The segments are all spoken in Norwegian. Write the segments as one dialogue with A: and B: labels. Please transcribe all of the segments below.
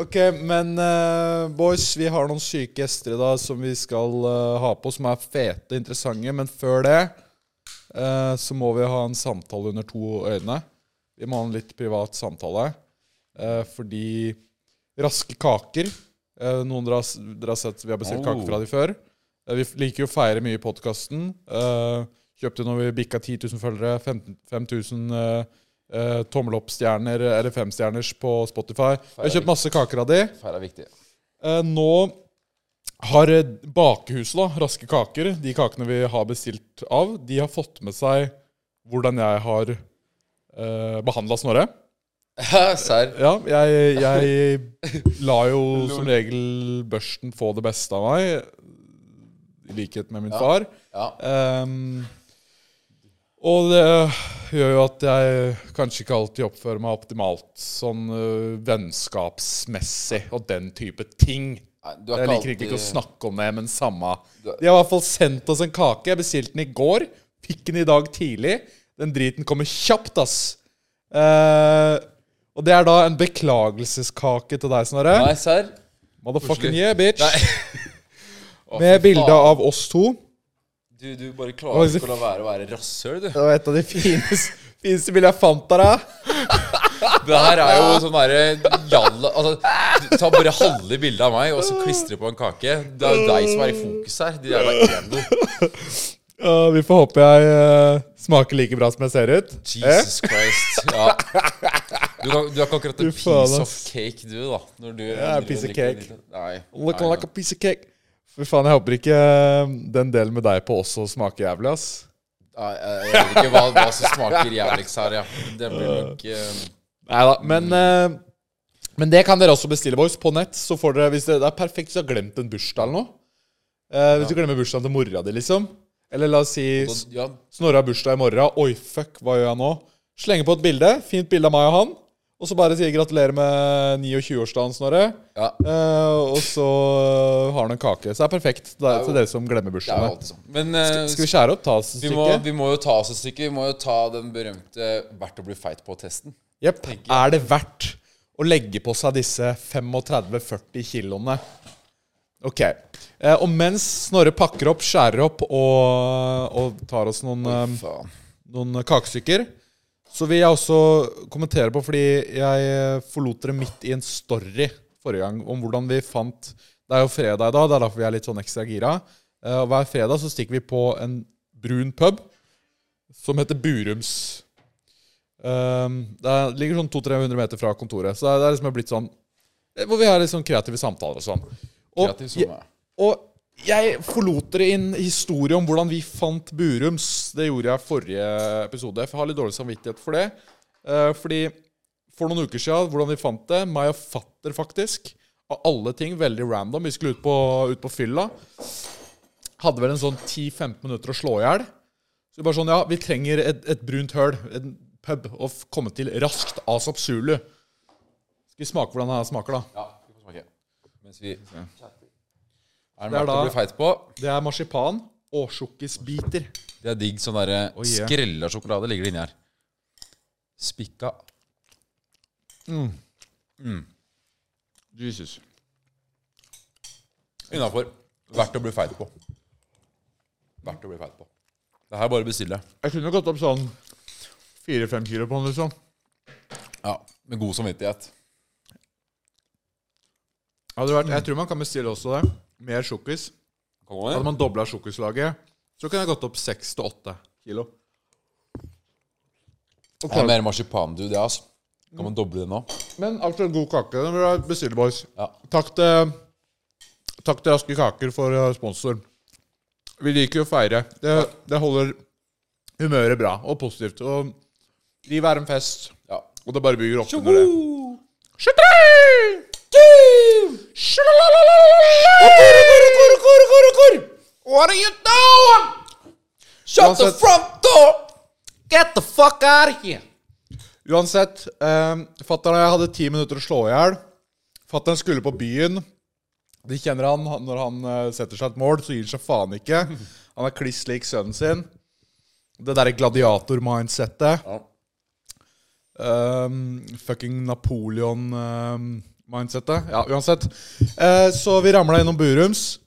A: Ok, men eh, boys, vi har noen syke gjester i dag som vi skal eh, ha på, som er fete, interessante. Men før det eh, så må vi ha en samtale under to øyne. Vi må ha en litt privat samtale. eh, fordi raske kaker eh, Noen dere har, s- dere har sett vi har bestilt
B: Oh.
A: kaker fra de før. Eh, vi f- liker jo å feire mye i podkasten. kjøpte når vi bikka 10 000 følgere. 15 5000 eh, eh, tommel opp-stjerner eller femstjerners på Spotify. Jeg har kjøpt masse kaker av de.
B: Feil er viktig.
A: Eh, nå har eh, bakehuset, da, Raske Kaker, de kakene vi har bestilt av, de har fått med seg hvordan jeg har eh, behandla Snorre.
B: Serr?
A: Ja, jeg, jeg la jo som regel børsten få det beste av meg, i likhet med min far.
B: Ja.
A: Ehm, og det gjør jo at jeg kanskje ikke alltid oppfører meg optimalt sånn øh, vennskapsmessig og den type ting.
B: Nei, du
A: Jeg liker ikke å snakke om det, men samme.
B: Du er-
A: De har i hvert fall sendt oss en kake. Jeg bestilte den i går. Fikk den i dag tidlig. Den driten kommer kjapt, ass. Eh, og det er da en beklagelseskake til deg, Snorre.
B: Nei, serr?
A: Motherfucking
B: koselig.
A: yeah, bitch.
B: Å,
A: Med
B: fy
A: bilde
B: faen.
A: av oss to.
B: Du, du bare klarer
A: Oi,
B: ikke å la være å være rasshøl, du.
A: Det var et av de fineste, fineste bildene jeg fant av deg.
B: Det her er jo sånn derre jalla Altså, du tar bare halve bildet av meg, og så klistrer du på en kake. Det er jo deg som er i fokus her. De der jævla emo.
A: Ja, vi får håpe jeg eh, smaker like bra som jeg ser ut. Eh?
B: Jesus Christ. Ja. Du, kan, du er ikke akkurat
A: Du
B: en
A: faen,
B: piece of
A: ass.
B: cake, du, da. Når du
A: er a piece of cake.
B: Nei.
A: Looking
B: Nei,
A: like a piece of cake. Fy faen, jeg håper ikke eh, den delen med deg på også smaker jævlig, ass.
B: Nei, jeg jeg vet ikke hva, hva som smaker jævligst her, ja. Det blir nok eh,
A: Neida, men eh, Men det kan dere også bestille, boys. På nett. så får dere, Hvis det, det er perfekt hvis du har glemt en bursdag eller noe Eh, Hvis du glemmer bursdagen til mora di, liksom. Eller la oss si
B: da- Ja,
A: Snorre har bursdag i morgen. Oi, fuck, hva gjør jeg nå? Slenger på et bilde. Fint bilde av meg og han. Og så bare sier gratulerer med 29-årsdagen, Snorre.
B: ja.
A: Eh, og så eh, har han en kake. Så det er perfekt det er
B: jo-
A: til dere som glemmer
B: Det er jo
A: bursdagene.
B: alltid sånn. Men eh,
A: Skal vi skjære opp? Ta oss et
B: vi, må,
A: stykke?
B: vi må jo ta oss et stykke. Vi må jo ta den berømte 'verdt å bli feit på'-testen.
A: Jepp. Er det verdt å legge på seg disse 35-40 kiloene? Ok. Eh, og mens Snorre pakker opp, skjærer opp og, og tar oss noen, eh,
B: Faen.
A: noen kakestykker, så vil jeg også kommentere på, fordi jeg eh, forlot dere midt i en story forrige gang om hvordan vi fant Det er jo fredag i dag, det er derfor vi er litt sånn ekstra gira. Eh, og hver fredag så stikker vi på en brun pub som heter Burums. Um, det er- ligger sånn 200-300 meter fra kontoret. Så det er, det er liksom blitt sånn eh, Hvor vi har litt sånn kreative samtaler og sånn. Og,
B: Kreativ som er.
A: og jeg forlot dere i en historie om hvordan vi fant Burums. Det gjorde jeg forrige episode. Jeg har litt dårlig samvittighet for det. Eh, fordi for noen uker siden, hvordan vi fant det Meg og fatter, faktisk. Av alle ting. Veldig random. Vi skulle ut på, ut på fylla. Hadde vel en sånn 10-15 minutter å slå i hjel. Så vi bare sånn, ja, vi trenger et, et brunt høl, en pub, å f- komme til raskt Asap Zulu. Skal vi smake hvordan det her smaker, da?
B: Ja, vi får smake. Mens vi Er
A: Det er
B: den verdt å
A: da-
B: bli feit på?
A: Det er marsipan og sjokkisbiter.
B: Det er digg sånn derre
A: Oi, ja.
B: skrella sjokolade ligger det inni her. Spikka.
A: Jesus.
B: Innafor. Verdt å bli feit på. Verdt å bli feit på. Det her er bare å bestille.
A: Jeg kunne gått opp sånn fire-fem kilo på den, liksom.
B: Ja, Med god samvittighet.
A: Hadde det vært, jeg tror man kan bestille også det. Mer sjokkis.
B: Kom igjen.
A: Hadde man dobla sjokkislaget, så kunne jeg gått opp seks til åtte kilo.
B: Det er mer marsipan, du. Det, altså. Kan man doble det nå?
A: Men altså, en god kake. Den vil jeg bestille, boys.
B: Ja.
A: Takk til Takk til Raske Kaker for eh, sponsor. Vi liker jo å feire. Det, det holder humøret bra og positivt. Og livet er en fest,
B: Ja.
A: og det bare bygger opp under det. Sjuttri! Sjalalalalalala! What are you doing?
B: Shut
A: the
B: front door!
A: Get the fuck out of here! Uansett, eh, fatter'n og jeg hadde ti minutter å slå i hjel. Fatter'n skulle på byen. De kjenner han. han- Når han eh, setter seg et mål, så gir han seg faen ikke. Han er kliss lik sønnen sin. Det derre gladiator-mindsettet.
B: Ja.
A: Ehm, Um, fucking Napoleon um, Mindsettet. Ja, uansett. Eh, så vi ramla innom Burums.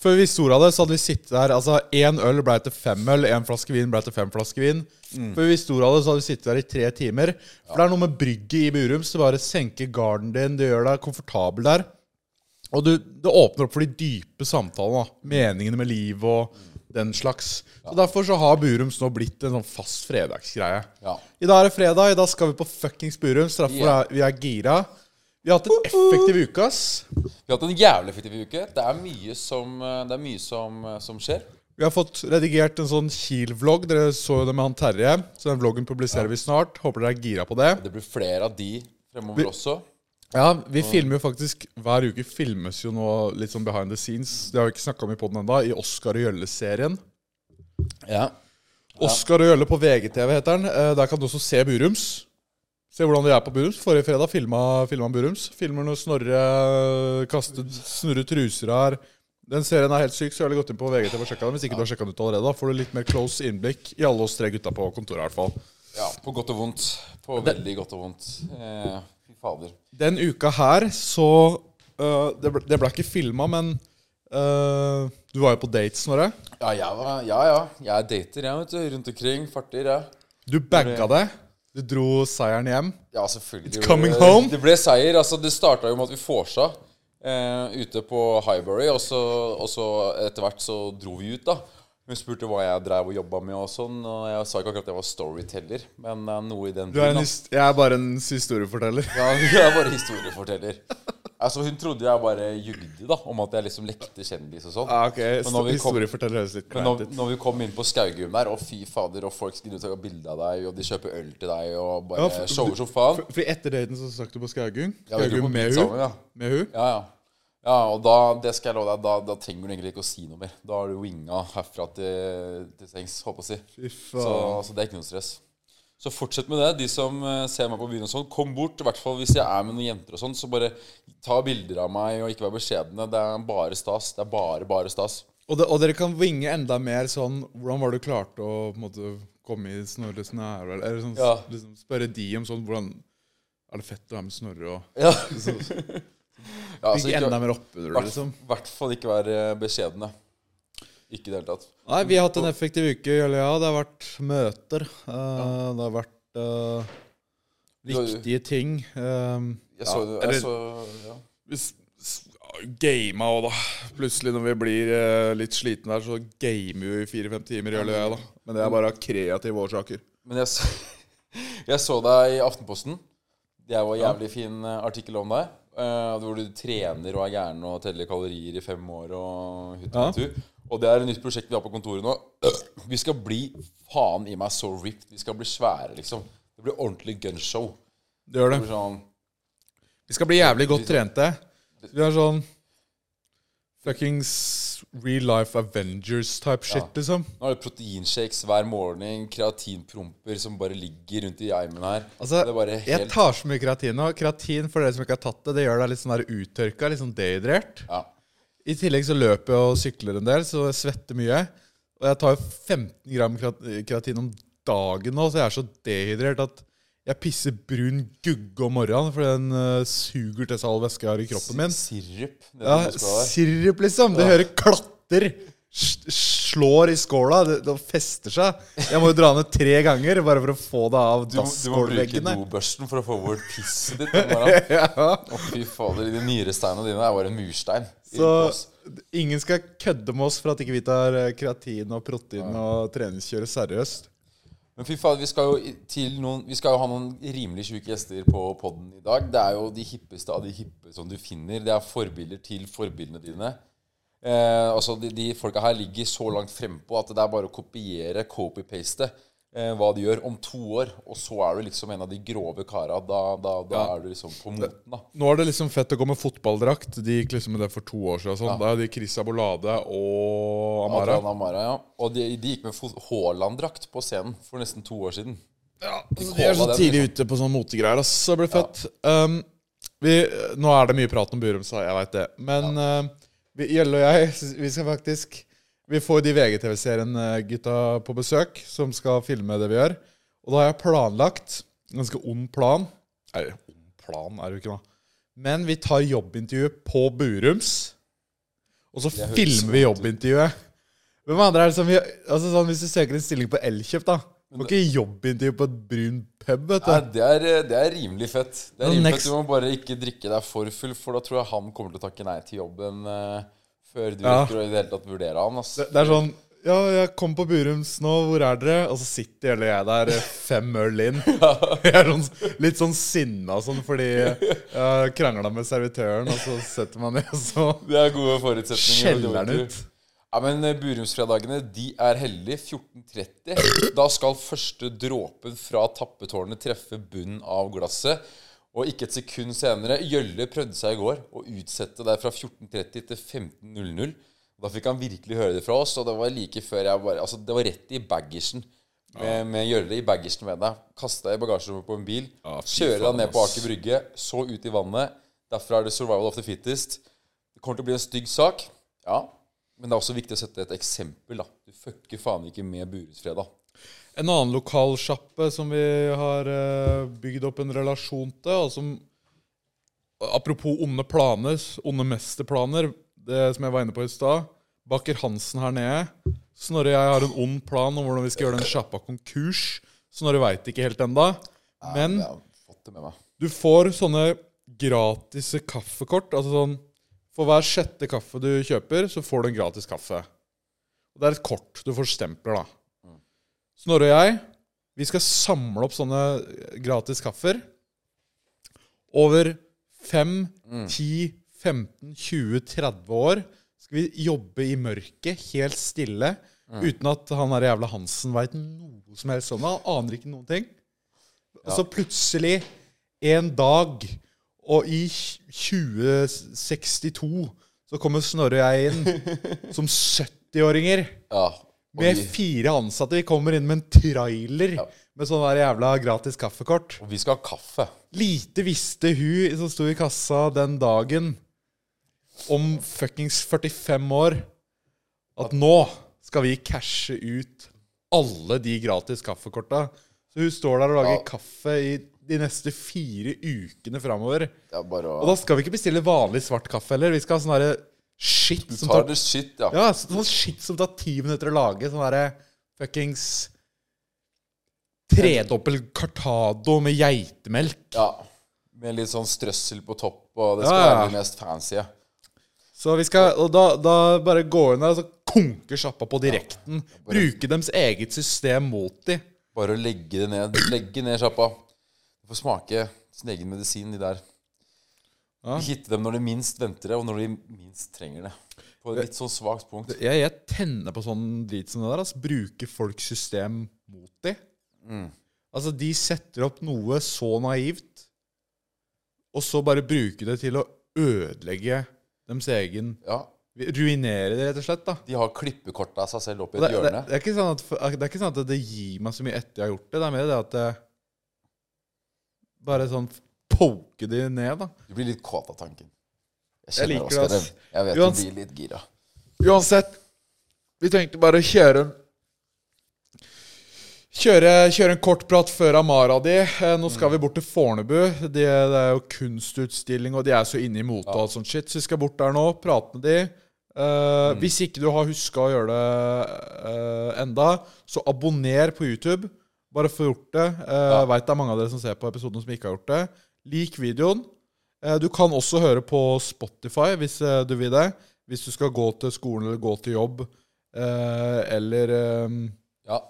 A: Før vi visste ordet av det, så hadde vi sittet der Altså, én øl ble til fem øl, én flaske vin ble til fem flasker vin. Før vi visste ordet av det, så hadde vi sittet der i tre timer. For det er noe med brygget i Burums. Det bare senker garden din, det gjør deg komfortabel der. Og du, det åpner opp for de dype samtalene, da. meningene med livet og den slags. Så Derfor så har Burums nå blitt en sånn fast fredagsgreie.
B: Ja.
A: I dag er det fredag, i dag skal vi på fuckings Burums. Derfor
B: Ja.
A: er vi er gira. Vi har hatt en effektiv uke, ass.
B: Vi har hatt en jævlig effektiv uke. Det er mye som, eh, det er mye som, eh, som skjer.
A: Vi har fått redigert en sånn Kiel-vlogg. Dere så jo det med han Terje. Så den vloggen publiserer vi snart. Håper dere er gira på det.
B: Det blir flere av de fremover også.
A: Ja, vi filmer jo faktisk Hver uke filmes jo nå litt sånn behind the scenes. Det har vi ikke snakka om i poden ennå. I Oskar og Gjølle-serien.
B: Ja.
A: Oskar og Gjølle på VGTV heter den. Eh, Der kan du også se Burums. Se hvordan de er på Burums. Forrige fredag filma, filma han Burums. Filmer når Snorre kastet snurrer truser her. Den serien er helt syk, så jeg har gått inn på VGTV og sjekka den. Hvis ikke du har sjekka den ut allerede, da får du litt mer close innblikk i alle oss tre gutta på kontoret. i hvert fall.
B: ja. På godt og vondt. På veldig godt og vondt. Eh, Fy fader.
A: Den uka her, så øh, Det ble, det ble ikke filma, men øh, du var jo på date, Snorre.
B: Ja, jeg var, ja, ja. Jeg dater, jeg, vet du. Rundt omkring. Farter, jeg.
A: Du bagga deg. Du dro seieren hjem.
B: Ja, selvfølgelig.
A: It's coming
B: Det-
A: home.
B: Det ble seier. altså Det starta jo med at vi vorsa eh, ute på Highbury, og så, og så etter hvert så dro vi ut, da. Hun spurte hva jeg drev og jobba med og sånn, og jeg sa ikke akkurat at jeg var storyteller, men eh, noe i den
A: Du er en
B: duren, da.
A: his jeg er bare en historieforteller.
B: Ja, jeg er bare historieforteller. Altså, hun trodde jeg bare ljugde, da, om at jeg liksom lekte kjendis og sånn.
A: Ja, Ah, ok,
B: Men når vi kom-
A: Historieforteller høres litt
B: Men når,
A: kleint ut.
B: når vi kom inn på Skaugum der, og fy fader, og folk skulle ta bilde av deg, og de kjøper øl til deg, og bare
A: Ja, for-
B: shower som faen.
A: For- Fordi etter daten så stakk du på Skaugum.
B: Ja, vi dro
A: Skaugum
B: på
A: med
B: bit sammen,
A: hun.
B: ja.
A: Med hun.
B: Ja, ja. Ja, og da, det skal jeg love deg, da, da trenger du egentlig ikke å si noe mer. Da har du winga herfra til, til sengs, håper jeg å si.
A: Fy
B: Så,
A: faen.
B: så det er ikke noe stress. Så fortsett med det. De som eh, ser meg på byen og sånn, kom bort. I hvert fall hvis jeg er med noen jenter og sånn, så bare ta bilder av meg og ikke vær beskjedne. Det er bare stas. Det er bare, bare stas.
A: Og, det, og dere kan vinge enda mer sånn Hvordan var det du klarte å på en måte, komme i Snorres nære? Eller sånn,
B: Ja.
A: liksom, spørre de om sånn Hvordan er det fett å være med Snorre? og... Liksom,
B: Ja, altså,
A: Bygge
B: ikke,
A: enda mer opp under det, liksom.
B: I hvert fall ikke vær eh, beskjedne. Ikke i det hele tatt.
A: Nei, vi har hatt en effektiv uke. Eller ja, det har vært møter. eh, Det har vært eh, viktige ting. Um,
B: Jeg så,
A: Ja,
B: ja,
A: eller-
B: jeg så ja.
A: Gama òg, da. Plutselig når vi blir eh, litt slitne der, så gamer vi i fire-fem timer. Eller jeg, da. Men det er bare av kreative årsaker.
B: Men jeg så, jeg så deg i Aftenposten. Det var en jævlig fin eh, artikkel om deg. eh, hvor du trener og er gæren og teller kalorier i fem år og hutt og
A: Ja.
B: tur. Og det er et nytt prosjekt vi har på kontoret nå. Vi skal bli faen i meg så ripped. Vi skal bli svære, liksom. Det blir ordentlig gunshow.
A: Det gjør
B: Det
A: det.
B: blir sånn
A: Vi skal bli jævlig godt trente. Vi er sånn fuckings real life Avengers-type shit, liksom.
B: Nå er det proteinshakes hver morgen, kreatinpromper som bare ligger rundt i eimen her.
A: Altså,
B: det er bare
A: Jeg
B: helt
A: tar så mye kreatin nå. Kreatin, for dere som ikke har tatt det, det gjør deg litt sånn der uttørka, litt sånn dehydrert.
B: ja.
A: I tillegg så løper jeg og sykler en del, så jeg svetter mye. Og jeg tar jo 15 gram krat- kreatin om dagen nå, så jeg er så dehydrert at jeg pisser brun gugge om morgenen, for den eh, suger til seg all væske jeg har i kroppen min.
B: Sirup. nedi
A: Ja,
B: muskulaen der.
A: sirup, liksom. Det hører klatter. s- Slår i skåla. Det, det fester seg. Jeg må jo dra ned tre ganger bare for å få det av
B: Du, du må bruke
A: dasskålveggene.
B: dobørsten for å få bort pisset ditt. den morgenen. Å, fy fader. De nyresteinene dine er bare en murstein.
A: Så ingen skal kødde med oss for at ikke vi tar eh, kreatin og protein og treningskjøret seriøst.
B: Men fy fader, vi skal, jo i- til noen, vi skal jo ha noen rimelig sjuke gjester på poden i dag. Det er jo de hippeste av de hippe som du finner. Det er forbilder til forbildene dine. Eh, altså, de, de folka her ligger så langt frempå at det er bare å kopiere, copy-paste eh, hva de gjør om to år. Og så er du liksom en av de grove kara. Da, da, da er du liksom på moten, da.
A: Nå er det liksom fett å gå med fotballdrakt. De gikk liksom med det for to år siden. og Sånn. Da er de Chris Abolade og Amara.
B: Adrian Amara, ja. Og de, de gikk med fot- Haaland-drakt på scenen for nesten to år siden.
A: Altså, de er så
B: Kåla den,
A: tidlig ute på sånne motegreier. ass. Så det blir fett. Um, vi, nå er det mye prat om Burum, så jeg veit det. Men uh, vi, Gjelle og jeg, vi skal faktisk Vi får de VGTV-serien eh, gutta på besøk, som skal filme det vi gjør. Og da har jeg planlagt en ganske ond plan. Er det ond plan, er det jo ikke da? Men vi tar jobbintervjuet på Burums, og så
B: Det høres
A: filmer vi
B: smart ut.
A: jobbintervjuet. Hvem andre er det som vi, altså sånn, Hvis du søker en stilling på Elkjøp, da Får ikke jobbintervju på et brun pub, vet
B: Nei,
A: du.
B: det, er, eh, det er rimelig fett. Det er
A: Nå,
B: rimelig
A: next-
B: fett. Du må bare ikke drikke deg for full, for da tror jeg han kommer til å takke nei til jobben eh, før du
A: Ja.
B: rekker å i det hele tatt vurdere han. ass.
A: Det, det er sånn Ja, jeg kom på Burums nå, hvor er dere? Og så sitter hele jeg der eh, fem øl inn. Jeg er sånn, litt sånn sinna sånn fordi jeg krangla med servitøren, og så setter man ned, og så
B: Det er gode forutsetninger.
A: skjeller han ut.
B: Ja, men eh, Burumsfredagene de er heldige. 14.30. Da skal første dråpen fra tappetårnet treffe bunnen av glasset. Og ikke et sekund senere Gjølle prøvde seg i går å utsette det fra 14.30 til 15.00. Da fikk han virkelig høre det fra oss, og det var like før jeg bare Altså, det var rett i baggersen. Med, med Gjølle i baggersen med deg. Kasta i bagasjerommet på en bil.
A: Ja, fy
B: kjører
A: faen,
B: han ned på
A: ass.
B: Aker Brygge, så ut i vannet. Derfra er det 'survival of the fittest'. Det kommer til å bli en stygg sak. Ja. Men det er også viktig å sette et eksempel. da. Du fucker faen ikke med Burusfredag.
A: En annen lokalsjappe som vi har eh, bygd opp en relasjon til, og som Apropos onde planer, onde mesterplaner, det som jeg var inne på i stad. Baker Hansen her nede. Snorre og jeg har en ond plan om hvordan vi skal gjøre den sjappa konkurs. Snorre veit ikke helt ennå. Men
B: Jeg har fått det med meg.
A: du får sånne gratis kaffekort. Altså sånn For hver sjette kaffe du kjøper, så får du en gratis kaffe. Og det er et kort. Du får stempler, da. Snorre og jeg, vi skal samle opp sånne gratis kaffer. Over 5, 10, 15, 20, 30 år skal vi jobbe i mørket, helt stille, uten at han der jævla Hansen veit noe som helst om det. Han aner ikke noen ting. Og så plutselig, en dag, og i 2062, så kommer Snorre og jeg inn som 70-åringer.
B: Ja. og
A: Med
B: vi,
A: fire ansatte. Vi kommer inn med en trailer
B: Ja.
A: med sånn der jævla gratis kaffekort.
B: og vi skal ha kaffe.
A: Lite visste hun som sto i kassa den dagen, om fuckings 45 år, at nå skal vi cashe ut alle de gratis kaffekorta. Så hun står der og lager
B: Ja.
A: kaffe i de neste fire ukene framover.
B: Det er bare
A: Og
B: å
A: da skal vi ikke bestille vanlig svart kaffe heller. Vi skal ha sånn derre shit
B: Du
A: som
B: tar
A: tar
B: det shit, ja.
A: ja, så- sånn shit som tar ti minutter å lage. Sånn derre fuckings Tredobbel cartado med geitemelk.
B: ja. Med litt sånn strøssel på topp, og det skal
A: Ja, ja.
B: være det mest fancy. ja.
A: Så vi skal Og da, da bare gå inn der og så konke sjappa på direkten. Bruke deres eget system mot de.
B: Bare å legge det ned. Legge ned sjappa. Du får smake sin egen medisin, de der.
A: Ja.
B: Hitte dem når de minst venter det, og når de minst trenger det. På et litt sånn svakt punkt.
A: Jeg, jeg tenner på sånn drit som det der. Altså, bruke folks system mot de.
B: Mm.
A: Altså, de setter opp noe så naivt, og så bare bruke det til å ødelegge deres egen
B: Ja.
A: Ruinere det, rett og slett. da
B: De har klippekortet av seg selv opp i
A: Og
B: et
A: det, det,
B: hjørne.
A: det, er ikke sånn at, det er ikke sånn at det gir meg så mye etter jeg har gjort det. Det er mer det at det, Bare sånn poke de ned, da.
B: Du blir litt kåt av tanken. Jeg,
A: Jeg
B: kjenner
A: liker det,
B: Oskar.
A: ass.
B: Jeg vet
A: Uans-
B: du blir litt gira.
A: Uansett, vi tenkte bare å kjøre en Kjøre, kjøre en kort prat før Amara di. Eh, Nå skal vi bort til Fornebu. De, det er jo kunstutstilling, og de er så inne i motet og alt sånt shit. Så vi skal bort der nå, prate med de. Eh, Hvis ikke du har huska å gjøre det eh, enda, så abonner på YouTube. Bare få gjort det. Eh, Veit det er mange av dere som ser på episoden som ikke har gjort det. Lik videoen. Eh, Du kan også høre på Spotify hvis eh, du vil det. Hvis du skal gå til skolen eller gå til jobb, eh, eller, eh,
B: Ja.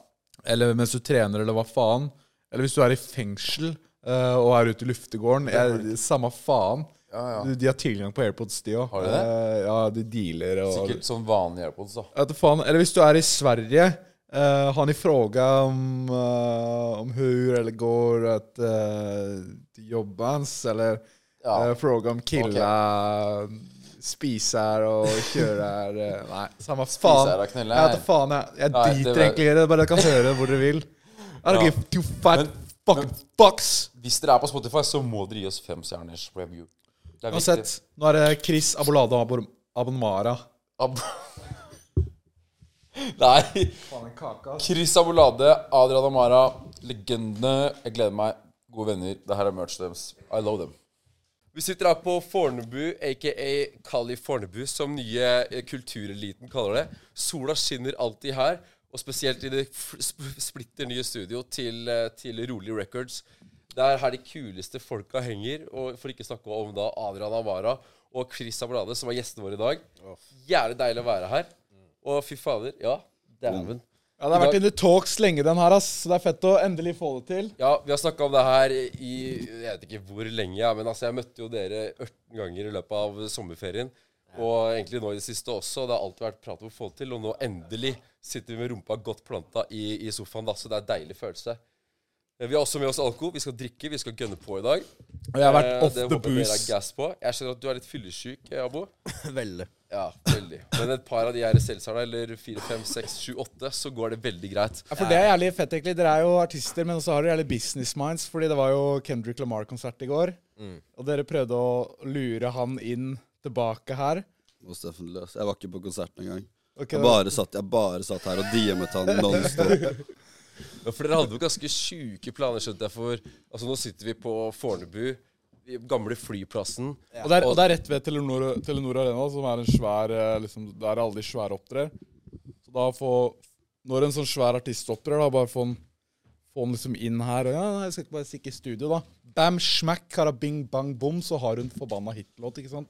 A: eller mens du trener, eller hva faen. Eller hvis du er i fengsel eh, og er ute i luftegården. Jeg, samme faen.
B: Ja, ja.
A: Du, de har tilgang på AirPods, de òg.
B: Har de det?
A: ja, de dealer og
B: Sikkert sånn vanlig AirPods, da.
A: Vet du faen. Eller hvis du er i Sverige, eh, har ni fråga om, eh, om hur eller går att eh, jobba ens, eller
B: Ja.
A: eh, fråga om killar spisar och körar eh, Nej, samma fan.
B: Spisar och knullar.
A: Jag vet inte fan, jag, jag
B: Nej, det
A: driter
B: var-
A: egentligen i det, bara jag kan höra vad du vill. I don't
B: Ja.
A: give two fat
B: Men-
A: fucking bucks.
B: Hvis dere er på Spotify, så må dere gi oss fem stjerners review. Det er viktig.
A: Uansett, nå er det Chris Abolada Abor- Abonmara.
B: Ab Nei.
A: Faen, en kake, ass.
B: Chris Abolade, Adrian Amara, legendene. Jeg gleder meg. Gode venner. Det her er merch deres. I love them. Vi sitter her på Fornebu, aka Kali Fornebu, som nye eh, kultureliten kaller det. Sola skinner alltid her, og spesielt i det f- sp- splitter nye studio til, eh, til Rolig Records. Det er her de kuleste folka henger, og for ikke snakke om da Adrian Amara og Chris Abrade, som er gjestene våre i dag. Jævlig deilig å være her. Og fy fader, ja. Dæven.
A: Ja, Det har vært in the talks lenge, den her. ass. Så det er fett å endelig få det til.
B: Ja, vi har snakka om det her i jeg vet ikke hvor lenge, ja, men altså, jeg møtte jo dere 18 ganger i løpet av sommerferien. Og egentlig nå i det siste også. Det har alltid vært prat om å få det til, og nå endelig sitter vi med rumpa godt planta i, i sofaen, da, så det er en deilig følelse. Eh, Vi har også med oss alko. Vi skal drikke, vi skal gønne på i dag.
A: Og jeg har vært
B: Eh,
A: off
B: det
A: the
B: håper jeg dere har
A: booze.
B: gass på. Jeg skjønner at du er litt fyllesyk, eh, Abo.
C: Veldig.
B: Ja, veldig. Men et par av de her seltzerne, eller 4, 5, 6, 7, 8, så går det veldig greit.
A: Ja, for Det er jævlig fett, egentlig. Dere er jo artister, men også har dere jævlig business minds. Fordi det var jo Kendrick Lamar-konsert i går,
B: Mm.
A: og dere prøvde å lure han inn tilbake her.
C: Hos Steffen Løs. Jeg var ikke på konserten engang.
A: Ok,
C: Jeg
A: det var-
C: bare satt, jeg bare satt her og DM-et han nonstop.
B: Ja, for dere hadde jo ganske sjuke planer, skjønte jeg, for altså, nå sitter vi på Fornebu, i gamle flyplassen.
A: Og det, er, og det er rett ved Telenor, Telenor Arena, som er en svær eh, liksom, Der alle de svære opptrer. Så da få Når en sånn svær artist opptrer, da, bare få han få han liksom inn her og Ja, nei, jeg skal ikke bare stikke i studio, da. Bam, smack, karabing, bang, bom, så har hun forbanna hitlåt, ikke sant?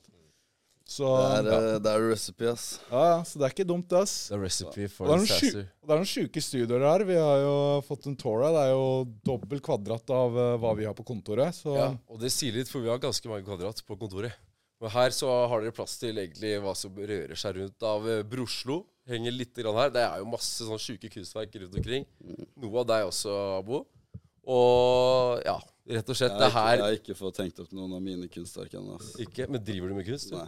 A: Så
C: Det er,
A: ja,
C: eh, det er recipe, ass.
A: ja, så det er ikke dumt, ass.
B: The recipe for
A: Og det er noen
B: disaster.
A: sju- og det er noen sjuke studioer her. Vi har jo fått en tour her. Det er jo dobbel kvadrat av eh, hva vi har på kontoret. Så
B: Ja, og det sier litt, for vi har ganske mange kvadrat på kontoret. Men her så har dere plass til egentlig hva som rører seg rundt av eh, Broslo. Henger litt grann her. Det er jo masse sånn sjuke kunstverk rundt omkring. Noe av deg også, Abo. Og ja, rett og slett,
C: Jeg
B: det
C: har ikke, jeg
B: her
C: har ikke fått tenkt opp noen av mine kunstverk ennå. ass.
B: ikke Men driver du med kunst? du?
C: Nei.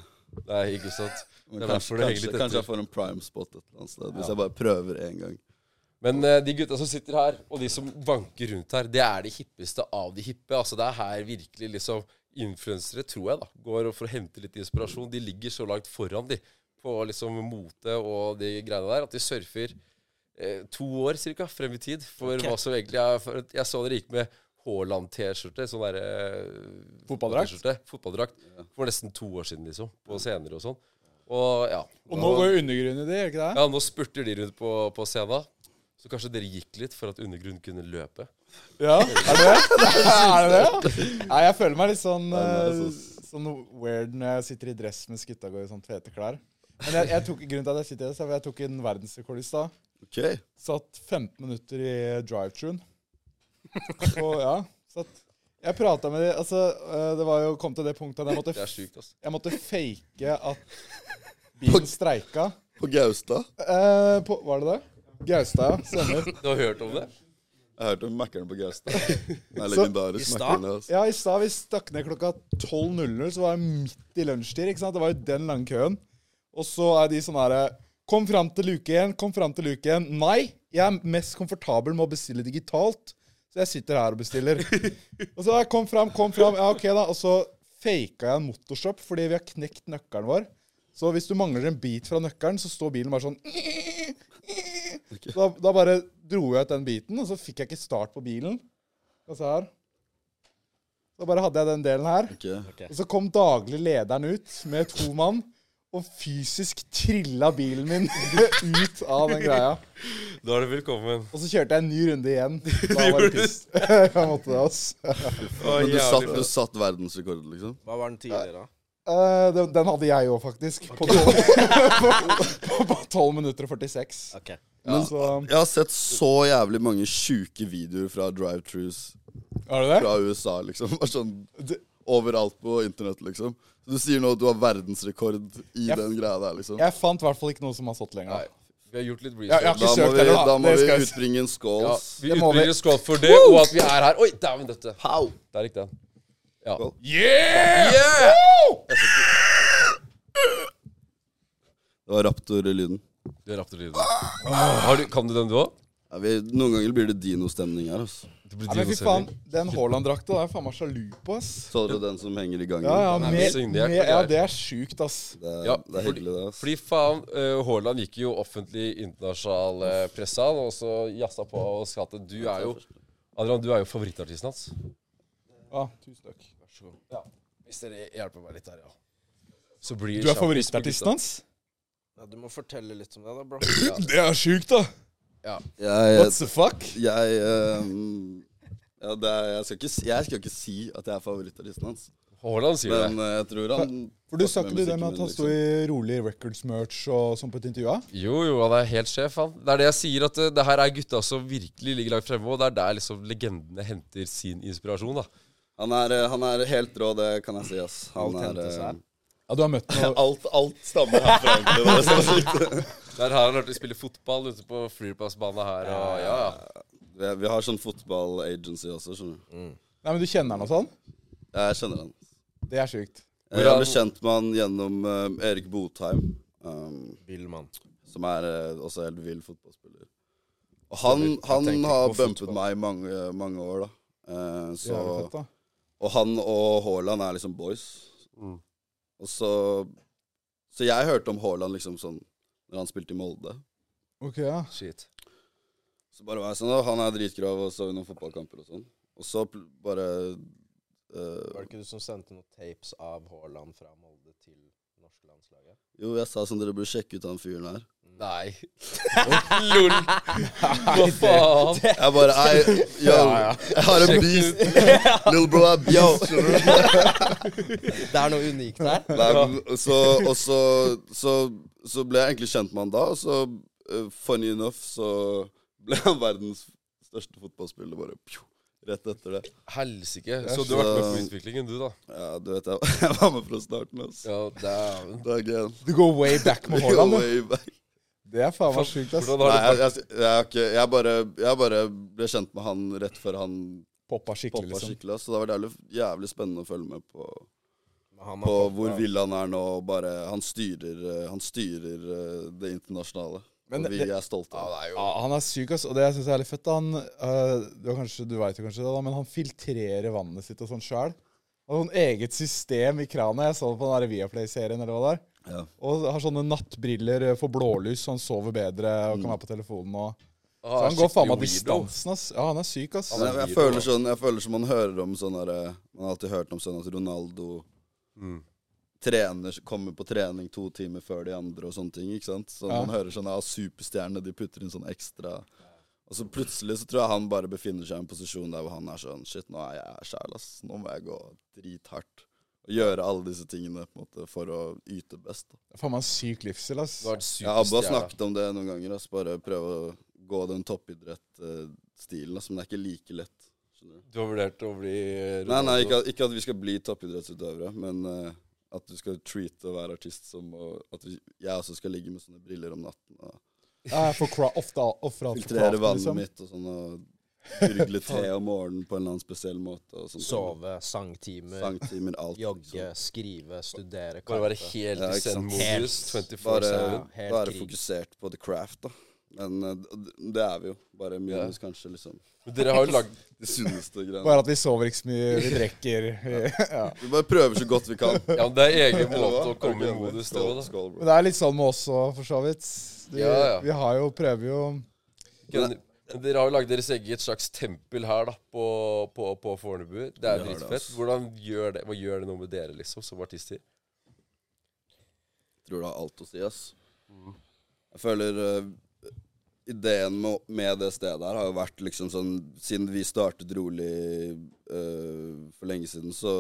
B: Nei, ikke sant.
C: Men
B: Det er
C: kanskje,
B: derfor det henger
C: kanskje,
B: litt
C: kanskje
B: etter.
C: jeg får en prime spot et eller annet sted, hvis jeg bare prøver én gang.
B: Men eh, de gutta som sitter her, og de som vanker rundt her, det er de hippeste av de hippe. Altså, det er her virkelig liksom influensere, tror jeg, da, går og for å hente litt inspirasjon. De ligger så langt foran, de, på liksom mote og de greiene der, at de surfer eh, to år cirka frem i tid for hva som egentlig er for, at Jeg så dere gikk med Haaland-T-skjorte, sånn derre
A: Fotballdrakt?
B: Fotballdrakt. For nesten to år siden, liksom. På scener og sånn. Og ja.
A: Og nå går jo undergrunnen i det, gjør ikke det?
B: Ja, nå spurter de rundt på, på scenen. Så kanskje dere gikk litt for at undergrunnen kunne løpe.
A: Ja, er det det? er det det? Nei, jeg føler meg litt sånn,
C: er
A: eh,
C: sånn-
A: sånn weird når jeg sitter i dress mens gutta går i sånn fete klær. Men jeg, jeg tok, grunnen til at jeg sitter i dress, er fordi jeg tok en verdensrekord i stad.
C: Ok,
A: Satt 15 minutter i drive-tune. Og ja, satt Jeg prata med de Altså, eh, det var jo kom til det punktet at jeg
B: Det er
A: måtte,
B: sykt, altså.
A: jeg måtte fake at bilen streika.
C: På Gaustad?
A: Eh, på, var det det? Gaustad, ja. Stemmer.
B: Du har hørt om det?
C: Jeg hørte om Mækkern på Gaustad. Det er legendarisk. Mækkern, ass.
A: Ja, i stad vi stakk ned klokka 12.00, så var jeg midt i lunsjtid. ikke sant? Det var jo den lange køen. Og så er de sånn herre Kom fram til luke én, kom fram til luke én. Nei, jeg er mest komfortabel med å bestille digitalt, så jeg sitter her og bestiller. og så jeg kom fram, kom fram. Ja, ok, da. Og så faka jeg en motorstopp fordi vi har knekt nøkkelen vår. Så hvis du mangler en bit fra nøkkelen, så står bilen bare sånn da, da bare dro jeg ut den biten, og så fikk jeg ikke start på bilen. Og så her. Da bare hadde jeg den delen her.
C: Ok.
A: Og så kom daglig lederen ut med to mann og fysisk trilla bilen min ut av den greia.
B: Da er du velkommen.
A: Og så kjørte jeg en ny runde igjen. Da var det piss. Jeg måtte det, ass.
C: Men du satt, du satt verdensrekord, liksom?
D: Hva var den tidligere, da?
A: Eh, den, den hadde jeg òg, faktisk. På 12, på 12 minutter og 46.
D: Ok.
A: Ja, så,
C: Jeg har sett så jævlig mange sjuke videoer fra drive-trues
A: har du det?
C: fra USA, liksom. Bare sånn
A: Det-
C: overalt på internett, liksom. Så du sier nå at du har verdensrekord i
A: Jeg-
C: den greia der, liksom.
A: Jeg fant i hvert fall ikke noe som har stått lenger. da.
B: Nei, vi har gjort litt
A: Ja, ja.
B: research.
C: Da må
A: søkt
C: vi,
A: heller, da.
C: da må
A: Det skal
C: vi
A: jeg si.
C: utbringe en skål.
B: Ja,
C: ass.
B: vi
A: Det må vi.
B: utbygger en skål for det, og at vi er her. Oi, dæven døtte.
C: Pow!
B: Der gikk den. Ja.
C: Skål.
B: Yeah! yeah!
C: Det var raptor-lyden.
B: Du har rapte lyden. Ah. Har du, kan du den, du òg?
C: Ja, vi, noen ganger blir det dinostemning her, altså.
A: Ja, men fy faen, den Haaland-drakta der er jeg faen meg sjalu på, ass.
C: Så dere den som henger i gangen?
A: Ja, ja,
B: Den er
A: med,
B: signert,
A: med,
B: og
A: ja
B: greier.
A: det er sjukt, ass.
C: Det, er-
B: Ja,
C: det
B: fordi-
C: er hyggelig, det. ass.
B: Fordi faen, eh, Haaland gikk jo offentlig i internasjonal eh, presse, han, og så jazza på og sa at du er jo Adrian, du er jo favorittartisten hans.
A: Ja, tusen takk.
D: Hvis dere hjelper meg litt her, ja. Så
A: Du er
D: blir kjappest på
A: favorittartisten hans?
D: gutta. Ja, du må fortelle litt om det, da, bro.
A: Det er sjukt, da!
C: Jeg,
A: What the fuck?
C: jeg ehm, ja, det er, jeg, skal ikke, si- jeg skal ikke si at jeg er favorittartisten hans,
B: Haaland sier det.
C: men eh, jeg tror han
A: For du
C: fucker
A: sa
C: med
A: ikke du det med
C: musikken
A: at
C: min,
A: han sto
C: liksom.
A: i rolig records-merch og sånn på et intervju? ja?
B: Jo, jo, han er helt sjef, han. Det er det jeg sier, at eh, det her er gutta som virkelig ligger langt fremme, og det er der liksom legendene henter sin inspirasjon, da.
C: Han er, eh, han er helt rå, det kan jeg si, ass. Han
D: Alt
C: er,
D: hentes
C: eh,
D: her.
A: Ja, du har møtt noe
C: alt, alt stammer herfra, egentlig. Det er så sykt.
B: Der har han hørt de spille fotball ute på flyplassbanen her, og ja, ja.
C: Vi, vi har sånn fotball-agency også, skjønner du.
A: Nei, men du kjenner han og sånn?
C: Jeg kjenner han.
A: Det er sjukt.
C: Jeg ble kjent med han gjennom eh, Erik Botheim, um,
D: Vill mann.
C: som er eh, også helt vill fotballspiller. Og han, han
D: tenker
C: har
D: på
C: bumpet
D: fotball.
C: meg i mange, mange år, da. Eh,
A: Det
C: så,
A: er jo fett, da.
C: og han og Haaland er liksom boys.
B: Mm.
C: Og så Så jeg hørte om Haaland liksom sånn Når han spilte i Molde.
A: Ok, ja.
B: Shit.
C: Så bare var jeg sånn «Å, Han er dritgrav, og så noen fotballkamper og sånn. Og så pl- bare eh,
D: Var det ikke du som sendte noen tapes av Haaland fra Molde til norske landslaget?
C: Jo, jeg sa sånn Dere burde sjekke ut han fyren her.
B: Nei. Lol. Hva faen?
C: Jeg bare ei, Yo, jeg har en beast. Little bro, I'm yo.
D: Det er noe unikt der.
C: Nei, men så, og så, så, så ble jeg egentlig kjent med han da, og så, eh, funny enough, så ble han verdens største fotballspiller bare pju, rett etter det.
B: Helsike. Så du har vært med på utviklingen, du, da.
C: Ja, du vet, jeg, jeg var med fra starten, altså.
B: Ja, dæven.
C: Det er gøy.
A: Du går way back med Haaland. du.
C: Way back.
A: Det er faen meg sjukt, ass.
B: Hvordan
C: Nei,
B: har du
C: jeg, jeg, jeg, har ikke- jeg, bare, jeg bare ble kjent med han rett før han
A: Poppa skikkelig,
C: poppa
A: liksom.
C: skikkelig, ass, så det har vært jævlig, jævlig spennende å følge med på.
D: Men han
C: på
D: har
C: hvor
D: fått-
C: vill han er nå. og Bare, han styrer, eh, han styrer eh, det internasjonale.
A: Men
C: og vi
A: det-
C: er stolte av det.
A: Ja, han er syk, ass. Og det jeg syns er litt fett, da, han øh, du, har kanskje, du vet jo kanskje det, da, men han filtrerer vannet sitt og sånn sjæl. Han har sånn eget system i krana. Jeg så det på den der Viaplay-serien eller hva det er.
C: Ja.
A: Og har sånne nattbriller øh, for blålys, så han sover bedre og kan være på telefonen og
B: ah,
A: Så han går faen meg
B: skikkelig weirdo.
A: distansen, ass. Ja, han er syk, ass.
C: Men Jeg, jeg, føler sånn, jeg føler som man hører om sånn derre Man har alltid hørt om sånn at Ronaldo trener, kommer på trening to timer før de andre og sånne ting. ikke sant? Så
A: Ja.
C: Man hører sånn av superstjernene, de putter inn sånn ekstra Og så plutselig så tror jeg han bare befinner seg i en posisjon der hvor han er sånn Shit, nå er jeg sjæl, ass. Nå må jeg gå drithardt. Og gjøre alle disse tingene på en måte for å yte best. Da.
A: Faen meg en syk livsstil, ass.
B: Du har en
C: Ja, Abba har
B: superstjerne.
C: snakket om det noen ganger. Ass. Bare prøve å gå den toppidrettsstilen. ass, Men det er ikke like lett. Skjønner du?
B: Du har vurdert å bli
C: Nei, nei, ikke, at- ikke at vi skal bli toppidrettsutøvere, men eh, at du skal treate å være artist som og At vi, jeg også skal ligge med sånne briller om natten og
A: Ja, jeg får cra ofte al- ofre alt for
C: filtrere
A: craften,
C: vannet
A: liksom.
C: mitt og sånn og gurgle te om morgenen på en eller annen spesiell måte. Og sånn.
D: Sove, sangtimer,
C: Sangtimer, alt. liksom.
D: jogge, skrive, studere,
B: Bare være
D: kaffe.
B: helt
C: Ja,
B: i
C: ikke sant.
B: zen-modus.
C: Bare,
B: 24-7.
D: helt
C: bare
D: krig.
C: fokusert på the craft, da. Men eh, d- det er vi jo. Bare minus, kanskje, liksom.
B: Men Dere har jo lagd
C: De sunneste greiene.
A: Bare at vi sover ikke så mye, vi drikker. ja.
C: Vi bare prøver så godt vi kan.
B: Ja, men det er egen måte å komme i modus på.
C: Skål,
B: da.
C: skål, bro.
A: Men det er litt sånn med oss òg, for så vidt. Vi,
B: Ja, ja.
A: vi har jo, prøver jo
B: Men men Dere har jo lagd deres eget slags tempel her da, på, på, på Fornebu. Det er
C: Vi har det,
B: dritfett.
C: ass.
B: Hvordan gjør det, hva gjør det noe med dere liksom, som artister?
C: tror det har alt å si, ass. Jeg føler eh, ideen med, med det stedet her har jo vært liksom sånn Siden vi startet rolig eh, for lenge siden, så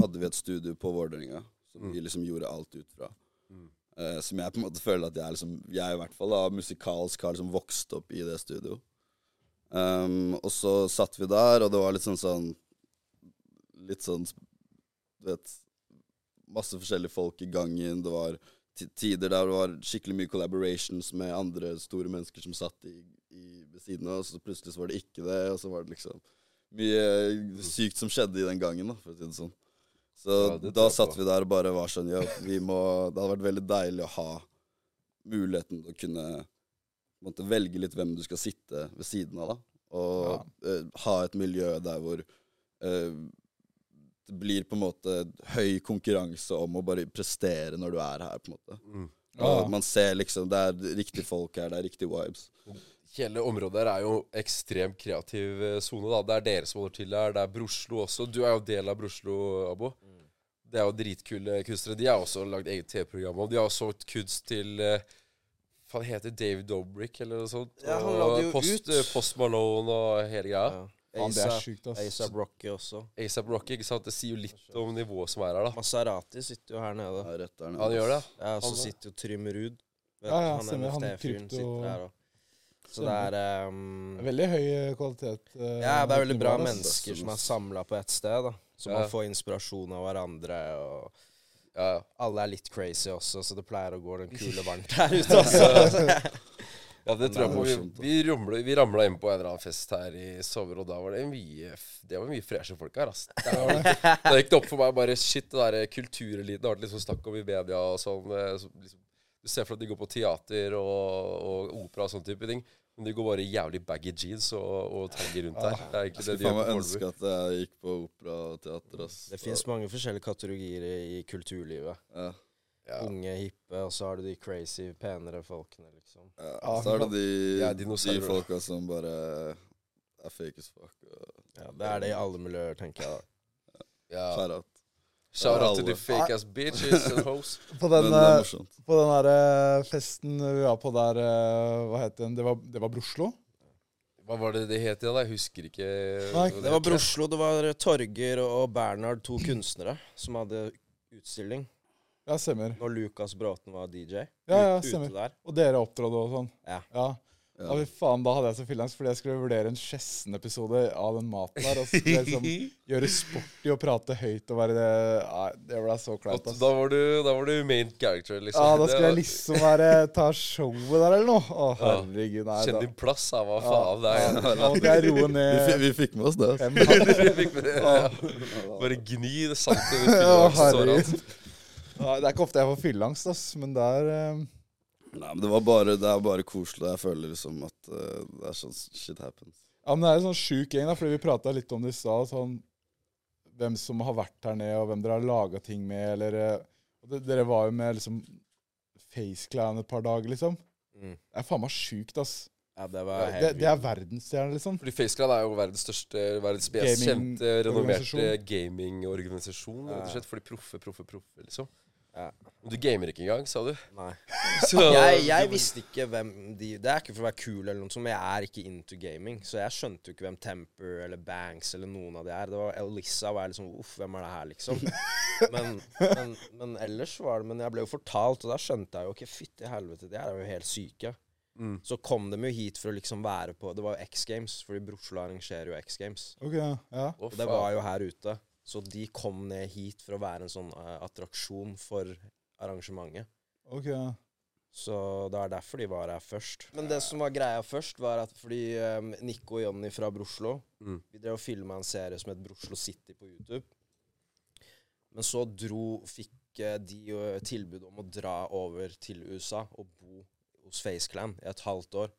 C: hadde vi et studio på Vålerenga som vi liksom gjorde alt ut fra. Eh, som jeg på en måte føler at jeg liksom Jeg i hvert fall da, musikalsk har liksom vokst opp i det studio. Um, og så satt vi der, og det var litt sånn sånn Litt sånn Du vet masse forskjellige folk i gangen. Det var ti- tider der det var skikkelig mye collaborations med andre store mennesker som satt i, i ved siden av oss, og så plutselig så var det ikke det, og så var det liksom mye sykt som skjedde i den gangen, da, for å si det sånn. Så
B: Ja, det tror
C: da
B: jeg
C: satt
B: på.
C: vi der og bare var sånn Ja, vi må Det hadde vært veldig deilig å ha muligheten til å kunne på en måte, velge litt hvem du skal sitte ved siden av, da. Og eh, ha et miljø der hvor eh, det blir på en måte høy konkurranse om å bare prestere når du er her, på en måte.
A: Ja.
C: Og man ser liksom Det er riktige folk her, det er riktige vibes.
B: Hele området her er jo ekstremt
D: Mm.
B: kreativ eh, sone. da. Det er dere som holder til her. Det er Broslo også. Du er jo del av Broslo, Abo. Det er jo dritkule kunstnere. De har også lagd eget TV-program. Og de har solgt kunst til eh, Hva faen heter Dave Dobrik eller noe sånt?
D: Ja, han la
B: og
D: det jo
B: Post,
D: ut.
B: eh, Post Malone og hele greia.
A: Faen, det er sjukt, ass.
D: Asa Brocky også.
B: ASAP Rocky, ikke sant? Det sier jo litt om nivået som er her, da.
D: Maserati sitter jo her nede.
C: Ja, rett der nede.
B: Ja, det gjør det.
D: Ja, og så
B: Han da?
D: sitter jo Trym Ruud.
A: Ja,
D: Vet du,
A: ja,
D: han
A: stemmer, han
D: NFT-fyren
A: krypto-
D: sitter her òg. Så det
A: Stemmer.
D: er ehm,
A: Veldig høy eh, kvalitet. eh, altså.
D: Ja, det er veldig bra
A: nivå, ass.
D: mennesker som er samla på ett sted, da. Så
B: Ja.
D: man får inspirasjon av hverandre, og
B: Ja, ja.
D: alle er litt crazy også, så det pleier å gå den kule varmt der ute, altså.
B: Ja, det tror jeg på.
C: morsomt, da.
B: Vi, vi, ramla, vi ramla inn på en eller annen fest her i sommer, og da var det mye f- Det var mye freshe folk her, ass. Det var det. Da gikk det opp for meg bare Shit, det der kultureliten har vært liksom snakk om i media og sånn. eh, så Liksom, du ser for deg at de går på teater og, og opera og sånn type ting. Men de går bare i jævlig baggy jeans og, og tagger rundt her. Det er egentlig det
C: Ah, Skulle
B: de gjør
C: faen meg
B: på Fornebu.
C: ønske at jeg gikk på opera og teater, ass.
D: Det fins mange forskjellige kategorier i, i kulturlivet.
C: Ja.
B: Ja.
D: Unge, hippe, og så har du de crazy, penere folkene, liksom.
C: Ja,
A: Ja,
C: så er det
A: fy
C: de,
B: Jeg er
C: de
B: dinosaurer.
C: folka som bare er fake as fuck. og
D: Ja, det er det i alle miljøer, tenker jeg. da.
B: Ja.
C: Skjæra.
B: Shout out to
C: Alle.
B: the fake ass bitches and hoes.
A: På den,
C: Men det er
A: eh,
C: morsomt.
A: på den der eh, festen vi var på der eh, Hva het den? Det var, det var Broslo?
B: Hva var det det het igjen? da? Jeg husker ikke.
A: Nei,
D: Det var Broslo, det var Torger og Bernhard, to kunstnere, som hadde utstilling.
A: Ja, stemmer.
D: Når Lukas Bråten var DJ.
A: Ja, ja,
D: ut-
A: stemmer.
D: Ute der.
A: Og dere opptrådde og sånn.
D: Ja.
A: ja. Ja,
C: Ja.
A: fy faen, Da hadde jeg så fillans fordi jeg skulle vurdere en Skjessen-episode av den maten der. Og så skulle jeg liksom gjøre sport i å prate høyt og være det Nei, det ble så
B: At
A: kleint, ass.
B: Da var, du, da var du main character, liksom.
A: Ja, da
B: Det
A: skulle
B: var-
A: jeg liksom være ta showet der eller noe. Å,
B: Ja.
A: herregud, nei
B: Kjenn
A: da.
B: din plass, da. Hva
A: Ja.
B: faen? Det er
A: Da måtte jeg roe
C: Vi, fi-
A: ned
C: vi fikk med oss det. ass.
A: fem hakk.
B: Du fikk med det, ja. Bare gni det salte i
A: Å,
B: såret.
A: herregud. Ja, det er ikke ofte jeg får fylleangst, ass, men der eh,
C: Nei, men det, var bare, det er bare koselig. Jeg føler liksom at eh, det er sånn shit happens.
A: Ja, men det er en sånn sjuk gjeng, da, fordi vi prata litt om det i stad. Sånn, hvem som har vært her nede, og hvem dere har laga ting med, eller eh, og det, Dere var jo med liksom FaceClan et par dager, liksom.
D: Mm.
A: Det er faen meg sjukt, ass.
D: Ja, det var
A: Det,
D: helt
A: det er verdensstjerne, liksom.
B: Fordi Faceclan er jo verdens største, verdens mest
A: Gaming-
B: kjente, renommerte
A: organisasjon.
B: gamingorganisasjon.
D: Ja.
B: Rett og slett fordi proffe, proffe, proffe, liksom.
D: Ja.
B: Og Du gamer ikke engang, sa du.
D: Nei.
B: Så,
D: Jeg, jeg visste ikke hvem de Det er ikke for å være kul, eller noe sånt, men jeg er ikke into gaming. Så jeg skjønte jo ikke hvem Temper eller Banks eller noen av de er. Det var Elisa var jeg liksom Uff, hvem er det her, liksom? Men, men, men ellers var det Men jeg ble jo fortalt, og da skjønte jeg jo ikke Fytti helvete, de her er jo helt syke.
B: Mm.
D: Så kom de jo hit for å liksom være på Det var jo X Games, fordi Broslo arrangerer jo X Games.
A: Ok, ja. ja.
B: Å,
D: Og det
B: faen.
D: var jo her ute. Så de kom ned hit for å være en sånn eh, attraksjon for arrangementet.
A: Ok, ja.
D: Så det er derfor de var her først. Men det som var greia først, var at fordi um, Nico og Jonny fra Broslo
B: Mm.
D: Vi drev og filma en serie som het Broslo City på YouTube. Men så dro Fikk eh, de jo tilbud om å dra over til USA og bo hos FaceClan i et halvt år.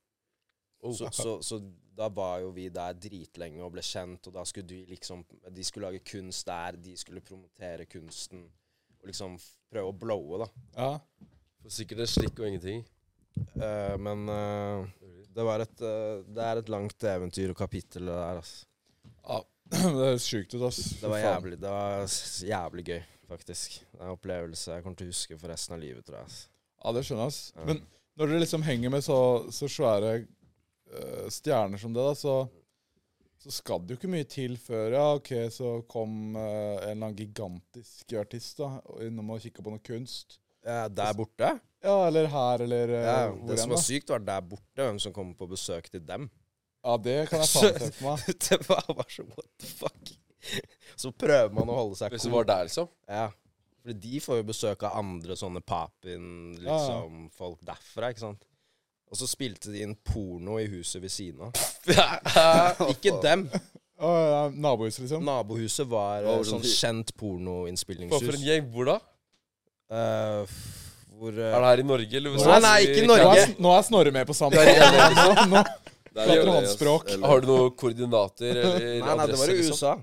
D: Så, så, så da var jo vi der dritlenge og ble kjent, og da skulle de liksom De skulle lage kunst der, de skulle promotere kunsten, og liksom f- prøve å blowe, da.
A: ja.
B: For Sikkert en slikk og ingenting.
D: Eh, men eh, det, var et, eh, det er et langt eventyr og kapittel det der, altså.
A: Det høres sjukt ut, ass.
D: Det var
A: Fy faen.
D: jævlig, det var s- jævlig gøy, faktisk. Det er en opplevelse jeg kommer til å huske for resten av livet, tror jeg. Eh, Altså.
A: Ja, det skjønner jeg, ass.
D: Ja.
A: Men når dere liksom henger med så, så svære eh, stjerner som det, da, så, så skal det jo ikke mye til før ja, ok, så kom eh, en eller annen gigantisk artist da, og innom og kikka på noe kunst.
D: Ja, der borte?
A: Ja, eller her, eller Altså, eh,
D: Ja,
A: hvor
D: det som
A: enn.
D: var
A: da.
D: sykt, var der borte, hvem som kom på besøk til dem.
A: Ja, det kan jeg faen se for meg.
D: det var bare så what the fuck. Så prøver man å holde seg
B: Hvis du
D: cool.
B: var der, liksom.
D: Ja. For de får jo besøk av andre sånne papin,
A: Ja, ja.
D: liksom, folk derfra, ikke sant. Og så spilte de inn porno i huset ved siden av. Eh, Ikke dem,
A: Å, ja, Nabohuset, liksom.
D: Nabohuset var eh,
C: Hva var det
D: sånn
C: de-
D: kjent
B: Hva for en
D: pornoinnspillingshus.
B: gjeng? Hvor da?
D: Eh, f- hvor eh,
B: Er det her i Norge? Eller?
D: Nei, nei, ikke i Norge.
A: Nå er, nå er Snorre med på samme Nå- nå-
C: Det
A: Prater
C: jo det,
A: hans
C: ass.
A: språk.
C: Eller-
B: Har du noen koordinater eller
D: Nei, nei, det var
B: adresser,
D: i
B: liksom?
D: USA.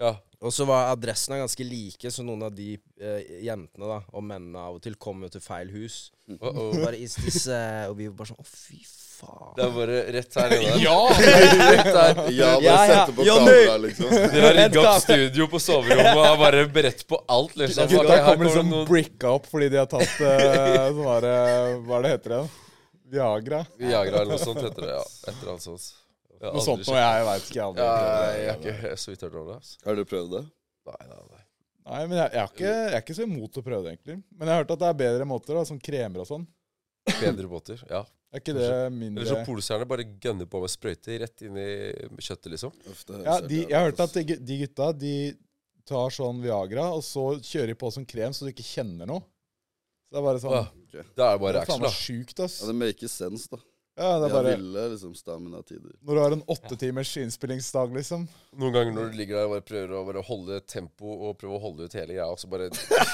B: Ja.
D: Og så var adressene ganske like, så noen av de eh, jentene da, og mennene av og til kom jo til feil hus.
B: Uh
D: Og,
B: -oh.
D: bare, is this, eh, og vi var bare sånn Å, fy faen.
B: Det er bare rett her nede.
A: Ja!
B: Rett der.
C: Ja, bare
D: Ja, ja.
C: sette på
D: Jonny!
C: kamera, liksom.
B: Dere har rigga opp
D: Vent, da.
B: studio på soverommet og er bare beredt på alt. Liksom.
A: Gutta
B: Her
A: kommer liksom
B: noen-
A: bricka opp fordi de har tatt eh, sånn her eh, Hva er det heter igjen? Viagra?
B: Viagra eller noe sånt heter det. ja Et eller annet sånt. Jeg har
A: Noe
B: aldri
A: sånt noe jeg veit ikke. Jeg har
B: sjekket.
A: aldri prøvd
B: Ja,
A: det.
B: jeg har ikke jeg har så vidt hørt om det. ass.
C: Har dere prøvd det?
B: Nei, nei, nei.
A: Nei, men jeg, jeg, er ikke, jeg er ikke så imot å prøve det, egentlig. Men jeg har hørt at det er bedre måter, da, sånn kremer og sånn.
B: Bedre båter. ja
A: Er ikke det mindre
B: Eller så polstjerne bare gønner på med sprøyter rett inn i kjøttet, liksom.
C: Uff, det høres
A: Ja,
C: helt
A: de,
C: jævlig
A: jeg hørte
C: ut.
A: at de, gu- de gutta de tar sånn Viagra, og så kjører de på sånn krem så du ikke kjenner noe. Så det er bare sånn
B: Ja, Det er
A: Det
B: bare
A: er faen
B: action,
A: meg
B: da.
A: sjukt, ass.
C: Ja, det maker sense, da.
A: Ja, det
C: Jeg
A: er bare
C: ville liksom stamina-tider.
A: Når du har en åtte timers innspillingsdag, liksom.
B: Noen ganger når du ligger der og bare prøver å bare holde tempo og prøve å holde ut hele greia, og så bare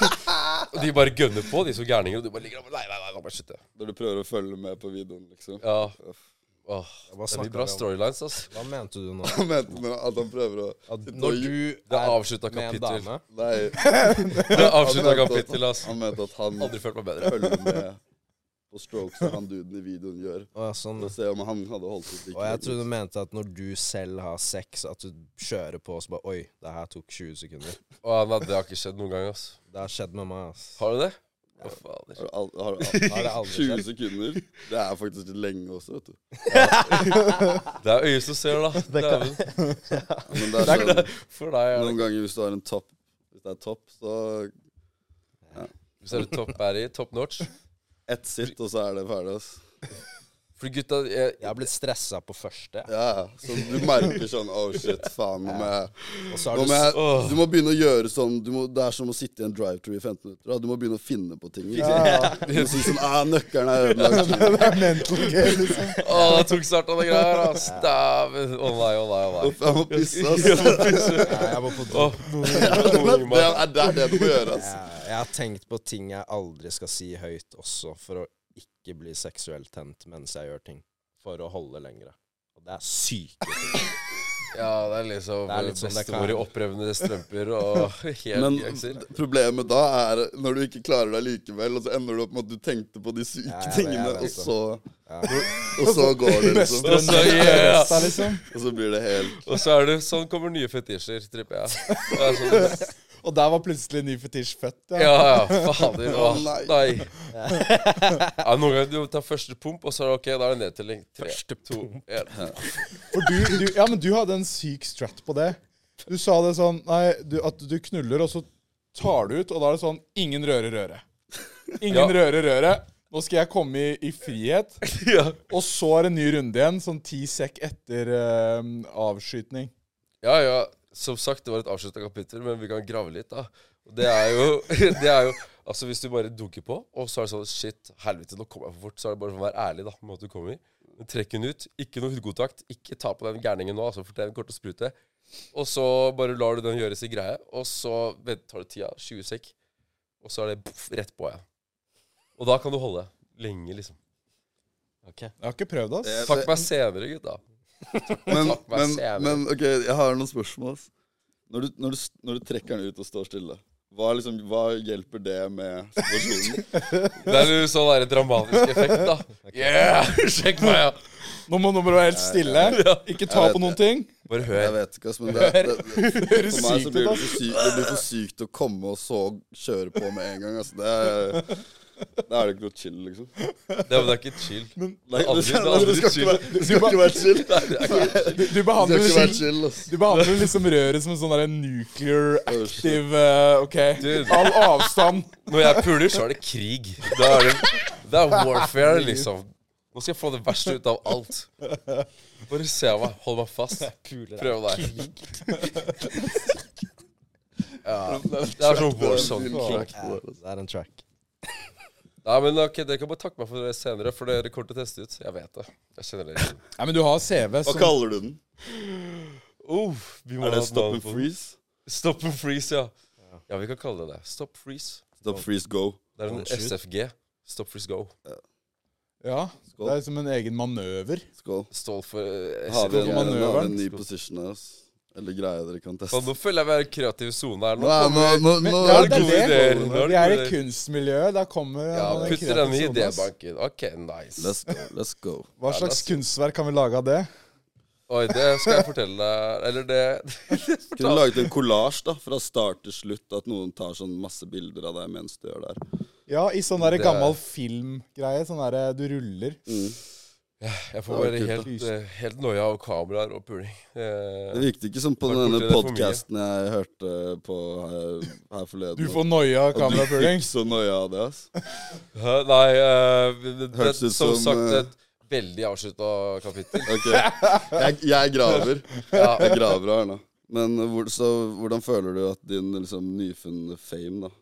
B: Og de bare gønner på, de som gærninger, og du bare ligger der og bare Nei, nei, nei, la meg slutte.
C: Når du prøver å følge med på videoen, liksom.
B: Ja.
C: Uff.
B: Åh,
D: Hva
B: det er
D: snakker
B: mye bra
D: vi om?
B: storylines, altså. ass.
D: Hva mente du nå?
C: Han mente med at han prøver å
D: At
C: Sitte
D: når
C: og
D: du
B: Det er
D: er
B: avslutta
D: med en
B: kapittel.
D: dame
C: Nei.
B: Det er avslutta
C: Han mente at-
B: kapittel, ass.
C: Han mente at han
B: altså. Aldri følt meg bedre.
C: følger med på strokes som han duden i videoen gjør.
D: og, jeg er sånn,
C: For å se om han hadde holdt ut
D: og jeg
C: like
D: trodde
C: lenge.
D: du mente at når du selv har sex, at du kjører på og så bare Oi, det her tok 20 sekunder.
B: Åh, nei, det har ikke skjedd noen gang, altså. ass.
D: Det har skjedd med meg, ass.
B: Har du det? Å, fader.
C: Har du al- har du
D: Da har det
C: al-
D: aldri
C: 20
D: skjedd.
C: sekunder? Det er faktisk litt lenge også, vet du.
B: Det er øyet som ser, da. Dæven.
C: Men det er sånn,
B: For deg er det
C: noen ganger hvis du har en topp Hvis det er topp, så
B: Hvis du er top batty, top notch.
C: ett sitt, og så er det ferdig, ass.
B: For gutta jeg,
D: Jeg har blitt stressa på første.
C: Ja, ja. Så du merker sånn Oh shit, faen. Nå må jeg
D: Og så
C: Nå må
D: har du
C: jeg,
B: Åh.
C: du må begynne å gjøre sånn du må, Det er som å sitte i en drive-thru i 15 minutter. Da. Du må begynne å finne på ting. Ikke? sant?
A: Ja,
C: Du må si sånn ah, 'Nøkkelen er ødelagt.'
A: det er mental game, liksom.
B: Å, det tok snart av det greia her, ass. Dæven. Å nei, å nei, å nei.
C: Uff, jeg må pisse, ass.
D: Ja, jeg må på do.
C: Det er det, er det du må gjøre, ass.
D: Jeg, jeg har tenkt på ting jeg aldri skal si høyt også, for å ikke bli seksuelt tent mens jeg gjør ting. For å holde lengre. Og det er sykt.
B: Ja, det er liksom
D: Det er litt sånn det kan-
B: bestemor i opprevnede strømper og helt
C: Men
B: jakser.
C: problemet da er når du ikke klarer deg likevel, og så ender du opp med at du tenkte på de syke
D: Ja, jeg vet, jeg
C: tingene,
D: vet altså.
C: og
D: det.
C: så
D: Ja.
C: Og så går det, liksom.
B: Og så, ja,
A: Det er liksom.
C: Og så blir det helt
B: og så er det sånn kommer nye fetisjer, tripper jeg. Det er sånn,
A: Og der var plutselig en ny fetisj født. Ja.
B: ja, ja, fader. Å,
C: Å, nei.
B: nei. Ja, noen ganger du tar første pump, og så er det ok, da er det nedtelling. Tre, to, en.
A: For du, du, ja, men du hadde en syk strat på det. Du sa det sånn Nei, du, at du knuller, og så tar du ut, og da er det sånn Ingen røre røret. Ingen
B: Ja.
A: røre røret. Nå skal jeg komme i, i frihet.
B: Ja.
A: Og så er det en ny runde igjen, sånn ti sekk etter eh, avskytning.
B: Ja, ja. Som sagt, det var et avslutta kapittel, men vi kan grave litt, da. Og det er jo, det er jo Altså, hvis du bare dunker på, og så er det sånn Shit, helvete, nå kom jeg for fort. Så er det bare sånn, vær ærlig, da, med at du kommer. Men Trekk henne ut. Ikke noe hudkontakt. Ikke ta på den gærningen nå, altså, for den kommer til å sprute. Og så bare lar du den gjøre sin greie, og så vent, tar det tida. 20 sekk. Og så er det boff, rett på, ja. Og da kan du holde. Lenge, liksom.
A: Jeg har ikke prøvd, ass.
B: Takk meg senere, gutta.
C: Men,
B: Takk, vær
C: men,
B: senere.
C: men OK, jeg har noen spørsmål. ass. Når du, når, du, når du trekker den ut og står stille, hva, liksom, hva hjelper det med situasjonen?
B: Det er jo sånn der dramatisk effekt, da. Yeah! Sjekk meg, ja.
A: Nå må nummeret være helt stille. Ikke ta på
C: Jeg vet
A: noen ting.
B: Bare
C: Jeg
B: hør.
C: vet ikke, ass, men det, det, det,
A: Høres
C: for meg
A: sykt
C: så
A: ut,
C: blir det
A: ass.
C: for sykt, det blir for sykt å komme og så kjøre på med en gang. ass. Det er, da er det ikke noe chill, liksom.
B: Det, men det er ikke chill.
C: Nei,
B: Aldri-
C: det, skal-
B: det er aldri
C: det skal
B: chill.
C: ikke være- det skal ikke være chill.
B: Nei, det er ikke chill.
A: Du, du,
C: Det
A: behandler,
C: skal ikke være
A: liksom-
C: chill, ass.
A: du behandler liksom røret som en sånn derre nuclear
C: Oh, shit.
A: active eh, OK.
B: Dude.
A: All avstand.
B: Når jeg puler, så er det krig. Da er det, det er warfare, liksom. Nå skal jeg få det verste ut av alt. Bare se meg. Hold meg fast. Prøv deg. Ja. Det er sånn warzone krig.
D: Ja, det er en track.
B: Nei, men ok, Dere kan bare takke meg for det senere, for dere kommer til å teste ut. Jeg vet det. Jeg kjenner det.
A: Nei, men du har CV
C: Hva
A: som
C: kaller du den?
B: Oh, vi må
C: Er det
B: ha et
C: stop
B: navn
C: and
B: på den.
C: freeze?
B: Stop and freeze, ja. Ja, vi kan kalle det det. Stop freeze.
C: Stop freeze go.
B: Det er en
D: Oh, shit.
B: SFG. Stop freeze go.
A: Ja. Det
C: Skål.
A: er som en egen manøver.
C: Skål.
B: Stål for eh,
C: Har vi en,
A: Manøveren.
C: har vi en ny position her, ass? Eller greier dere kan teste.
B: Og nå føler jeg meg i en kreativ sone her. Nå
C: Nei, nå, nå,
A: Men-
C: nå
A: ja,
C: er
A: det
C: det
A: er
C: gode
A: det.
C: ideer.
B: Nå er det
A: Vi er i
B: gode-
A: kunstmiljøet. Da kommer
B: ja,
A: han i
B: putter
A: kreativ
B: den i
A: sone, ass.
B: idébanken. Ok, nice.
C: Let's go. let's go
A: Hva
B: Ja,
A: slags
B: da-
A: kunstverk kan vi lage av det?
B: Oi, det skal jeg fortelle deg. Eller det
C: Kunne laget en kollasj da, fra start til slutt. At noen tar sånn masse bilder av deg mens du gjør det her.
A: Ja, i sånn der
B: Det er-
A: gammel filmgreie. Sånn derre du ruller.
C: Mm.
B: Jeg får
C: Ja,
B: bare
C: kult, da.
B: helt, eh, helt noia av kameraer og puling. Eh,
C: Det virket ikke som på
B: Har du
C: denne
B: borti det for mye?
C: podkasten jeg hørte på her, her forleden.
A: Du får noia av
C: at du
A: kamerapuling.
C: fikk så nøye av det, ass.
B: hæ, nei, eh, det, det,
C: Hørtes ut
B: som
C: som,
B: sagt
C: eh,
B: et veldig avslutta kapittel.
C: Ok, jeg, jeg graver.
B: Ja.
C: Jeg graver her nå. Men hvor, så, hvordan føler du at din liksom, nyfunne fame da,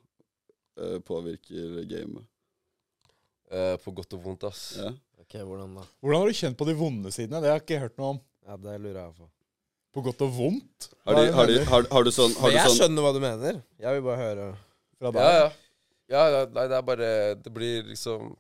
C: eh, påvirker gamet?
B: eh, på godt og vondt, ass.
C: Ja?
D: Ok, hvordan da?
A: Hvordan har du kjent på de vonde sidene? Det har jeg ikke hørt noe om.
D: Ja, Det lurer jeg på.
A: På godt og vondt?
C: Har, de,
A: Hva
C: har, de,
A: mener
C: har, har du sånn, har
D: Men
C: du
D: jeg
C: sånn
D: skjønner hva du mener. Jeg vil bare høre.
A: fra
B: Ja,
A: deg?
B: ja. ja ja, nei, det er bare Det blir liksom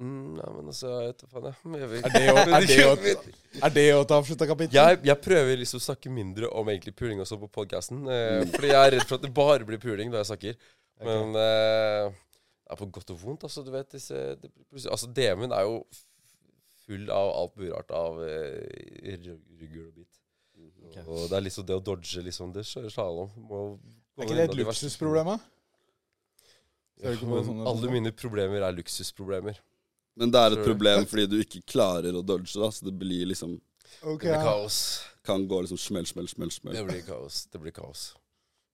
B: mm, Nei, men altså Jeg vet da faen, jeg. jeg. vet-
A: Er det jo- er det jo- Er det å ta avslutta kapittel?
B: jeg, jeg prøver liksom å snakke mindre om egentlig puling også på podkasten. Eh, fordi jeg er redd for at det bare blir puling når jeg snakker. Men eh, det er på godt og vondt, altså. Du vet disse det, blir plutselig- Altså, DM-en er jo f- full av alt mulig rart av eh, rug- ruggel og bit.
A: Mm,
D: Ok.
B: Og det er liksom det å dodge, liksom. Det skjø- skjærer om. Må
A: Er
B: komme
A: ikke det
B: unna
A: et
B: de verste
A: luksusproblem, da? Ser
B: Ja,
A: du ikke på
B: men
A: sånne-
B: alle mine problemer er luksusproblemer.
C: Men det er et
B: Sorry.
C: problem fordi du ikke klarer å dodge, da, så det blir liksom
A: Ok,
B: Det blir
A: ja.
B: kaos.
C: Kan gå liksom smell, smell, smell. smell.
B: Det blir kaos. Det blir kaos.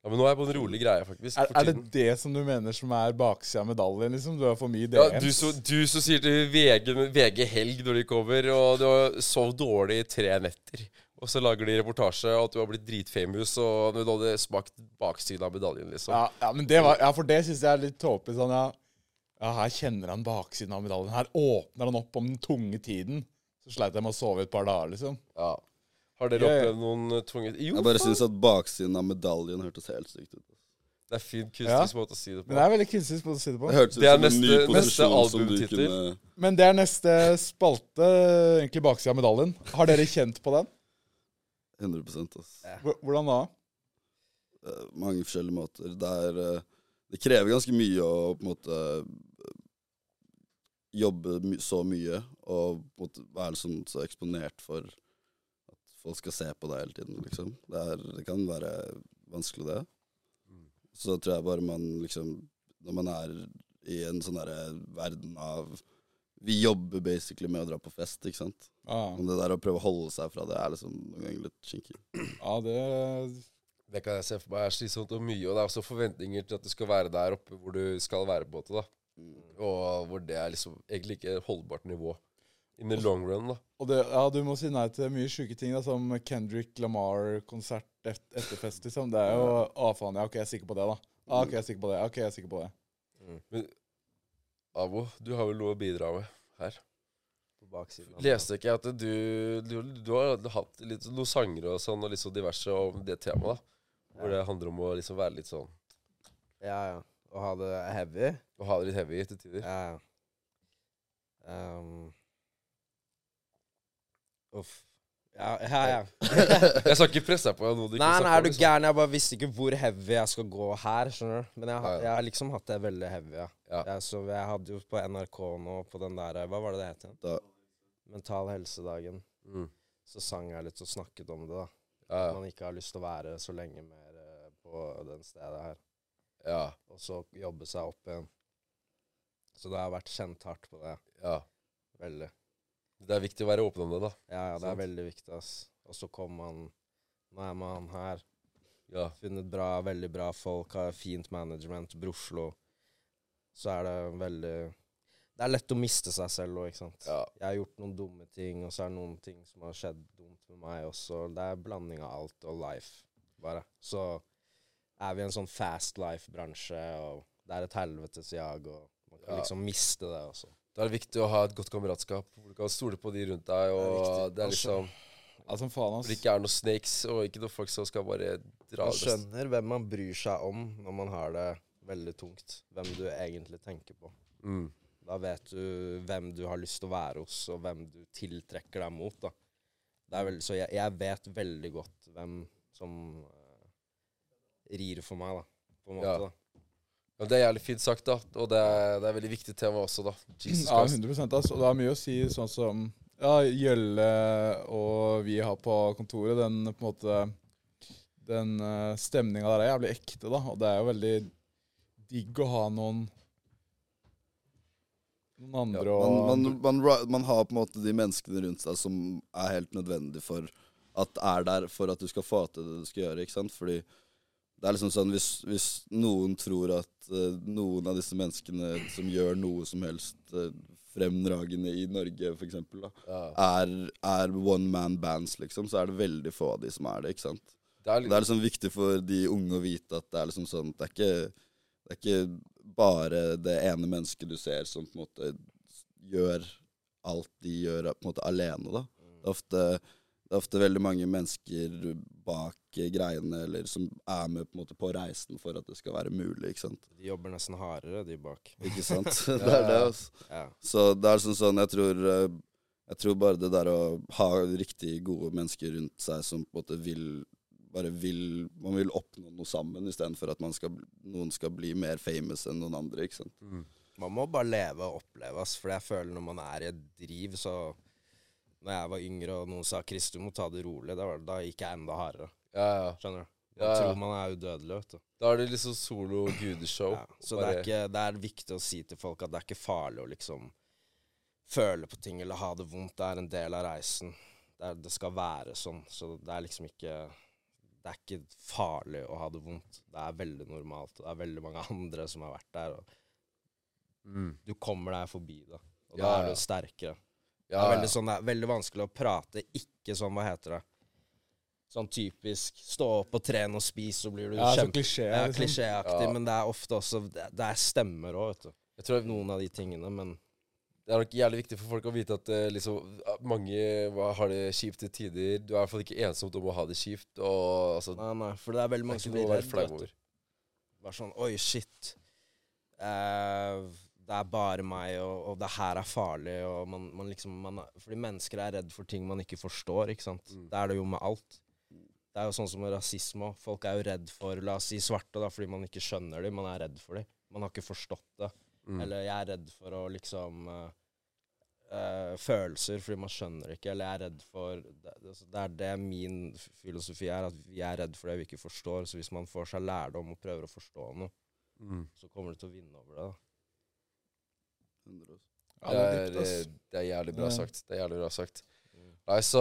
B: Ja, Men nå er jeg på en rolig greie, faktisk.
A: Er,
B: for
A: er det
B: tiden.
A: det som du mener som er baksida av medaljen? liksom? Du har for mye
B: Ja,
A: DM.
B: du, som- du som sier til VG, med VG Helg når de kommer, og du har sovet dårlig i tre netter, og så lager de reportasje og at du har blitt dritfamous, og du hadde smakt baksiden av medaljen, liksom.
A: ja, ja, men det var, ja for det syns jeg er litt tåpelig. Sånn, ja. ja, her kjenner han baksiden av medaljen. Her åpner han opp om den tunge tiden. Så sleit jeg med å sove et par dager, liksom.
B: Ja. Har dere
A: Ja, ja.
B: opplevd noen eh, tvunget Jo,
C: Jeg bare
B: faen!
C: syns at baksiden av medaljen hørtes helt sykt ut.
B: Det er fin
A: Ja.
B: kunstig måte å si det på.
A: Men det er veldig kunstig måte å si det på.
C: Det hørtes ut
B: Det er
C: som en ny
B: neste- neste
C: posisjon som du
B: albumtittel.
C: kunne
A: Men det er neste spalte, egentlig baksida av medaljen. Har dere kjent på den?
C: 100 ass.
A: Hvor- Hvordan da?
C: Eh, Mange forskjellige måter. Det er eh, Det krever ganske mye å på en måte eh, jobbe my så mye og på en måte være liksom så eksponert for at folk skal se på deg hele tiden, liksom. Det, er, det kan være vanskelig, det.
A: Mm.
C: Så tror jeg bare man liksom Når man er i en sånn derre verden av Vi jobber basically med å dra på fest, ikke sant.
A: Ja,
C: Men det der å prøve å holde seg fra det er liksom noen ganger litt skinky.
A: ja det
B: Det kan jeg se for meg er slitsomt og mye, og det er også forventninger til at du skal være der oppe hvor du skal være på en måte, da. Og hvor det er liksom egentlig ikke holdbart nivå. In the long run, da.
A: Og det, ja, du må si nei til mye sjuke ting, da, som Kendrick Lamar-konsert et, etterfest, liksom. Det er jo Å, faen, ja, OK, jeg er sikker på det, da. Ja, Ah, OK, jeg er sikker på det. ja, OK, jeg er sikker på det.
B: Abo, du har vel noe å bidra med her.
D: På baksiden. av-
B: Leste ikke jeg at du, du, du har hatt litt, sånn noen sanger og sånn, og litt sånn diverse om det temaet, da. Hvor det handler om å liksom være litt sånn
D: Ja, ja. Å ha det heavy.
B: Å ha det litt heavy til tider.
D: Ja, ja. Ehm. Uff. Ja, ja, ja.
B: Jeg skal ikke presse deg på noe du ikke
D: Nei, nei,
B: snakker
D: er du
B: liksom.
D: gæren? Jeg bare visste ikke hvor heavy jeg skal gå her, skjønner du. Men jeg, har-
B: Ja, ja.
D: jeg har liksom hatt det veldig heavy, ja.
B: Ja.
D: Jeg, så jeg hadde jo på NRK nå, på den der Hva var det det het igjen?
C: Da,
D: Mental helsedagen.
B: Mm.
D: Så sang jeg litt og snakket om det, da.
B: Ja,
D: At
B: ja,
D: man ikke har lyst til å være så lenge mer eh, på den stedet her.
B: ja,
D: Og så jobbe seg opp igjen. Så det har vært kjent hardt på det.
B: ja.
D: Veldig.
B: Det er viktig å være åpen om det, da.
D: Ja, ja, det
B: Sant.
D: er veldig viktig, ass. Og så kommer man Nå er man her.
B: Ja.
D: funnet bra, veldig bra folk, har fint management, Broslo. Så er det veldig Det er lett å miste seg selv òg, ikke sant.
B: ja.
D: Jeg har gjort noen dumme ting, og så er det noen ting som har skjedd dumt med meg også. Det er blanding av alt og life, bare. Så er vi i en sånn fast life-bransje, og det er et helvetes jag, og man kan
B: Ja.
D: liksom miste det også.
B: Da er det viktig å ha et godt kameratskap. Hvor du kan stole på de rundt deg. Og det er, liksom
A: Ja, som faen,
B: Hvor det
A: ass.
B: ikke er noen snakes, og ikke noen folk som skal bare dra det
D: Man
B: beste.
D: skjønner hvem man bryr seg om når man har det veldig tungt. Hvem du egentlig tenker på.
B: Mm.
D: Da vet du hvem du har lyst til å være hos, og hvem du tiltrekker deg mot. da. Det er vel, så jeg, jeg vet veldig godt hvem som eh, rir for meg, da. På en måte,
B: Ja.
D: da.
B: Ja, det er jævlig fint sagt, da. Og det er, det er veldig viktig tema også, da. Jesus
A: Ja,
B: Christ.
A: 100 altså. Det er mye å si sånn som ja, Gjølle og vi har på kontoret, den på en måte Den uh, stemninga der er jævlig ekte, da. Og det er jo veldig digg å ha noen Noen andre
C: Man,
A: og
C: man, man, ra- man har på en måte de menneskene rundt seg som er helt nødvendig for at er der for at du skal få til det du skal gjøre. ikke sant? Fordi det er liksom sånn hvis, hvis noen tror at eh, noen av disse menneskene som gjør noe som helst eh, fremragende i Norge, for eksempel, da, er, er one man bands, liksom, så er det veldig få av de som er det. ikke sant?
B: Det er
C: Det
B: litt,
C: er liksom viktig for de unge å vite at det er liksom sånn Det er ikke, det er ikke bare det ene mennesket du ser som på en måte gjør alt de gjør på en måte alene, da. Det er ofte, det er ofte veldig mange mennesker bak greiene eller som er med på, en måte på reisen for at det skal være mulig, ikke sant.
D: De jobber nesten hardere, de bak.
C: Ikke sant? Det er det, altså.
D: Ja.
C: Så det er sånn sånn, jeg tror eh, Jeg tror bare det der å ha riktig gode mennesker rundt seg som på en måte vil Bare vil Man vil oppnå noe sammen istedenfor at man skal, bli- noen skal bli mer famous enn noen andre, ikke sant.
D: Man må bare leve og oppleve, ass. For jeg føler når man er i et driv, så Når jeg var yngre og noen sa 'Chris, du må ta det rolig', da, var, da gikk jeg enda hardere.
B: ja, ja.
D: Skjønner du? Man
B: Ja, ja.
D: tror man er udødelig, vet du.
B: Da er det liksom solo gudeshow.
D: Ja. Så det er, ikke, det er viktig å si til folk at det er ikke farlig å liksom føle på ting eller ha det vondt. Det er en del av reisen. Det, er, det skal være sånn. Så det er liksom ikke Det er ikke farlig å ha det vondt. Det er veldig normalt. og Det er veldig mange andre som har vært der. Og
B: mm.
D: du kommer deg forbi det. Og da
B: Ja,
D: er
B: ja.
D: du sterkere.
B: ja,
D: Det er
B: ja.
D: veldig, sånn, det er veldig vanskelig å prate ikke sånn, hva heter det Sånn typisk stå opp og trene og spise, så blir du
A: Ja, sånn
D: kjempe...
A: klisjé.
D: Ja,
A: liksom.
D: klisjéaktig,
B: Ja.
D: men det er ofte også Det, det er stemmer òg, vet du.
B: Jeg tror det er-
D: Noen av de tingene, men
B: det er nok jævlig viktig for folk å vite at eh, liksom, at mange hva, har det kjipt til tider. Du er i hvert fall ikke ensomt om å ha det kjipt. Og altså, det
D: nei, nei, for det er veldig
B: er
D: mange
B: ikke
D: som
B: noe
D: blir
B: å være
D: redd.
B: flau
D: vet du.
B: over.
D: Bare sånn Oi, shit. Eh, det er bare meg, og, og det her er farlig. Og man, man liksom, man, er- fordi mennesker er redd for ting man ikke forstår. ikke sant?
B: Mm.
D: Det er det jo med alt. Det er jo sånn som med rasisme òg. Folk er jo redd for la oss si svarte da, fordi man ikke skjønner dem. Man er redd for dem. Man har ikke forstått det.
B: Mm.
D: Eller jeg er redd for å liksom eh, eh, Følelser, fordi man skjønner det ikke. Eller jeg er redd for det, altså, det er det min f- filosofi er, at vi er redd for det vi ikke forstår. Så hvis man får seg lærdom og prøver å forstå noe,
B: Mm.
D: så kommer du til å vinne over det. da.
A: Ja,
B: Det
A: det er
B: er,
A: dypt, ass.
B: eh, det er jævlig bra
A: Ja.
B: sagt. Det er jævlig bra sagt.
D: Mm.
B: Nei, så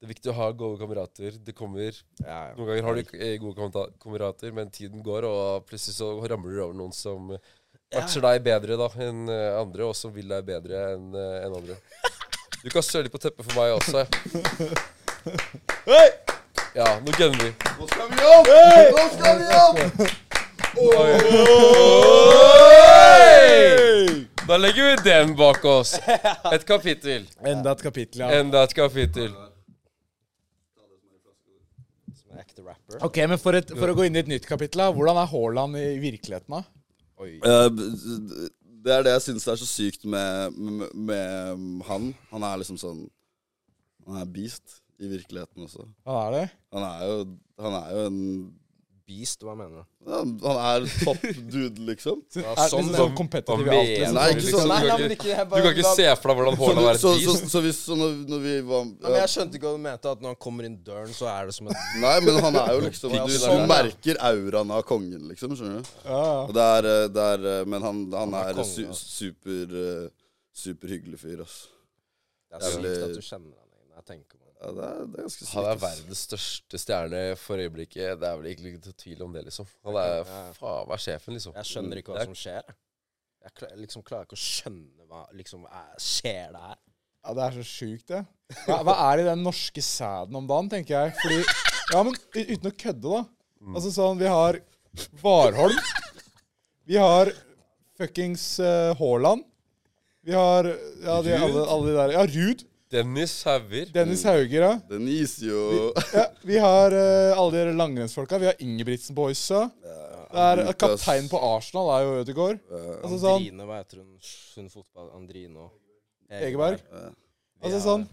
B: Det er viktig å ha gode kamerater. Det kommer
D: Ja, ja.
B: Noen ganger har du ikke, eh, gode kamata- kamerater, men tiden går, og plutselig så ramler du over noen som eh, matcher deg bedre da, enn eh, andre, og som vil deg bedre enn eh, enn andre. Du kan søle på teppet for meg også. Ja, nå gunner vi.
C: Nå skal vi opp! Nå skal vi opp!
B: Da legger vi den bak oss. Et kapittel.
A: Enda et kapittel, ja.
B: Enda et kapittel.
D: Som en ekte rapper.
A: Ok, men for, et, for å gå inn i et nytt kapittel, da. Hvordan er Haaland i virkeligheten, da?
D: Oi.
C: Eh, b- Det er det jeg syns er så sykt med, med, med han. Han er liksom sånn Han er beast i virkeligheten også.
A: Han er det?
C: Han er jo, han er jo en
D: Beast, hva mener du?
C: han, han er topp dude, liksom.
A: Er
B: Ja,
A: liksom
B: sånn
A: sånn
B: som-
A: kompetitiv
B: Hva
A: i alt, liksom?
B: mener
C: Nei, ikke sånn.
B: Nei, nei, men
D: ikke jeg
B: Du kan ikke se for deg hvordan
C: Så,
B: Haaland er
C: så,
B: et
C: så,
B: beast.
C: så hvis så når, når vi var
D: ja, men Jeg skjønte ikke hva du mente, at når han kommer inn døren, så er det som et
C: Nei, men han er jo liksom Du, du
D: Sånn, ja.
C: merker auraen av kongen, liksom. Skjønner du?
A: Ja, ja.
C: Og det er, eh, det er eh, Men han, han
D: er
C: er
D: konge,
C: su, super eh, Superhyggelig fyr, ass.
D: Det er sykt
C: Jævlig-
D: at du kjenner han igjen. Jeg tenker på det.
C: Ja, det er, det er ganske
B: Han er
C: sykt. ass.
B: verdens største stjerne for øyeblikket. Det er vel ikke noe tvil om det, liksom. Han er
D: Ja.
B: faen meg sjefen, liksom.
D: Jeg skjønner
B: Det
D: ikke hva
B: er-
D: som skjer. jeg. Jeg kla- liksom klarer ikke å skjønne hva liksom er, skjer det her.
A: Ja, det er så sjukt, det. Hva, hva er det i den norske sæden om dagen, tenker jeg. Fordi, ja, men u- uten å kødde, da. Altså sånn, vi har Warholm. Vi har fuckings eh, Haaland. vi har ja, de, alle, alle de der Ja, Ruud.
B: Dennis Hauger.
A: Dennis Hauger, ja.
C: Den iser jo
A: ja. Vi har eh, alle de der langrennsfolka. Vi har Ingebrigtsen-boysa. Det er
C: Lukas.
A: Kapteinen på Arsenal er jo Ødegaard. Altså sånn
D: Andrine, Eh, hva heter hun? Hun fotball... Andrine og
A: Egeberg.
C: Ja.
A: Altså sånn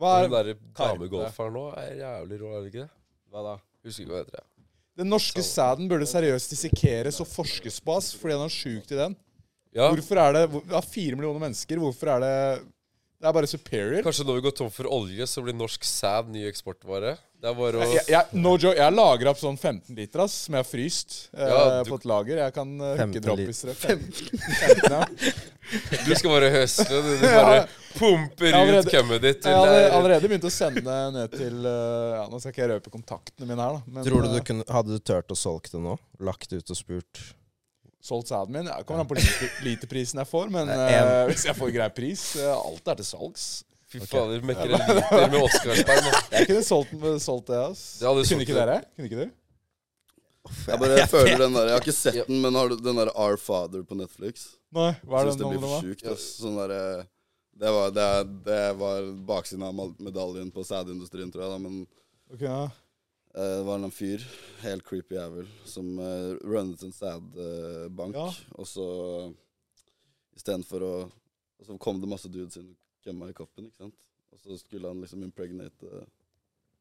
A: Hva
B: Den
A: er
B: derre damegolferen nå er jævlig rå, er det ikke det?
D: Hva da?
B: Husker ikke hva det heter. jeg.
A: Den norske sæden burde seriøst dissekeres og forskes på, ass, fordi den er sjukt i den.
B: Ja,
A: Hvorfor er det hvor- Vi har fire millioner mennesker. Hvorfor er det Det er bare superior.
B: Kanskje når vi går tom for olje, så blir norsk sæd ny eksportvare. Det er bare å
A: Jeg, jeg, no joke, jeg lager opp sånn 15 liter ass, som jeg har fryst eh,
B: Ja, du-
A: på et lager. Jeg kan eh, hooke
D: 15
A: droppiser. 15, 15 ja.
B: Du skal bare høsle. Du, du bare pumper
A: allerede-
B: ut kømmet ditt.
A: Jeg
B: Til
A: har
B: det
A: allerede-
B: er-
A: allerede begynt å sende ned til eh, ja, Nå skal ikke jeg røpe kontaktene mine her, da. Men
D: Tror du du
A: eh,
D: kunne, hadde du turt å solgt det nå? Lagt ut og spurt?
A: solgt sæden min. Jeg kommer an på liter, literprisen jeg får, men
D: Nei, en.
A: eh, hvis jeg får grei pris eh, Alt er til salgs.
B: Fy fader, mekker en liter med Oscarsperm. ass.
A: Jeg kunne solgt, den- solgt det, ass.
B: Det hadde
A: kunne
B: solgt
A: ikke
B: det.
A: dere? Kunne ikke dere?
C: Jeg bare føler den der Jeg har ikke sett den, men har du den der Our Father på Netflix?
A: Nei, hva er det
C: Jeg syns det
A: nå
C: blir
A: det
C: for
A: var?
C: sjukt. ass. Sånn der, eh, det, var, det, er- det var baksiden av mal- medaljen på sædindustrien, tror jeg. da Men
A: Ok, ja.
C: eh, det var en fyr, helt creepy jævel, som eh, runnet en sædbank.
A: Ja.
C: Og så istedenfor å Og så kom det masse dudes inn og kømma i koppen, ikke sant. Og så skulle han liksom impregnate eh,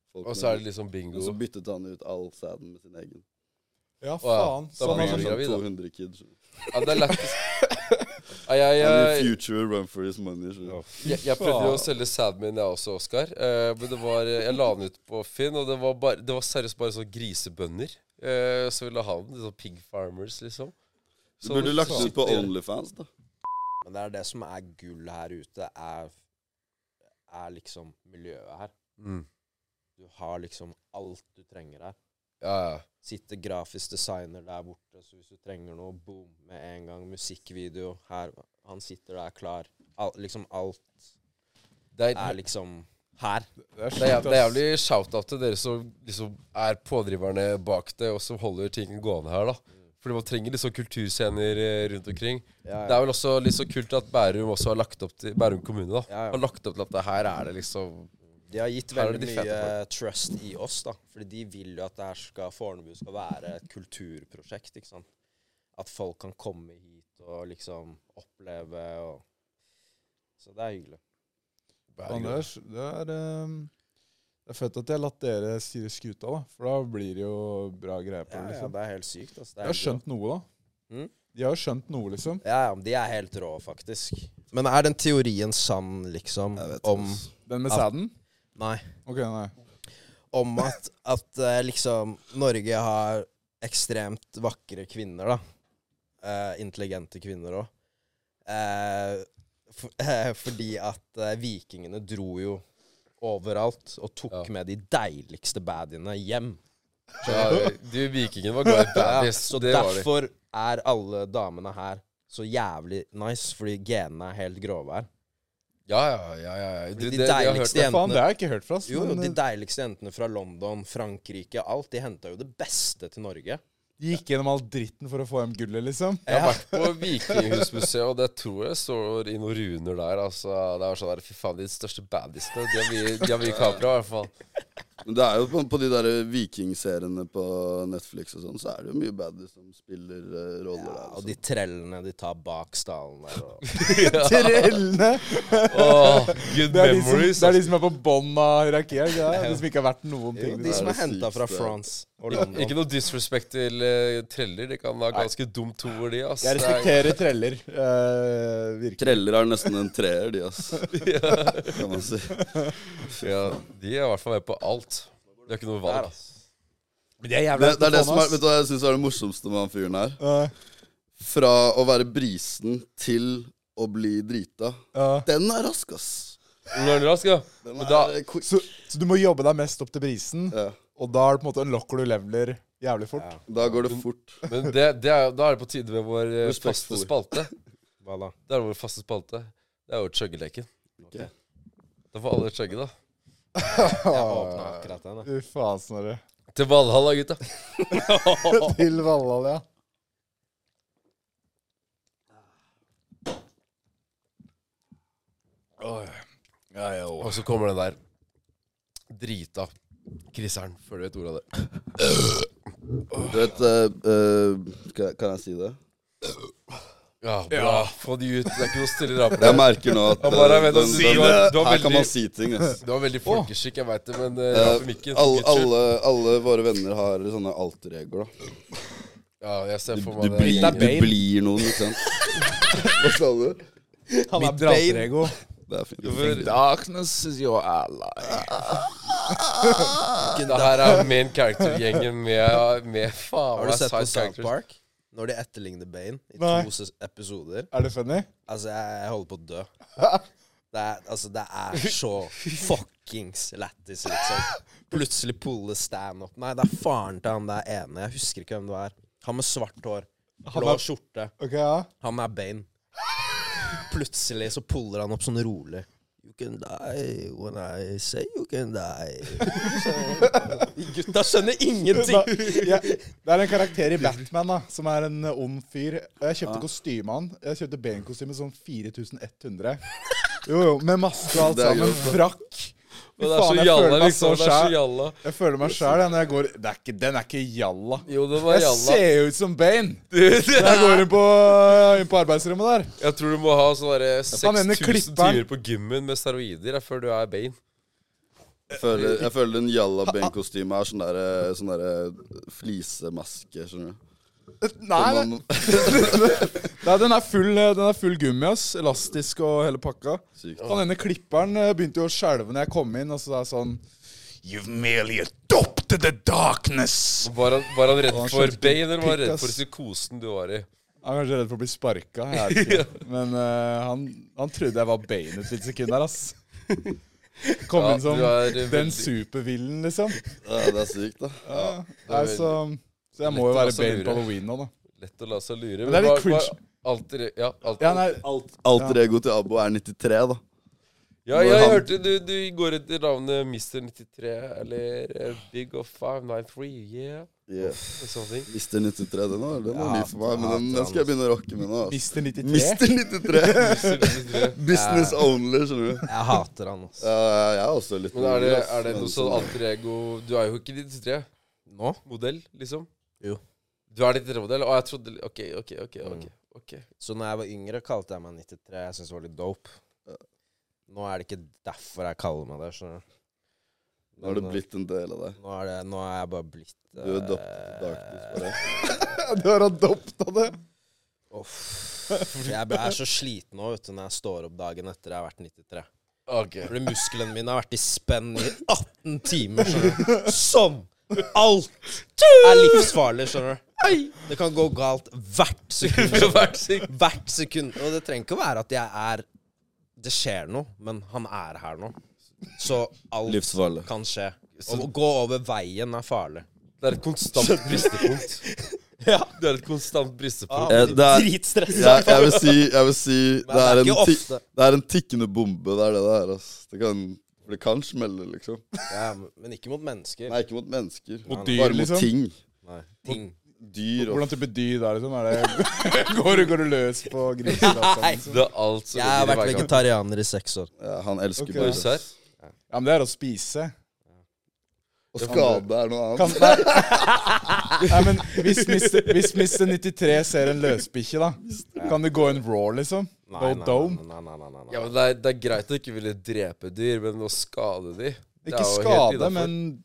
C: folk.
B: Og så er
C: med-
B: det liksom bingo.
C: og så byttet han ut all sæden med sin egen.
A: ja, faen.
B: Å, ja. Da
A: Sånn,
B: blir
A: altså,
B: det
A: sånn.
B: gravid, da.
C: 200 kids.
B: Ja, det er lættis. Ja, jeg,
C: And the
B: jeg,
C: future run for his money. skjønner du.
A: sånn.
B: jeg, jeg prøvde jo å selge sæden min, jeg også, Oskar. Eh, men det var, jeg la den ut på Finn, og det var, bare, det var seriøst bare sånn grisebønder eh, som ville ha den. Sånn pig farmers, liksom. Sånn
C: Du burde lagt det ut på
B: skikkelig-
C: Onlyfans, da.
D: Men det er det som er gull her ute, er, er liksom miljøet her.
B: Mm.
D: Du har liksom alt du trenger her.
B: Ja, ja.
D: Sitter grafisk designer der borte, så hvis du trenger noe, boom, med en gang. Musikkvideo her. Han sitter der klar. Al, liksom alt
B: Det er,
D: er liksom her.
A: Det er
B: Det er,
A: sjukt,
B: jæv- det
A: ass.
B: er jævlig shout-out til dere som liksom er pådriverne bak det, og som holder ting gående her. da Fordi man trenger liksom kulturscener eh, rundt omkring.
D: Ja,
B: Det er vel også litt så kult at Bærum også har lagt opp til Bærum kommune da
D: Ja, ja.
B: har lagt opp til at det her er det liksom
D: De har gitt
B: Her er det
D: veldig
B: de
D: mye
B: fete
D: trust i oss, da. Fordi de vil jo at det her skal, Fornebu skal være et kulturprosjekt, ikke sant. At folk kan komme hit og liksom oppleve og Så det er hyggelig.
A: Anders, det er, eh, det er fett at jeg har latt dere styre skuta, da. For da blir det jo bra greier på det.
D: Ja, ja,
A: liksom.
D: det er helt sykt. Altså. Det
A: Jeg
D: er
A: har
D: helt
A: skjønt noe, da.
D: Mm.
A: De har jo skjønt noe, liksom.
D: rå. Ja, ja, men de er helt rå, faktisk. Men er den teorien sann, liksom,
C: Jeg vet ikke,
D: om
C: ass.
A: Den med
D: Ja.
A: sæden?
D: Nei.
A: Ok, nei.
D: om at, at eh, liksom Norge har ekstremt vakre kvinner, da. Eh, intelligente kvinner òg. fordi at eh, vikingene dro jo overalt og tok
B: Ja.
D: med de deiligste baddiene hjem.
B: ja, Du, vikingen var glad i baddies.
D: Så
B: det var de.
D: derfor er alle damene her så jævlig nice, fordi genene er helt grove her.
B: Ja, ja, ja. ja, ja. Du,
D: De
B: det, det har jeg hørt.
D: deiligste
A: Ja, faen,
D: jentene
A: det har jeg ikke hørt fra. ass,
D: Jo, jo, de
A: men, eh,
D: deiligste jentene fra London, Frankrike, alt, de henta jo det beste til Norge.
A: de gikk gjennom all dritten for å få hjem gullet, liksom.
B: Jeg har vært på Vikinghusmuseet, og det tror jeg står i noen runer der. Altså, det var sånn der, Fy faen, de største baddiesene. De har mye, de har mye kamera, i hvert fall.
C: Men det er jo på, på de der vikingseriene på Netflix og sånn, så er det jo mye baddies som spiller eh, roller
D: Ja,
C: der.
D: og
C: Altså.
D: de trellene de tar bak stallen der. Og...
A: Trellene!
B: Åh, good
A: Det er, de som,
B: memories. altså.
A: det er de som er på bånn av hierarkiet. ikke det? De som ikke har vært noen ting.
D: de
C: det
D: som er
C: er
D: henta
C: sykt,
D: fra
C: det.
D: France og
B: altså. Ikke
D: London.
B: noe disrespect til eh, treller. De kan ha ganske dumt ord, de. ass.
A: Jeg
B: Det er-
A: respekterer treller. eh, virkelig.
C: Treller er nesten en treer, de, ass. Kan man si.
B: Ja, de er i hvert fall med på alt. De har ikke noe
D: Der,
B: valg.
D: altså.
A: Men de er
C: Det,
A: jævla
C: det er det som er, vet du hva jeg syns er det morsomste med han fyren her?
A: eh,
C: Fra å være brisen til å bli drita.
A: eh.
C: Den er rask, ass.
B: Nå er den rask, ja.
C: Den
B: Men
C: er
B: da-
C: eh, quick.
A: så, så du må jobbe deg mest opp til brisen,
C: Ja,
A: og da er det på en måte unlocker du leveler jævlig fort.
D: Ja.
C: da går det fort.
B: Men det, det er, da er det på tide med vår eh, faste
C: Respektfully.
B: spalte.
D: Hva da?
B: Det er vår faste spalte. Det er jo chuggeleken.
C: Ok.
B: Da får alle chugge, da.
D: Jeg åpna akkurat den. jeg.
A: Fy faen, Snorre.
B: Til Valhalla, gutta.
A: Til Valhall, ja.
B: Og så kommer den der drita kriseren, før du vet ordet av det.
C: Du vet eh, eh, skal, jeg- Kan jeg si det?
B: Ja, bra. Få de ut. Det er ikke noe å stille raper
C: Jeg
B: der.
C: merker nå at eh,
B: Ja, bare vent og
C: den-
B: si,
C: den-
B: du har- du har
C: her kan
B: veldig-
C: man si ting. ass.
B: Du var veldig folkeskikk, jeg veit det, men uh,
C: Eh,
B: for mikken,
C: alle,
B: for guds skyld.
C: alle, alle våre venner har sånne alteregoer, da.
B: Ja, jeg ser
C: Du,
B: for
C: du,
B: meg det.
C: blir,
E: Det er
C: du
E: Bane.
C: blir noen, ikke sant? Hva sa du?
A: Han er
E: Mitt
A: bra
E: bein.
A: alter ego.
C: Det er fint.
A: Darkness is your ally.
B: Det her er main character-gjengen med, med faen
D: Har du
B: meg
D: sett på
B: side
D: South
B: characters.
D: Park? Når de etterligner Bane i
A: Nei.
D: to ses- episoder.
A: Er det funny?
D: Altså, jeg, jeg holder på å dø. Det er, altså, det er så fuckings lættis, liksom. Plutselig pulle stand up. Nei, det er faren til han der ene. Jeg husker ikke hvem det er. Han med svart hår. Blå skjorte.
A: Ok, ja.
D: Han er Bane. Plutselig så puller han opp sånn rolig. You can die when I say you can die. Så, gutta skjønner ingenting!
A: Ja, det er en karakter i Batman da, som er en eh, ond fyr. Og jeg kjøpte kostyme av han. Jeg kjøpte Bane-kostyme sånn 4100. Jo, jo, med maske og alt
C: Det er
A: sammen.
C: grovt,
A: Frakk. Fy
B: Men det er
A: faen,
B: så
A: jeg føler
B: jalla,
A: meg så
B: liksom. Det er så
A: skjær.
B: jalla.
A: Jeg føler meg sjæl når jeg går det er ikke, Den er ikke jalla.
B: Jo, det var
A: Jeg
B: jalla.
A: ser jo ut som Bane når jeg går inn på, inn på arbeidsrommet der.
B: Jeg tror du må ha sånn derre
A: Han ene
B: 6000
A: klipperen.
B: timer på gymmen med steroider før du er Bane.
C: Jeg føler, jeg føler den jalla Bane-kostymet er sånn derre sånn der flisemaske, skjønner du.
A: Nei,
C: Som
A: det-
C: man-
A: nei den, er full, eh, den er full gummi, ass. Elastisk og hele pakka.
C: Sykt.
A: Han ene klipperen eh, begynte jo å skjelve når jeg kom inn. Og så det er sånn You've merely adopted the darkness.
B: Var han, var han redd
A: han
B: for
A: skjønte
B: Bane, eller var han
A: pikk,
B: redd
A: ass.
B: for psykosen du var i?
A: Han er kanskje redd for å bli sparka. Jeg vet ikke. Men eh, han, han trodde jeg var Bane et lite sekund der, ass. Kom
B: Ja,
A: inn som
B: du er eh,
A: den
B: veldig-
A: supervillen, liksom.
C: Ja, det er sykt, da.
A: Ja,
B: er
A: nei, så, så jeg må jo
B: Lett å
A: være
B: også
A: Bane
B: lure.
A: på halloween nå, da.
B: Lett å la seg
A: det
B: lure.
A: er litt
B: hva- hva-
A: cringe.
B: Alter, ja, alter.
A: Ja,
B: Ja,
A: nei,
C: Alt, alter ego til Abo er 93, da.
B: jeg
C: han-
B: hørte du, du går etter navnet Mr. 93 eller eh, Big of 593, yeah,
C: Yeah.
B: og sånne ting.
C: Mister 93, den var, den var
D: Ja,
C: ny for meg, men
D: ja,
C: den, den skal jeg begynne å rocke med nå. ass.
A: Mister 93.
C: Mister 93.
B: Mr. 93.
C: Business only, skjønner du.
D: Jeg hater han, altså.
C: Ja, jeg er også litt
B: Men er det,
C: rolig, ass,
B: er det
C: men
B: noe sånn alter ego Du er jo ikke 93
D: Nå?
B: modell, liksom?
D: Jo.
B: Du er 93-modell? Å, jeg trodde OK, OK, OK. ok, ok.
D: Så når jeg var yngre, kalte jeg meg 93. Jeg syntes det var litt dope. Nå er det ikke derfor jeg kaller meg det. skjønner du.
C: Nå har det
D: Men, eh,
C: blitt en del av deg.
D: Nå er, det, nå er jeg bare blitt
C: Du er
D: eh,
C: adopted darkness, bare.
A: Du har adopta det.
D: Uff. Jeg ble- jeg er så sliten nå vet du, når jeg står opp dagen etter jeg har vært 93.
B: Ok.
D: Fordi musklene mine har vært i spenn i 18 timer. skjønner du. Sånn! Alt er livsfarlig, skjønner du. Det kan gå galt hvert sekund. skjønner du.
B: Hvert sekund.
D: Hvert sekund. Og det trenger ikke å være at jeg er Det skjer noe, men han er her nå. Så alt
C: Livsfarlig.
D: kan skje. Å gå over veien er farlig.
B: Det er et konstant bristepunkt.
D: Ja.
B: Det er et konstant bristepunkt.
C: Eh, det er,
D: Dritstressa.
C: jeg, jeg vil si, jeg vil si
D: Men
C: det,
D: det er
C: er en
D: ikke
C: ti,
D: ofte.
C: det er en tikkende bombe, det er det det er. ass. Det kan, det kan smelle, liksom.
D: Ja, men ikke mot mennesker.
C: Nei, ikke mot mennesker.
A: Mot dyr,
C: Bare mot
A: liksom.
C: ting.
D: Nei. Ting.
C: Dyr og
A: Hvordan type dyr det er, liksom? Er det, går, du, går du løs på griser? og alt sammen, liksom?
B: Det er alt som
D: Jeg
B: ligger
D: har
B: i
D: vært
B: veggene.
D: vegetarianer i seks år.
C: ja, Han elsker
A: Ok.
B: Er
C: bare
B: du serr?
A: Ja, men det er å spise.
C: Og skade er noe
A: Kan,
C: annet.
A: nei. nei, men hvis Mr. Hvis Mr. 93 ser en løsbikkje, da, kan det gå en raw, liksom? No dome?
D: nei, nei, nei, nei, nei.
B: Ja, men det er, det er greit å ikke ville drepe dyr, men å skade de det er
A: Ikke
B: jo helt
A: skade,
B: innenfor.
A: men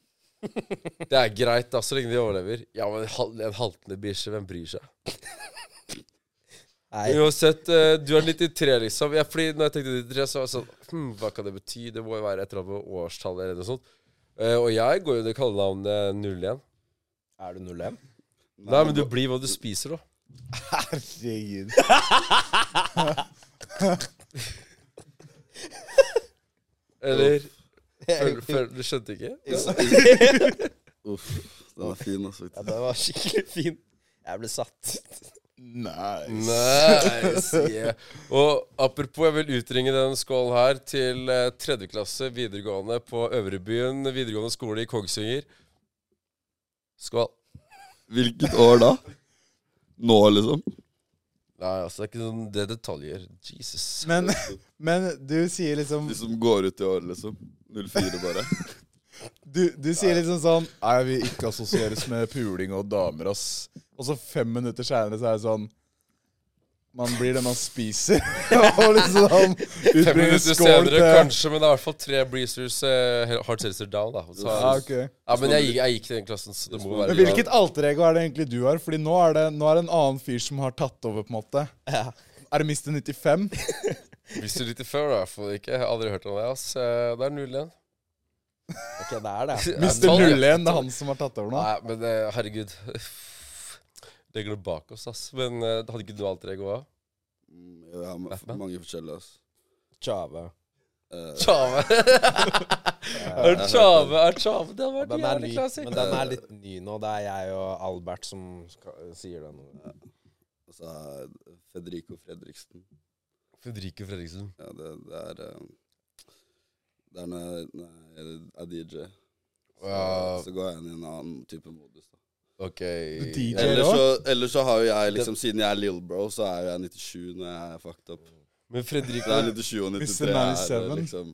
B: Det er greit, da, så lenge de overlever. Ja, men en hal- en haltende bikkje, hvem bryr seg?
D: Nei.
B: Uansett, eh, du er 93, liksom. Ja, fordi når jeg tenkte 93, så var jeg sånn hm, Hva kan det bety? Det må jo være et eller annet med årstallet eller noe sånt. Eh, og jeg går jo under kallenavnet 01.
D: Er du 01?
B: Nei, men du blir hva du spiser, da.
A: Herregud.
B: Eller føl, føl, Du skjønte ikke?
C: Uff, den er fin, altså.
D: Ja, det var skikkelig fin. Jeg ble satt.
A: Nei.
B: Nice, yeah. Og apropos, jeg vil utringe den skålen her til eh, tredjeklasse videregående på Øvrebyen videregående skole i Kongsvinger. Skål.
C: Hvilket år da? Nå, liksom?
B: Nei, altså, det er ikke sånn det er detaljer. Jesus.
A: Men, men du sier liksom
C: De som går ut i år, liksom. 04, bare.
A: Du, du sier liksom sånn Nei, vi ikke assosieres med puling og damer, ass. Og så fem minutter seinere så er det sånn
F: Man blir det man spiser. og liksom
B: Fem
F: utbringer en
B: minutter
F: skål
B: senere,
F: til
B: kanskje, men det er i hvert fall tre breezers eh, hard seltzer down. da så,
F: ja, ok.
B: ja, Men jeg, gikk- jeg gikk til den klassen, så det må være
F: Men hvilket alter ego er det egentlig du har? Fordi nå er det, nå er det en annen fyr som har tatt over, på en måte.
D: Ja.
F: Er det Mr. 95?
B: Hvis du lytter før, da. i hvert fall ikke. Jeg har aldri hørt om det. ass Eh, Det er 0-1.
D: Ok, det er det.
F: Mr. 01, det er han som har tatt over nå?
B: Nei, men eh, herregud. Det går bak oss, ass. Men eh, hadde ikke du alter ego òg?
C: Mm, jo, Jeg har ma-
B: Batman?
C: mange forskjellige, ass.
D: Tjave.
C: Eh,
B: Tjave. er Tjave er Tjave. Det hadde vært
D: Den er
B: jævlig
D: ny,
B: classic.
D: men den er litt ny nå. Det er jeg og Albert som skal, sier den.
C: og så er altså, Federico Fredriksen.
B: Fredrike Fredriksen.
C: Ja, det, det er eh, Det er når jeg, når jeg er DJ. Så,
B: Wow.
C: så går jeg inn i en annen type modus. Da.
B: OK.
F: DJ
C: Ellers
F: også?
C: så, ellers så har jo jeg liksom Siden jeg er little bro, så er jo jeg 97 når jeg er fucked up.
B: Men
C: Så
B: Fredrike
C: jeg er 97 og 93
F: Mr.
C: er eh,
F: 97.
C: liksom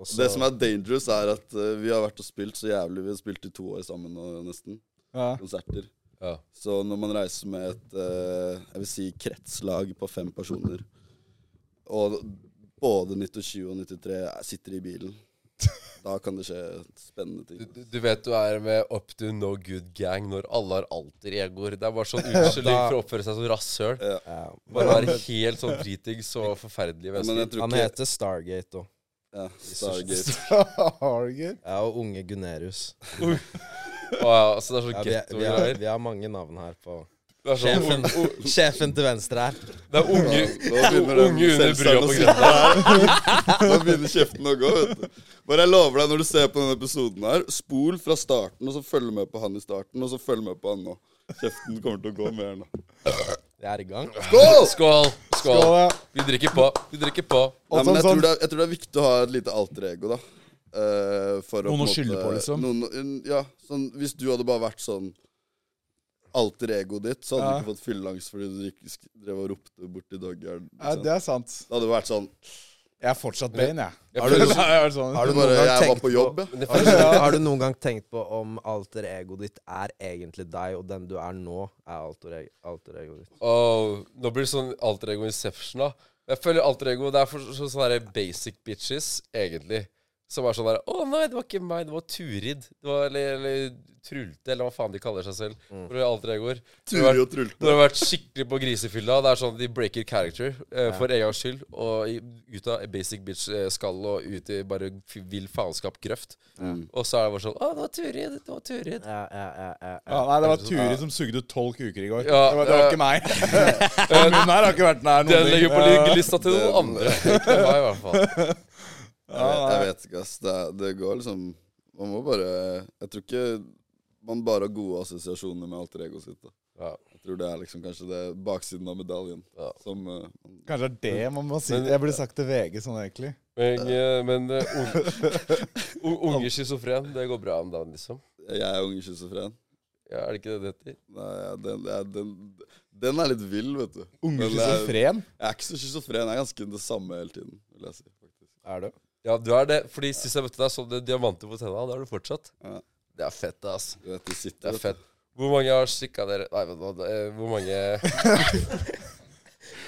D: Og
C: Det
D: så-
C: som er dangerous, er at eh, vi har vært og spilt så jævlig. Vi har spilt i to år sammen nå, nesten.
F: Ja.
C: Konserter.
B: Ja.
C: Så når man reiser med et eh, jeg vil si kretslag på fem personer, og både 97 og 93 sitter i bilen, da kan det skje spennende
B: du,
C: ting.
B: du- du vet du er med up to no good gang når alle har alter-egoer. Det er bare sånn unnskyldning for å oppføre seg som rasshøl.
D: ja.
B: Bare være helt sånn dritings og forferdelige
C: Men jeg
B: mennesker.
C: tror
D: Han
C: ikke
D: heter Stargate òg.
C: ja, Stargate.
F: Target.
D: Ja, og Unge Gunerius.
B: Å, ja, altså, det er sånn
D: Ja, vi, er- vi,
B: getto-greier.
D: er- vi har mange navn her på
B: Det er sånn
D: Sjefen, sjefen til venstre her.
B: Det er unge,
C: Nå begynner den
B: unge under brya
C: selgeren å
B: på
C: sitte
B: grønne.
C: her. Nå begynner kjeften å gå. vet du. Bare jeg lover deg, når du ser på denne episoden her, spol fra starten, og så følg med på han i starten, og så følg med på han nå. Kjeften kommer til å gå mer nå.
D: Jeg er i gang.
B: Skål! Skål!
F: Skål, ja.
B: Vi drikker på. Vi drikker på.
C: Ja,
F: Og sånn,
C: men jeg, tror
F: sånn.
C: det er, jeg tror det er viktig å ha et lite alter ego, da. Eh, for
F: Noen
C: på
F: å
C: en
F: skylde
C: måte-
F: på, liksom.
C: Noen, ja, sånn, hvis du hadde bare vært sånn alter egoet ditt, så hadde
F: Ja.
C: du ikke fått fyllangst fordi du ikke sk- drev og ropte borti doggeren.
F: Ja,
C: Liksom.
F: det er sant.
C: Det hadde vært sånn
F: Jeg er fortsatt Bane, jeg.
B: Jeg
F: Har du-
B: føler-
F: Nei, jeg er sånn.
D: Har du
C: bare,
D: noen gang
C: Jeg var
D: tenkt
C: på jobb, jeg.
B: Men det
D: Har
B: føles-
D: du, har du noen gang tenkt på om alter egoet ditt er egentlig deg, og den du er nå, er alter, eg- alter egoet ditt?
B: Åh, nå blir det sånn alter ego inception, da. Jeg føler alter ego Det er for så, sånne der basic bitches, egentlig. Som er sånn der Å nei, det var ikke meg, det var Turid. Det var, eller, eller Trulte, eller hva faen de kaller seg selv.
F: Mm.
B: For alter egoer.
C: Turi og trulte.
B: Når de har vært skikkelig på grisefylla. Det er sånn De breaker character eh, for en gangs skyld. Og i, ut av basic bitch-skall og ut i bare f- vill faenskap grøft. Og så er det bare sånn Å, det var Turid. Det var Turid.
D: Ja, ja, ja, ja, ja.
F: Ja, nei, det var Turi som sugde ut tolv kuker i går.
B: Ja,
F: det, var, det var
B: eh,
F: ikke meg. Hun her har ikke vært nær noen
B: Den legger på
F: Ja,
B: li- lista til noen andre. Ikke meg, i hvert fall.
C: Jeg, vet- jeg vet ikke, ass. Det, er- det går liksom Man må bare Jeg tror ikke man bare har gode assosiasjoner med alter egoet sitt. Da.
B: Ja.
C: Jeg tror det er liksom kanskje det er baksiden av medaljen
B: Ja.
C: som eh,
F: Kanskje det er det man må si.
B: Men-
F: Jeg burde sagt til VG sånn, egentlig.
B: Men, eh, men eh, unge, u- unge schizofren, det går bra om dagen, liksom.
C: Jeg er unge schizofren.
B: Ja, er det ikke det det heter?
C: Nei, ja, den, ja, den, den er litt vill, vet du.
F: Unge
C: Men eh, jeg-
F: schizofren.
C: Jeg er ikke så schizofren. Jeg er ganske det samme hele tiden. vil jeg si. faktisk.
D: Er du?
B: Ja, du er det. Fordi sist jeg møtte deg, så du diamanter på tenna. Det har du fortsatt.
C: Ja.
B: Det er fett, ass.
C: Du vet, de sitter,
B: Det er
C: vet du.
B: fett. Hvor mange har stikka dere Nei, vent nå. det er- eh, Hvor mange Det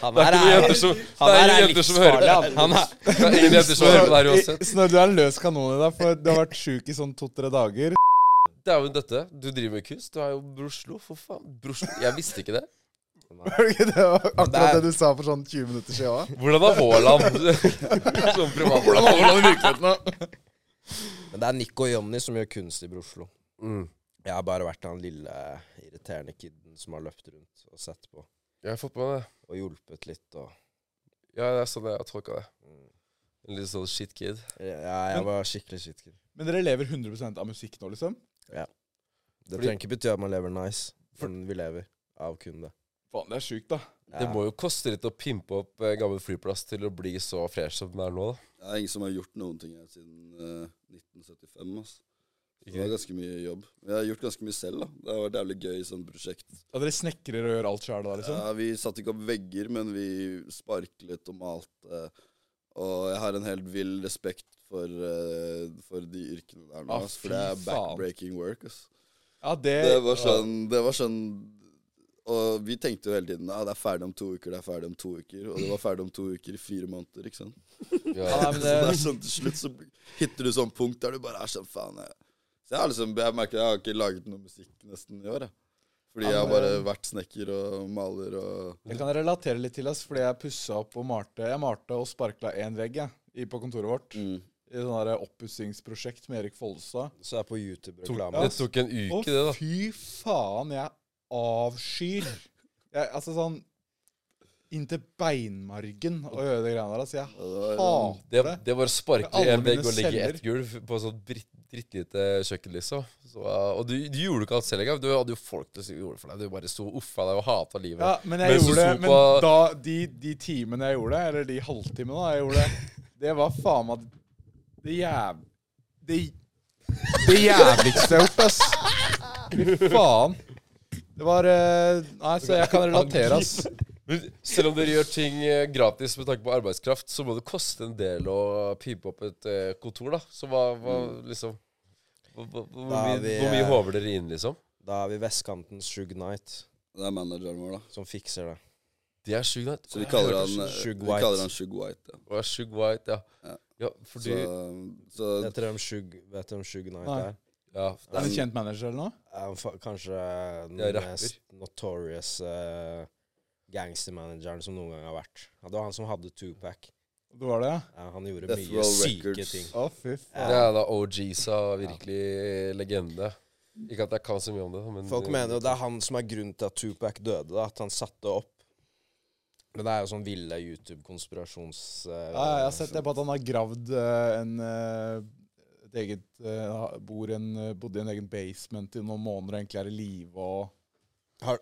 D: Han
B: er
D: her
B: ikke noen
D: er,
B: jenter som,
D: han
B: det er
D: her
B: ingen
D: er
B: jenter som hører
D: livsfarlig.
B: på.
D: Han, han er
B: Det er ingen jenter som hører på der uansett.
F: Snorre, du er en løs kanon i dag, for du har vært sjuk i sånn to-tre dager.
B: Det er jo dette. Du driver med kunst. Du er jo Broslo, for faen. Broslo. Jeg visste ikke det.
F: Var det ikke det var akkurat
D: Nei.
F: det du sa for sånn 20 minutter siden òg?
B: Hvordan er Haaland som privat?
F: Hvordan i virkeligheten, da?
D: Men det er Nico og Jonny som gjør kunst i Oslo.
B: Mm.
D: Jeg har bare vært han lille irriterende kiden som har løpt rundt og sett på.
B: Jeg har fått med meg det.
D: Og hjulpet litt og
B: Ja, det er sånn jeg har tolka det. En litt sånn shit kid.
D: Ja, jeg var skikkelig skitkid.
F: Men dere lever 100 av musikk nå, liksom?
D: Det
B: Fordi-
D: trenger ikke bety at man lever nice, men vi lever av kun det.
F: Faen, det er sjukt, da.
B: Det må jo koste litt å pimpe opp eh, gammel flyplass til å bli så fresh som den er nå, da.
C: Det er ingen som har gjort noen ting her siden eh, 1975. ass. Så Det
B: Ikke
C: er ganske mye jobb. Men Jeg har gjort ganske mye selv. da. Det har vært jævlig gøy sånn prosjekt.
F: Ja, dere snekrer og gjør alt sjøl, da, liksom?
C: Ja, vi satte ikke opp vegger, men vi sparklet og malte. Og jeg har en helt vill respekt for, eh, for de yrkene der nå.
F: Ah,
C: ass,
F: fy
C: for det er
F: faen.
A: Eh,
C: backbreaking work. ass.
F: Ja, det
C: Det var sånn, det var sånn Og vi tenkte jo hele tiden ja, det er ferdig om to uker, det er ferdig om to uker. Og det var ferdig om to uker i fire måneder, ikke sant.
G: Ja.
C: Så det er sånn til slutt så hitter du sånn punkt der du bare er sånn faen. Jeg. Så jeg har liksom, jeg merker jeg har ikke laget noe musikk nesten i år, jeg. Fordi jeg har bare vært snekker og maler og
A: Jeg kan relatere litt til oss, fordi jeg pussa opp og malte. Jeg malte og sparkla én vegg jeg, i- på kontoret vårt.
C: mm.
A: I sånn der oppussingsprosjekt med Erik Follestad.
D: Så er det på YouTube-reklame.
B: Det tok en uke,
A: Å,
B: det, da.
A: fy faen, jeg avskyr jeg, Altså sånn Inntil beinmargen å gjøre de greiene der. Altså, jeg
C: Ja, det var-
B: Det,
A: hater det.
B: det var å sparke
A: Alle
B: en vegg
A: mine
B: og legge i
A: celler.
B: ett gulv på sånn dritt, drittlite kjøkken, liksom. Så, uh, og du, du gjorde ikke alt selv engang. Du hadde jo folk til å gjøre det for deg. Du bare sto uffa deg og hata livet.
A: Ja, men jeg
B: Mens du
A: gjorde det.
B: sto
A: Men
B: på-
A: da, de, de timene jeg gjorde det, eller de halvtimene da jeg gjorde det, det var faen meg det jæv... Det, det jævligste jeg har gjort, ass. Fy faen. Det var eh, Nei, så jeg kan relatere, ass.
B: Men selv om dere gjør ting eh, gratis med tanke på arbeidskraft, så må det koste en del å pipe opp et eh, kontor, da. Så hva, hva liksom hvor, hvor, hvor,
D: Da
B: mye,
D: er vi,
B: hvor
D: eh,
B: mye håver dere inn, liksom?
D: Da er vi Vestkantens Shug Knight
C: Det er manageren vår, da.
D: som fikser det.
B: De er sjukt
C: Så vi kaller han, eh,
D: Shug
C: vi
D: White.
C: kaller han Shug White. Ja.
B: Og er sjukt white,
C: Ja.
B: ja. Ja, fordi
C: Så, så
D: Vet dere hvem Shug, vet dere hvem Shug Knight
A: Nei.
D: er?
B: Ja.
A: Er det en kjent manager eller noe?
D: Er han fa- kanskje den
B: Ja, rapper.
D: mest notorious eh, gangstermanageren som noen gang har vært. Ja, det var han som hadde Tupac.
A: Det var det, ja?
D: Ja, han gjorde
C: Death
D: mye
C: Row
D: syke
C: Records.
D: ting.
A: Å, fy faen.
D: Ja.
B: Det er da OGsa virkelig legende. Ikke at jeg kan så mye om det, men
D: Folk mener jo det er han som er grunnen til at Tupac døde, da, at han satte opp. Men det er jo sånn ville YouTube-konspirasjons... eh,
A: Ja, jeg har sett det på at han har gravd eh, en eh, et eget eh, bor en, eh, Bodde i en egen basement i noen måneder og egentlig er i live og
D: Har,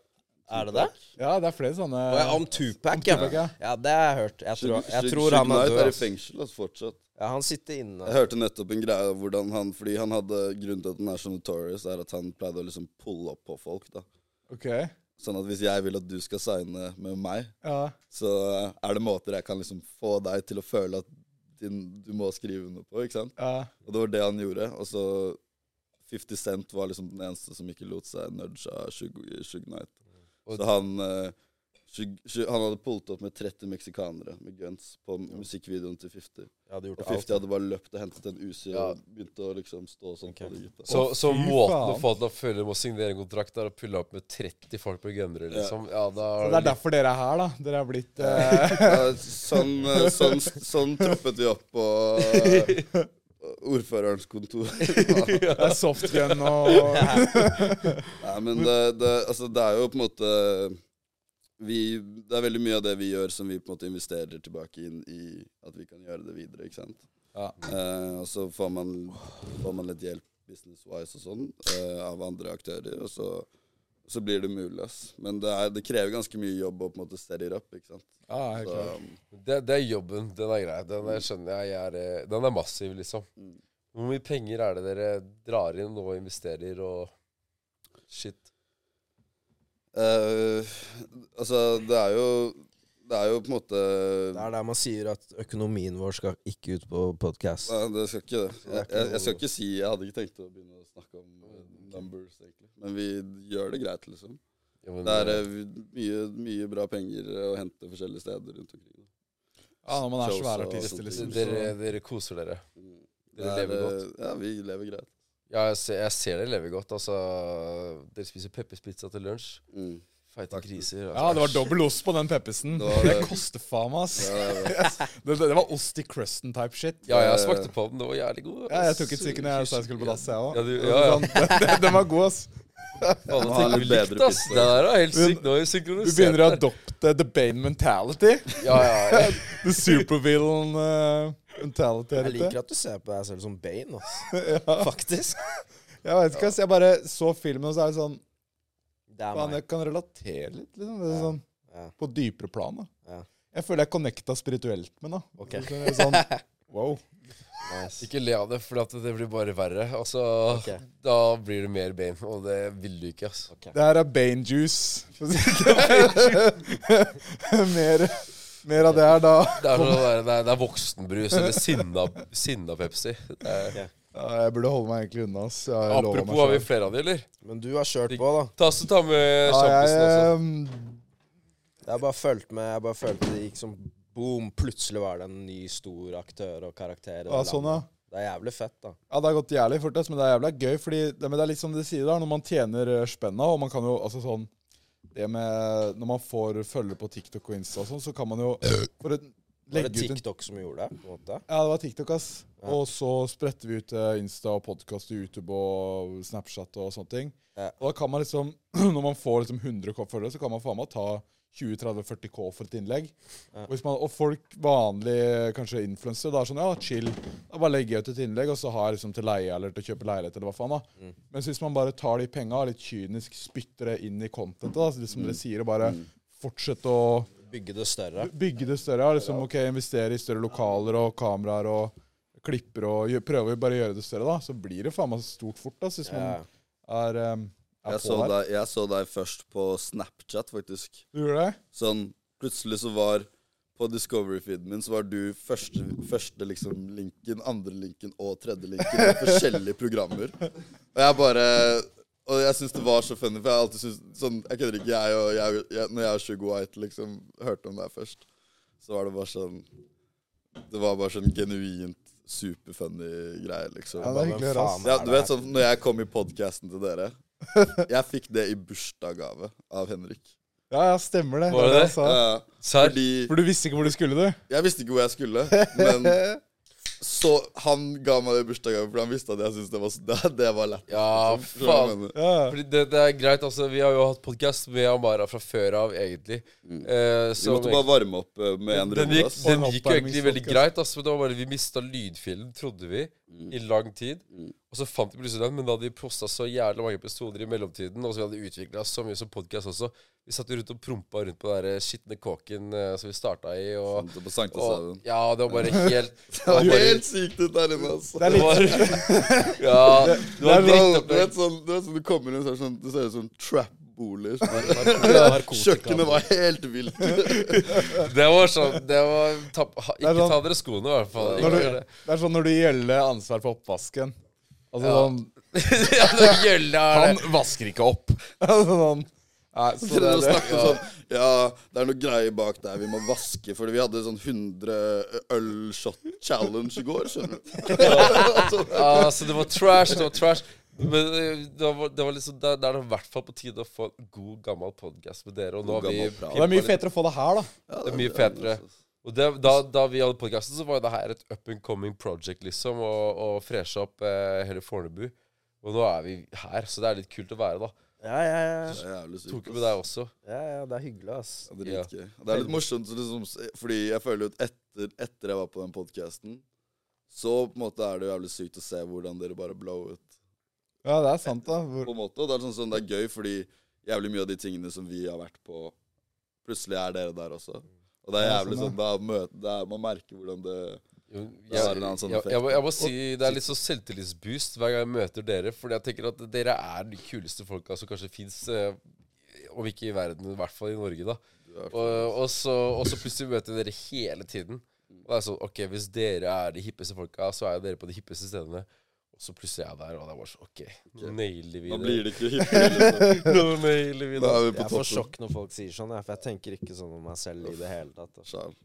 D: er det det?
A: Ja, det er flere sånne
D: Å, ja, om Tupac,
A: Tupac, ja.
D: ja. Ja, det har jeg hørt. Jeg tror,
C: Shug-
D: jeg
C: Shug-
D: tror han
C: Shug
D: er
C: Knight
D: død.
C: er i
D: ass.
C: fengsel altså, fortsatt.
D: Ja, han sitter
C: Jeg
D: inne.
C: hørte nettopp en greie om hvordan han Fordi han hadde grunnen til at han er så notorious, er at han pleide å liksom pulle opp på folk. da
A: Ok. Ja.
C: Sånn at hvis jeg vil at du skal signe med meg, så er det måter jeg kan liksom få deg til å føle at din, du må skrive under på. ikke sant?
A: ja.
C: Og det var det han gjorde. Og så 50 Cent var liksom den eneste som ikke lot seg nudge av Shug, Shug Knight.
B: Og-
C: Så han eh, Shug, Shug, Han hadde pullet opp med 30 meksikanere med guns på musikkvideoen til 50.
D: Jeg hadde
C: Og
D: gjort
C: 50
D: alt.
C: hadde bare løpt og hentet en Uzi og begynte å liksom stå sånn
D: Ok.
C: på de gutta.
B: Så, så
A: fy
B: måten å
A: faen.
B: få til å føle med å signere en kontrakt, er å pulle opp med 30 folk på gønnere, liksom. Ja, da
A: Så det
B: er det
A: er
B: litt-
A: derfor dere er her, da. Dere er blitt eh,
C: Ja, sånn, eh, sånn, sånn troppet vi opp på eh, ordførerens kontor.
A: det er softgun og
C: Nei, men det, det, altså, det er jo på en måte vi, Det er veldig mye av det vi gjør, som vi på en måte investerer tilbake inn i at vi kan gjøre det videre. ikke sant?
A: Ja.
C: Eh, og så får man, får man litt hjelp business-wise og sånn eh, av andre aktører, og så, så blir det mulig. ass. Men det, er, det krever ganske mye jobb å på en måte steady it up. ikke sant?
A: Ja, helt
C: Så,
A: klart.
B: det, det er jobben. Den er grei. Den er, skjønner jeg, jeg er, eh, den er massiv, liksom.
C: Mm.
B: Hvor mye penger er det dere drar inn og investerer og shit?
C: eh, altså, det er jo Det er jo på en måte
D: Det er der man sier at økonomien vår skal ikke ut på podkast.
C: Nei, det skal ikke det.
D: er
C: Jeg,
D: ikke
C: jeg,
D: noe-
C: jeg skal ikke si Jeg hadde ikke tenkt å begynne å snakke om eh, numbers, egentlig. Men vi gjør det greit, liksom.
B: Ja, men,
C: Det er
B: eh,
C: eh, vi- mye, mye bra penger eh, å hente forskjellige steder rundt omkring.
A: Ja, når man er
C: Shows
A: svære
C: og
A: artister,
C: sånne
A: liksom.
B: dere,
A: Så.
B: dere koser dere.
C: Det
B: Dere lever
C: eh,
B: godt.
C: Ja, vi lever greit.
B: Ja, jeg ser, jeg ser dere lever godt. Altså, dere spiser Peppers pizza til lunsj.
C: Mm.
B: Feite
C: Takk.
B: griser. altså.
A: Ja, det var dobbel ost på den Peppersen.
C: Det var
A: Det
C: det.
A: koster faen meg, ass.
C: Ja, ja, ja.
A: Det, det, det var ost i crusten type shit.
B: Ja, jeg smakte på den. Det var jævlig god. altså.
A: Ja, jeg tok et stykke når jeg sa jeg skulle på dass, jeg
B: Ja, du-
A: òg.
B: ja, ja.
A: sånn- Den var god, ass.
B: Faen,
C: Må
B: jeg
C: ha
B: tenker
C: litt
B: vi
C: bedre
B: likt, ass.
C: pizza.
B: Det der er helt
A: Men-
B: sykt. Nå er vi
A: Du
B: synkronisert.
A: begynner å
B: her.
A: adopte the Bane mentality.
B: Ja, ja, ja.
A: The supervillain eh, mentality.
D: Jeg
A: heter det.
D: liker at du ser på deg selv som Bane, ass. Faktisk.
A: Jeg vet ikke, ass. Jeg bare så filmen, og så er det sånn
D: Det er
A: Faen,
D: meg.
A: jeg kan relatere litt, liksom. Det er
D: Ja.
A: sånn,
D: Ja.
A: På dypere plan, da.
D: Ja.
A: Jeg føler jeg connecta spirituelt med den. da.
D: Ok.
A: Så det er Sånn, wow.
D: Nice.
B: Ikke le av det, for det blir bare verre. Altså,
D: Ok.
B: Da blir det mer Bane, og det vil du ikke. ass.
D: Ok.
A: Det her er Bane juice. For å si det. mer, mer av det her, da.
B: Det er, sånn, å være- det er, det er voksenbrus eller sinna, sinna Pepsi. Det er,
D: Ok.
A: Ja, jeg burde holde meg egentlig unna. ass. Jeg lover meg
B: Apropos, har vi
A: selv.
B: flere av de, eller?
D: Men du har kjørt på, da.
B: Ta, så ta med sjampisen også.
A: Ja, jeg, ehm,
D: Jeg har bare fulgt med. Jeg bare følte det gikk som boom. Plutselig var det en ny stor aktør og karakter. i det
A: ja, sånn, ja.
D: landet. Det er jævlig fett, da.
A: Ja, det har gått jævlig fort, ass, men det er jævla gøy. Fordi det, men det er litt som de sier, da, når man tjener eh, spenna, og man kan jo altså sånn det med, Når man får følgere på TikTok og Insta og sånn, så kan man jo for å
D: Eh, Var det
A: legge ut en
D: TikTok som gjorde det? på en måte?
A: Ja, det var TikTok, ass.
D: Ja.
A: Og så spretter vi ut til Insta og podkast og YouTube og Snapchat og sånne ting.
D: Ja.
A: Og da kan man liksom, når man får liksom 100 K følgere, så kan man faen meg ta 20-30-40 K for et innlegg.
D: Ja.
A: Og, hvis man, og folk, vanlige kanskje influensere, da er sånn ja, chill. Da bare legger jeg ut et innlegg, og så har jeg liksom til leie eller til å kjøpe leilighet eller hva faen.
D: Mm.
A: da. Mens hvis man bare tar de penga og litt kynisk spytter det inn i contentet, da, så det
D: Mm.
A: som dere sier, og bare fortsette å
D: Bygge det større.
A: Bygge det større. ja, Liksom, ok, Investere i større lokaler og kameraer og klipper og gjø- prøve å bare gjøre det større, da. Så blir det faen meg stort fort, da, hvis
D: Ja.
A: man er, um, er
C: Jeg
A: på
C: så,
A: der.
C: deg, jeg så deg først på Snapchat, faktisk.
A: Du gjorde det?
C: Sånn, plutselig så var på Discovery-feeden min så var du første, første liksom linken, andre linken og tredje linken i forskjellige programmer. Og jeg bare Og jeg syns det var så funny, for jeg har alltid syns sånn Jeg kødder ikke, jeg og jeg, jeg, Når jeg og Sugar White liksom hørte om deg først, så var det bare sånn Det var bare sånn genuint superfunny greie, liksom.
A: Ja, det er hyggelig å høre. ass.
C: Ja, du vet sånn, når jeg kom i podcasten til dere Jeg fikk det i bursdagsgave av Henrik.
A: Ja, ja, stemmer det. det,
B: Var det
A: var det
B: det?
A: jeg sa.
C: Ja,
B: Serr?
C: fordi
A: For du visste ikke hvor du skulle, du?
C: Jeg visste ikke hvor jeg skulle, men så han ga meg det i bursdagsgave, for han visste at jeg syntes det var, det, det var lett.
B: Ja,
C: Skjønner du hva jeg
B: faen.
C: mener?
A: Ja.
B: Fordi det, det er greit, altså. Vi har jo hatt podkast med Amara fra før av, egentlig. Eh,
C: Mm. Vi
B: som
C: måtte bare varme opp eh, med en
B: den
C: runde.
B: gikk,
C: ass.
A: Og en
B: den gikk jo egentlig veldig
A: oppvarmingspodcast.
B: greit, ass, men det var bare vi mista lydfilen, trodde vi, i lang tid. Og så fant vi plutselig den, men da hadde vi posta så jævlig mange episoder i mellomtiden, og så vi hadde utvikla så mye som podkast også. Vi satt jo rundt og prompa rundt på den der skitne kåken eh, som vi starta i, og,
C: Det På Sankthanshaugen.
B: og Ja, det var bare helt
C: Det var helt sykt ut der inne, altså.
A: Det er
B: Det
A: litt
B: var, ja, det var
C: Det er sånn, du,
B: drittopplegg.
C: vet, sånn, du vet sånn, du kommer inn og ser sånn, det ser ut som trap-boliger. som er- Kjøkkenet
D: Kjøkkenet
C: var helt vilt.
B: Det var sånn det var tapp, ha,
A: er
B: Ikke
A: sånn-
B: ta dere skoene, i hvert fall.
A: når
B: Ikke
A: du,
B: gjør det.
A: det er sånn når du gjelder ansvar for oppvasken. Altså
B: Ja.
A: sånn
B: ja, nå gjølla er det.
A: Han vasker ikke opp. sånn, nei, så det
C: Dere
A: er det.
C: snakket om sånn Ja, det er noe greier bak der vi må vaske, fordi vi hadde sånn 100 ølshot-challenge i går, skjønner du. Altså,
B: Ja, Ah, så det var trash, det var trash. Men eh, det var, det var liksom, der, der er det i hvert fall på tide å få en god, gammel podcast med dere. Og nå
C: God
B: har vi
C: gammel prat.
A: Det er mye fetere å få det her, da.
B: Det er mye fetere. Og det, da, da vi hadde podkasten, så var jo det her et up and coming project, liksom. Og, og freshe opp eh, hele Fornebu. Og nå er vi her, så det er litt kult å være, da.
D: Ja, ja, ja.
C: Det er jævlig sykt,
B: Tok
C: ass.
B: med deg også.
D: ja, ja det er hyggelig, ass.
C: Ja, det er dritgøy. Og Det er litt morsomt, så liksom, se- fordi jeg føler at etter, etter jeg var på den podcasten, så på en måte er det jo jævlig sykt å se hvordan dere bare blow ut.
A: Ja, det er sant, da. Hvor,
C: På en måte, og det er, sånn, sånn, det er gøy, fordi jævlig mye av de tingene som vi har vært på, plutselig er dere der også. Og det er
A: Ja,
C: jævlig
A: sånn,
C: sånn, da møter, det er, man merker hvordan det...
B: Jo,
C: Da er det en annen sånn
B: jeg,
C: effekt.
B: jeg, må, jeg må si det er litt sånn selvtillitsboost hver gang jeg møter dere. Fordi jeg tenker at dere er de kuleste folka som kanskje fins, eh, om ikke i verden, men i hvert fall i Norge, da. Og, og, så, og så plutselig møter jeg dere hele tiden. Og det er sånn, ok, Hvis dere er de hippeste folka, så er jo dere på de hippeste stedene. Og så plutselig er jeg der, og det er bare sånn OK, nå nailer vi
C: Da
B: det.
C: blir det ikke hyggelig. liksom.
B: Nå nailer vi
C: Da
B: det.
C: er vi på
D: Jeg får
C: toppen.
D: sjokk når folk sier sånn, ja, for jeg tenker ikke sånn om meg selv i det hele tatt. ass.
C: Sjæl.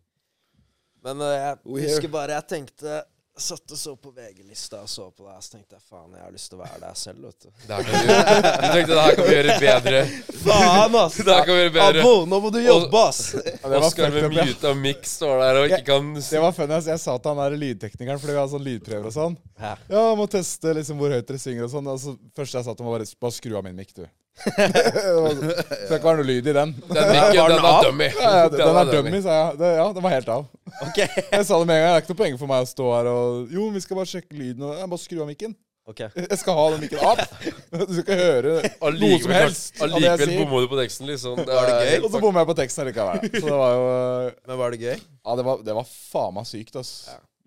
D: Men eh,
C: We
D: jeg
C: here.
D: husker bare jeg tenkte jeg satt og så på VG-lista og så på deg, så tenkte jeg faen, jeg har lyst til å være der selv, vet du.
B: Det her kan vi gjøre. Du tenkte det her kan vi gjøre bedre.
D: Faen, ass!
B: Det her kan vi gjøre bedre.
D: Abo, nå må du jobbe, ass!
A: det var
B: Oskar med
A: fucked up, ja.
B: mute og mix står der og ikke kan
A: Det var funny. ass. Jeg sa til han der lydteknikeren, fordi vi har sånn lydprøver og sånn.
D: Hæ?
A: Ja, må teste liksom hvor høyt dere synger og sånn. Altså, første jeg sa til ham, var bare, bare skru av min mic, du. Det var sånn, Skal ikke være noe lyd i den.
B: Den mikken, den var dummy.
A: Ja, ja, den er dummy, sa jeg. Det, ja, den var helt av.
D: Ok,
A: Jeg sa det med en gang. Det er ikke noe poeng for meg å stå her og Jo, vi skal bare sjekke lyden. Og, jeg bare skru av mikken.
D: ok.
A: Jeg skal ha den mikken av. Du skal ikke høre noe som
B: Allikevel,
A: helst av det jeg
B: allikevel
A: sier.
B: bomma du på teksten, liksom. Det
D: det
B: er,
D: gøy?
A: Og så bommer jeg på teksten allikevel. Så det var jo eh,
D: Men var det gøy?
A: Ja, det var, det var faen meg sykt, ass.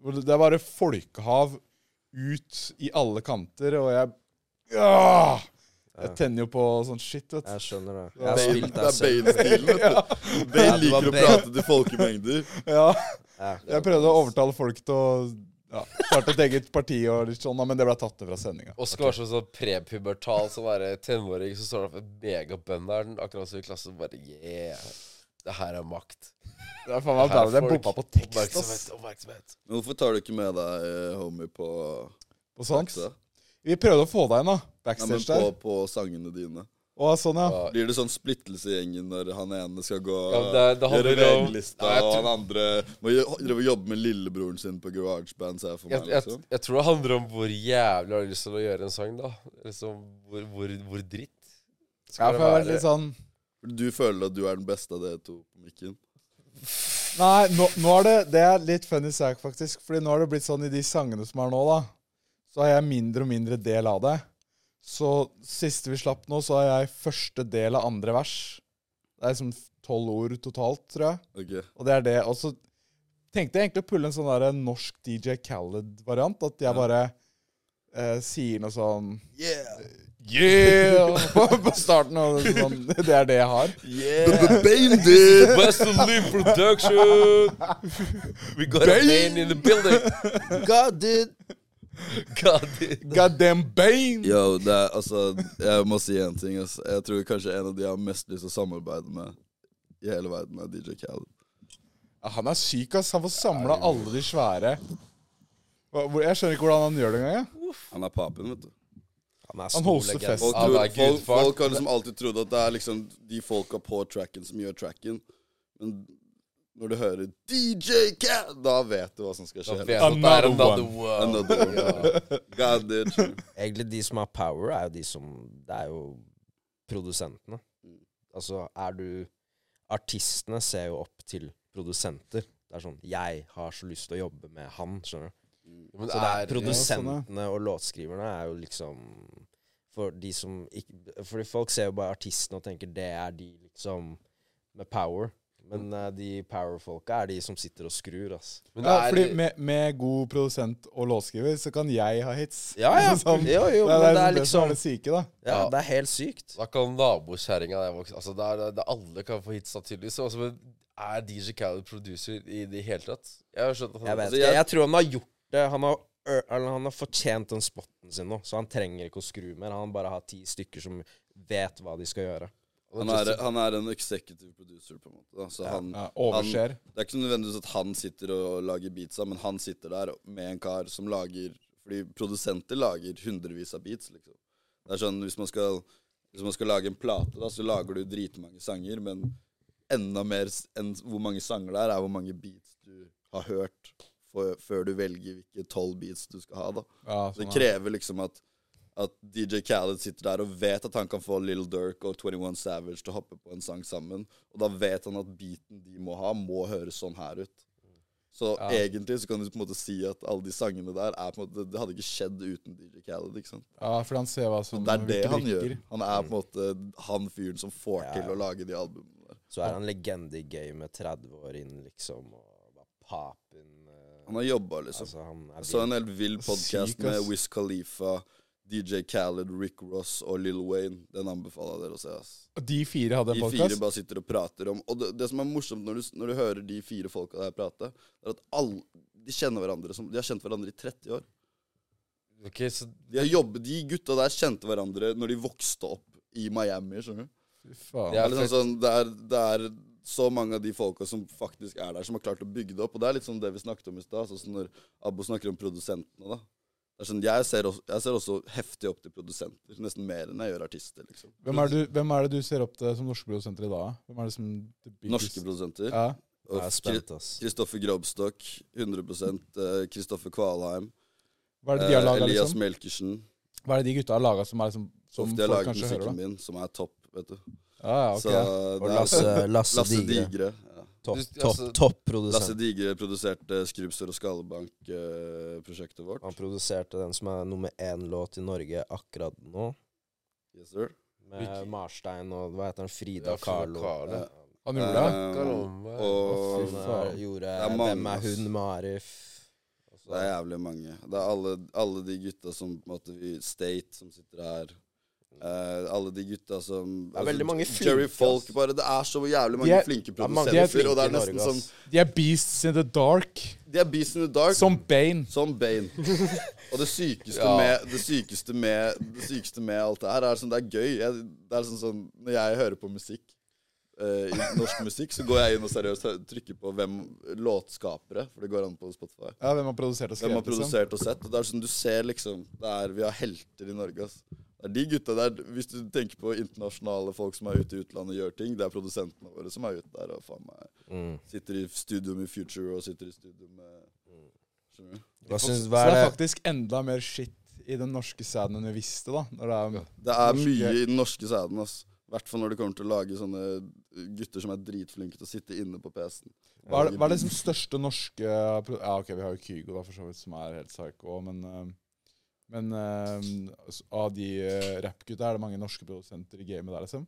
A: Det er bare folkehav ut i alle kanter, og jeg ja! Jeg tenner jo på sånn shit, vet du.
D: Jeg skjønner det. Jeg
A: Ja.
D: har
C: Det
D: spilt deg
C: er
D: selv.
C: Bane-stilen, vet du. Bane
D: det var
C: liker å
D: Bane.
C: prate til folkemengder.
A: Ja,
D: Ja.
A: jeg prøvde å overtale folk til å Ja, Startet eget parti og litt sånn, da, men det ble tatt ned fra sendinga.
B: Oskar var sånn sånn prepubertal, som være tenåring, så står han for megabønderen akkurat som i klassen. Bare yeah. Det her er makt.
A: Det er faen meg
B: Her
A: bra, den
B: folk.
A: bomma på tekst, ass.
B: Oppmerksomhet, oppmerksomhet.
C: Men hvorfor tar du ikke med deg eh, homie på
A: Og sånt.
C: Aksa?
A: Vi prøvde å få deg inn, da.
C: Nei, men
A: Backstage
C: på,
A: der.
C: på sangene dine.
A: Å, sånn, ja.
C: Blir det sånn splittelse i gjengen når han ene skal gå
B: Ja, men det- det handler
C: gjøre
B: om-
C: VG-lista,
B: Nei, jeg
C: og
B: tror-
C: han andre må jo- drive og jobbe med lillebroren sin på garageband, ser jeg for
B: Jeg,
C: meg.
B: jeg,
C: liksom.
B: jeg tror det handler om hvor jævlig har du lyst til å gjøre en sang, da. Liksom, hvor, hvor, hvor dritt.
A: Ja, for jeg har vært litt sånn
C: Du føler at du er den beste av dere to på mikken.
A: sånn- Nei, nå, nå er det Det er litt funny sak, faktisk. Fordi nå har det blitt sånn i de sangene som er nå, da, så har jeg mindre og mindre del av det. Så siste vi slapp nå, så har jeg første del av andre vers. Det er liksom tolv ord totalt, tror jeg.
C: Ok,
A: Og det er det. Og så tenkte jeg egentlig å pulle en sånn der norsk DJ Khaled-variant. At jeg bare eh, sier noe sånn
C: Yeah!
A: Yeah! på på starten. Og sånn, det er det jeg har.
C: Bandit!
B: Vaseline production! We got a man in the building!
C: God, dude!
B: God damn.
A: God damn bane!
C: Yo, det er, altså, jeg må si én ting. ass. Jeg tror kanskje en av de jeg har mest lyst til å samarbeide med i hele verden, er DJ Khaled.
A: Ja, han er syk, ass. Han får samla alle de svære. Hva- hvor- Jeg skjønner ikke hvordan han gjør det engang. jeg.
C: Han er papen, vet du.
D: Han, er
A: Han hoster
D: storlegende.
A: fest.
C: Folk,
B: Ja,
C: tror,
B: det er
C: folk,
B: gudfar.
C: folk har liksom alltid trodd at det er liksom de folka på tracken som gjør tracken. Men når du hører DJ Khaled, da vet du hva som skal
B: Da vet
C: skje.
B: jeg at det er
A: Another
B: another
A: one.
B: one.
C: Another one. God, dude.
D: Egentlig de som har power, er jo de som Det er jo produsentene.
A: Mm.
D: Altså, er du Artistene ser jo opp til produsenter. Det er sånn Jeg har så lyst til å jobbe med han, skjønner du.
A: Mm.
B: Men
D: Så det er
B: er,
D: produsentene og låtskriverne er jo liksom For de som ikke Fordi folk ser jo bare artistene og tenker det er de liksom med power. Men
A: Mm.
D: eh, de power-folka er de som sitter og skrur, ass.
B: men det
A: Ja,
B: er,
A: fordi med, med god produsent og låtskriver så kan jeg ha hits.
D: Ja, ja.
A: Sånn,
D: Jo, jo,
A: det, er,
D: men det er
A: det som er
D: liksom
A: det syke, da.
D: Ja, det er helt sykt.
B: Da kan nabokjerringa der vokse altså, det er, det er Alle kan få hits, da, tydeligvis. Altså, men er DJ Khaled producer i det hele tatt? Jeg har skjønt at
D: Jeg
B: han
D: vet
C: Altså,
D: ikke.
C: jeg-
D: Jeg tror han har gjort det. Han har, ø- eller han har fortjent den spotten sin nå, så han trenger ikke å skru mer. Han bare har ti stykker som vet hva de skal gjøre.
C: Han er, han er en executive producer, på en måte. da. Så han,
A: Ja,
C: han,
A: overser.
C: det er ikke nødvendigvis at han sitter og lager beats, da, men han sitter der med en kar som lager Fordi produsenter lager hundrevis av beats, liksom. Det er sånn, hvis man skal, hvis man skal lage en plate, da, så lager du dritmange sanger, men enda mer s- enn hvor mange sanger det er, er hvor mange beats du har hørt for, før du velger hvilke tolv beats du skal ha, da.
A: Ja,
C: Det
A: sånn, ja.
C: krever liksom at at DJ Khaled sitter der og vet at han kan få Little Dirk og 21 Savage til å hoppe på en sang sammen. Og da vet han at beaten de må ha, må høres sånn her ut. Så egentlig så kan du på en måte si at alle de sangene der er på en måte, Det hadde ikke skjedd uten DJ Khaled. ikke sant?
A: ja, fordi han ser hva som
C: Det er det
A: hvilke
C: han
A: brikker.
C: gjør. Han er på en måte han fyren som får
D: Ja,
C: til
D: ja.
C: å lage de albumene der.
D: Så er han legende i gamet, 30 år inn, liksom, og bare papen eh,
C: Han har jobba, liksom.
D: Altså, han er
C: Jeg så en helt vill
A: Syk,
C: podkast
A: ass.
C: med Wiz Khalifa, DJ Khaled, Rick Ross og Lil Wayne. Den anbefaler jeg dere å se. ass.
A: Og De fire hadde en
C: De fire
A: podcast
C: bare sitter og prater om Og det, det som er morsomt når du, s- når du hører de fire folka der prate, er at alle De kjenner hverandre som De har kjent hverandre i 30 år.
B: Ok, så
C: De har jobbet De gutta der kjente hverandre når de vokste opp i Miami, skjønner du.
A: Faen.
B: Det
C: Det
B: er
C: er, liksom sånn, det er, det er så mange av de folka som faktisk er der, som har klart å bygge det opp. Og det er litt sånn det vi snakket om i stad, sånn som når Abbo snakker om produsentene, da. Det er sånn, jeg, ser også, jeg ser også heftig opp til produsenter, nesten mer enn jeg gjør artister, liksom.
A: Hvem er, du, hvem er det du ser opp til som norske produsenter i dag? da? Hvem er det som the biggest-
C: Norske produsenter.
A: Ja.
D: Jeg er
C: Og Kri-
D: spent, ass.
C: Kristoffer Grobstok, 100 eh, Kristoffer Kvalheim.
A: Hva er det de har
C: Eh,
A: laget,
C: Elias
A: liksom?
C: Melkersen.
A: Hva er det de gutta har laga som, er liksom, som
C: Som de har
A: folk
C: laget
A: kanskje hører?
C: musikken
A: da?
C: min, som er topp, vet du.
A: Ja, ja, ok.
C: Så
D: Og
C: det er
D: Lasse, Lasse,
C: Lasse
D: Digre.
C: Digre. Ja.
D: Topp
B: Du-
D: topp,
B: altså-
C: Lasse
D: topprodusent.
C: Digre produserte Skrubbsør og Skallebank-prosjektet vårt.
D: Han produserte den som er nummer én låt i Norge akkurat nå,
C: Yes, sir.
D: med
B: Hvilken?
D: Marstein og hva heter han, Frida
B: Ja, Frida
D: Carlo.
B: Kahlo.
D: Ja.
A: Han gjorde det?
C: Eh,
B: Garom, eh.
C: og
D: Han
A: faen.
D: er- Altså, gjorde
C: Det er mange,
D: 'Hvem er
C: ass.
D: hun?' Altså, med Arif. Og så-
C: det er jævlig mange. Det er alle, alle de gutta som på en måte i State som sitter her. Eh, alle de gutta som altså,
D: er veldig mange flinke,
C: Jerry Folk
D: ass.
C: bare Det er så jævlig mange
A: De er-
C: flinke
D: er mange
C: produsenter.
D: flinke
C: og det
D: i
C: er nesten sånn-
D: Norge,
C: som
D: ass.
A: De er beasts in the dark.
C: De er Beast in the Dark.
A: Som Bane.
C: Som Bane. Og det sykeste,
B: Ja.
C: med, det, sykeste med, det sykeste med alt det her, er sånn det er gøy. Jeg, det er sånn sånn Når jeg hører på musikk, eh, i norsk musikk, så går jeg inn og seriøst hø- trykker på hvem låtskapere, for det går an på Spotify.
A: Ja, Hvem har produsert og
C: Hvem
A: skrevet liksom?
C: har produsert og sett. Og det er sånn du ser liksom det er, Vi har helter i Norge, ass. Det er de gutta der, Hvis du tenker på internasjonale folk som er ute i utlandet og gjør ting, det er produsentene våre som er ute der og faen meg sitter i studio med Future og sitter i studio med Skjønner du?
D: Hva syns-
A: Så
D: hva
A: det er
D: er det?
A: faktisk enda mer shit i den norske sæden enn vi visste, da. Når det er
C: Det er
A: Norske-
C: mye i den norske sæden. ass. I hvert fall når det kommer til å lage sånne gutter som er dritflinke til å sitte inne på PC-en.
A: Hva er, hva er liksom største norske pro- Ja, ok, vi har jo Kygo, da, for så vidt, som er helt psycho, men eh, Men eh, altså, av de eh, rappgutta, er det mange norske produsenter i gamet der, liksom?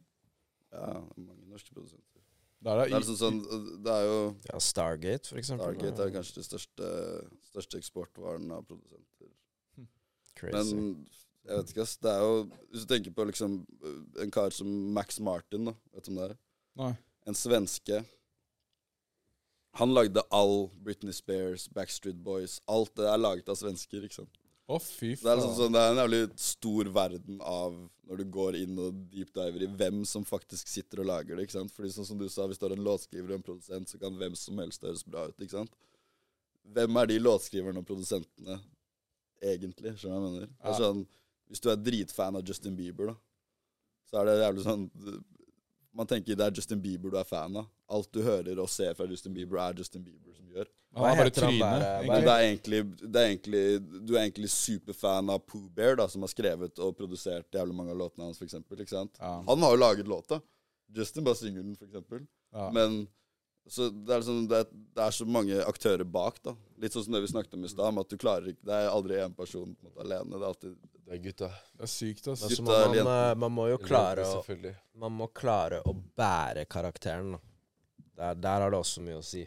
C: Ja, mange norske produsenter.
A: Det er,
C: Det er, liksom sånn, det er jo
D: Ja, Stargate, for eksempel.
C: Stargate er kanskje det største, største eksportvaren av produsenter.
D: Crazy.
C: Men jeg vet ikke, ass. Det er jo Hvis du tenker på liksom øh, en kar som Max Martin, da. Vet du om det er?
A: Nei.
C: En svenske. Han lagde all Britney Spears, Backstreet Boys Alt det er laget av svensker, ikke sant?
A: Å, fy
C: Så det
A: faen.
C: er, liksom sånn, det er en jævlig stor verden av når du går inn og deepdiver i hvem som faktisk sitter og lager det. ikke sant? Fordi sånn som du sa, Hvis du har en låtskriver og en produsent, så kan hvem som helst høres bra ut. ikke sant? Hvem er de låtskriverne og produsentene egentlig? Skjønner du hva jeg mener? Det er
A: Ja.
C: sånn, Hvis du er dritfan av Justin Bieber, da, så er det jævlig sånn Man tenker det er Justin Bieber du er fan av. Alt du hører og ser fra Justin Bieber, er Justin Bieber som gjør.
A: Han er
D: Hva
A: bare
D: heter han
A: trynet.
D: der, eh,
C: Men
A: egentlig.
C: det er egentlig, det er egentlig Du er egentlig superfan av Pooh Bear, da, som har skrevet og produsert jævlig mange av låtene hans, for eksempel, ikke sant?
A: Ja.
C: Han har jo laget låta. Justin bare synger den, for eksempel.
A: Ja.
C: Men så det er, liksom, det, er, det er så mange aktører bak, da. Litt sånn som det vi snakket om i stad, om at du klarer ikke Det er aldri én person på en måte, alene. Det er alltid
B: Det er gutta.
A: Det er sykt, ass.
D: Men
C: Gutta
D: så må man,
C: eller jentene?
D: eh, man må jo klare å
B: Selvfølgelig.
D: Man må klare å bære karakteren, da. Der, der har det også mye å si.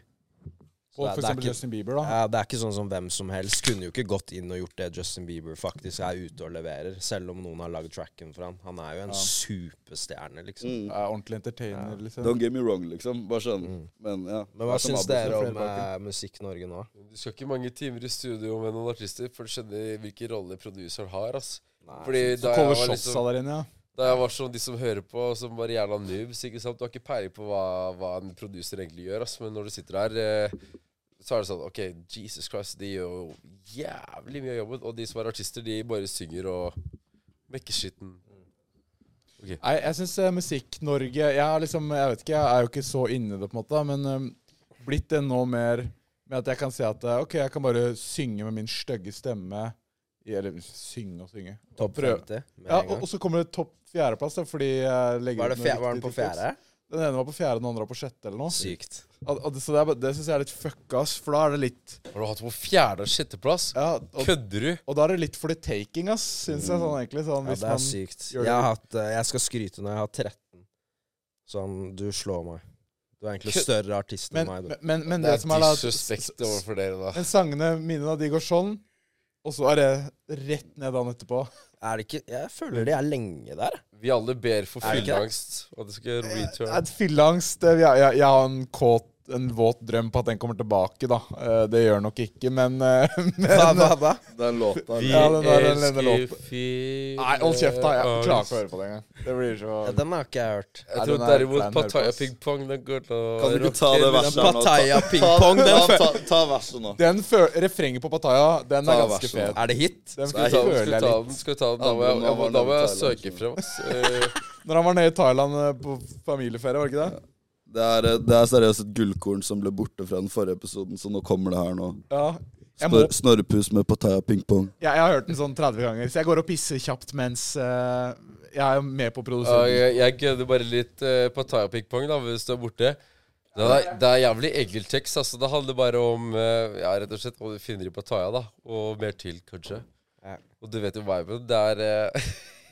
D: Så
A: Og
D: det er-
A: for
D: det er
A: eksempel
D: ikke-
A: Justin Bieber, da.
D: Ja, det er ikke sånn som hvem som helst kunne jo ikke gått inn og gjort det Justin Bieber faktisk er ute og leverer, selv om noen har lagd tracken for han. Han er jo en superstjerne, liksom.
C: mm.
A: Er ordentlig entertainer, liksom.
C: Don't get me wrong, liksom. Bare sånn.
D: Mm.
C: Men ja.
D: Men hva
C: Det er som
D: syns
C: Abu sier,
D: dere
C: flere
D: om
C: bak.
D: eh, Musikk Norge nå?
B: Du skal ikke mange timer i studio med noen artister for å skjønne hvilken rolle produseren har. ass.
D: Nei.
B: Fordi da jeg,
A: Cover
B: var
A: shots
B: liksom,
A: av der inne, ja.
B: da jeg var som de som hører på, som var jævla noobs ikke sant? Du har ikke peiling på hva, hva en produser egentlig gjør, ass. men når du sitter der, eh, så er det sånn OK, Jesus Christ, de gjør jo jævlig mye av jobben. Og de som er artister, de bare synger og mekker skitten.
A: Nei, jeg syns Musikk-Norge Jeg har liksom, jeg vet ikke, jeg er jo ikke så inni det, på en måte, men eh, blitt det nå mer med at jeg kan si at eh, OK, jeg kan bare synge med min stygge stemme. i- Eller synge og synge. Og
D: Topp
A: prøve-
D: 50 med
A: Ja,
D: en
A: og,
D: gang.
A: og så kommer det topp fjerdeplass, da, fordi jeg legger
D: Var, det
A: ut noen
D: fe var den
A: riktige
D: på
A: tips.
D: fjerde?
A: Den ene var på fjerde, den andre var på sjette eller noe.
D: Sykt.
A: Og, og det, så det, er bare- det syns jeg er litt fucka, ass. For da er det litt
B: Har du hatt på fjerde- og sjetteplass?
A: ja, og,
B: Kødder du?
A: og da er det litt for the taking, ass, syns jeg sånn egentlig. Sånn,
D: Ja,
A: hvis
D: det er
A: man,
D: sykt.
A: gjør det
D: Jeg, har hatt, eh, jeg skal skryte når jeg har 13. Sånn, du slår meg. Du er egentlig
B: Kø-
D: større artist enn
A: men,
D: meg, du.
A: men, men, men
B: Det
A: det,
B: er
A: som er da at-
B: disrespekt overfor dere, da.
A: Men sangene mine da, de går sånn, og så er det rett ned dagen etterpå.
D: Er det ikke Jeg føler de er lenge der.
B: Vi alle ber for
D: Er det ikke det?
B: fylleangst. Og det skal return.
A: Et fylleangst eh, Jeg, jeg, jeg har en kåt en våt drøm på at den kommer tilbake, da. Eh, Det gjør nok ikke, men, eh, men
D: Hva, hva, hva?
C: Den låta
A: Vi- Ja, den der, den leder låten.
B: fyll
A: Nei, hold kjeft, da. Jeg klarer ikke å høre på det engang. Det blir så
D: Ja, den har ikke jeg hørt.
B: Jeg
A: Nei,
B: tror
A: den er klein
B: derimot
A: å høre på,
B: Pattaya
A: ass.
B: Ping Pong den går til å
C: Kan du ikke ta det
B: rocke-
C: verset her nå?
D: Pattaya
C: Ta-
D: pingpong, den
C: ta-
D: fø-
C: ta- Ta verset nå.
A: den fø- Refrenget på Pattaya, den er
C: Ta
A: ganske
C: versen.
A: fet.
D: Er det hit?
A: Den
B: Skal vi ta den? Skal vi ta den? Skal vi ta den? Da må jeg,
C: Andre
B: jeg, må-
C: navn
B: da må
C: enn
B: jeg
C: Thailand,
B: søke
C: så.
B: frem, ass. Eh,
A: Når han var nede i Thailand eh, på familieferie, var det ikke det?
C: Det er, eh, det er seriøst et gullkorn som ble borte fra den forrige episoden, så nå kommer det her nå.
A: Ja. Jeg, må,
C: Snor, snorrepus med Pattaya ping-pong.
A: jeg, jeg har hørt den sånn 30 ganger, så jeg går og pisser kjapt mens eh, jeg er med på
B: ja,
A: produsenten.
B: jeg- Jeg kødder bare litt eh, Pattaya Ping Pong, da, hvis du er borte. Det er, det er jævlig enkelttekst, altså. Det handler bare om eh, Ja, rett og slett hva du finner i Pattaya, da. Og mer til, kanskje.
D: Ja.
B: Og du vet jo viben. Det er eh,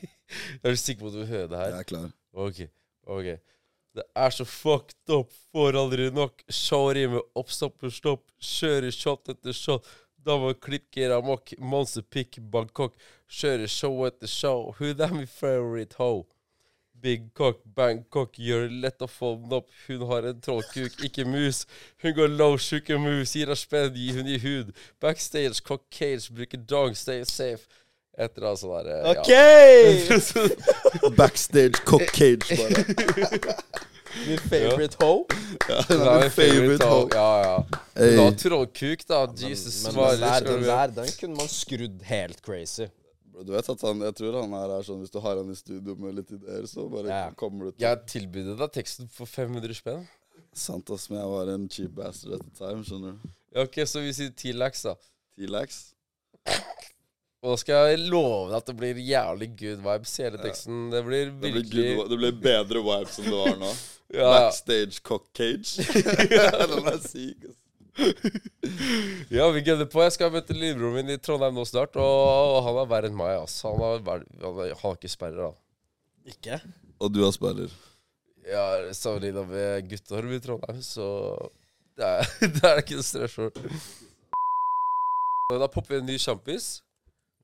B: Er du sikker på at du vil høre det her?
C: Jeg er klar.
B: Ok, ok. Det er så fucked up, får aldri nok. Shorty med oppstopp og stopp, kjører shot etter shot. Dama klikker amok, monsterpick Bangkok. Kjører show etter show. Who that my favorite hoe? Big cock, Bangkok, gjør det lett å få den opp. Hun har en trollkuk, ikke mus. Hun går low, sjuke mus, gir deg spenn, gi hun i hud. Backstage, cock cage, bruker dong, stay safe. Et eller annet sånt der. eh, Ja.
C: Backstage cock cage, bare.
D: Min favorite hoe.
B: Hun er min favorite
C: favorite
B: hoe.
C: hoe.
B: Ja, ja.
C: Hey.
B: Hun har trollkuk, da. Jesus, liksom-
D: Men
B: hva
D: den
B: ellers
D: der,
B: skal
D: den
B: vi
D: der, den kunne man skrudd helt crazy.
C: Bro, Du vet at han, jeg tror han her er sånn Hvis du har han i studio med litt ideer, så bare
D: Ja.
C: kommer du til
B: Jeg tilbød deg teksten for 500 spenn.
C: Sant, ass, men jeg var en cheap bastard at the time, skjønner du.
B: Ja, Ok, så vi sier 10 lax, da.
C: 10 lax.
B: Og da skal jeg love deg at det blir jævlig good vibes i hele teksten. Det blir
C: Det ble,
B: virkelig
C: good, det ble bedre vibes enn det var nå.
B: ja, ja.
C: Backstage cock cage. Den er syk, ass.
B: ja, vi gønner på. Jeg skal møte lillebroren min i Trondheim nå snart, og han er verre enn meg, ass. Han har, vær- han har, han har ikke sperrer, han.
D: Ikke?
C: Og du har sperrer.
B: Ja, Sammenligna med guttorm i Trondheim, så det er, det er ikke noe stress for. Og Da popper vi en ny sjampis.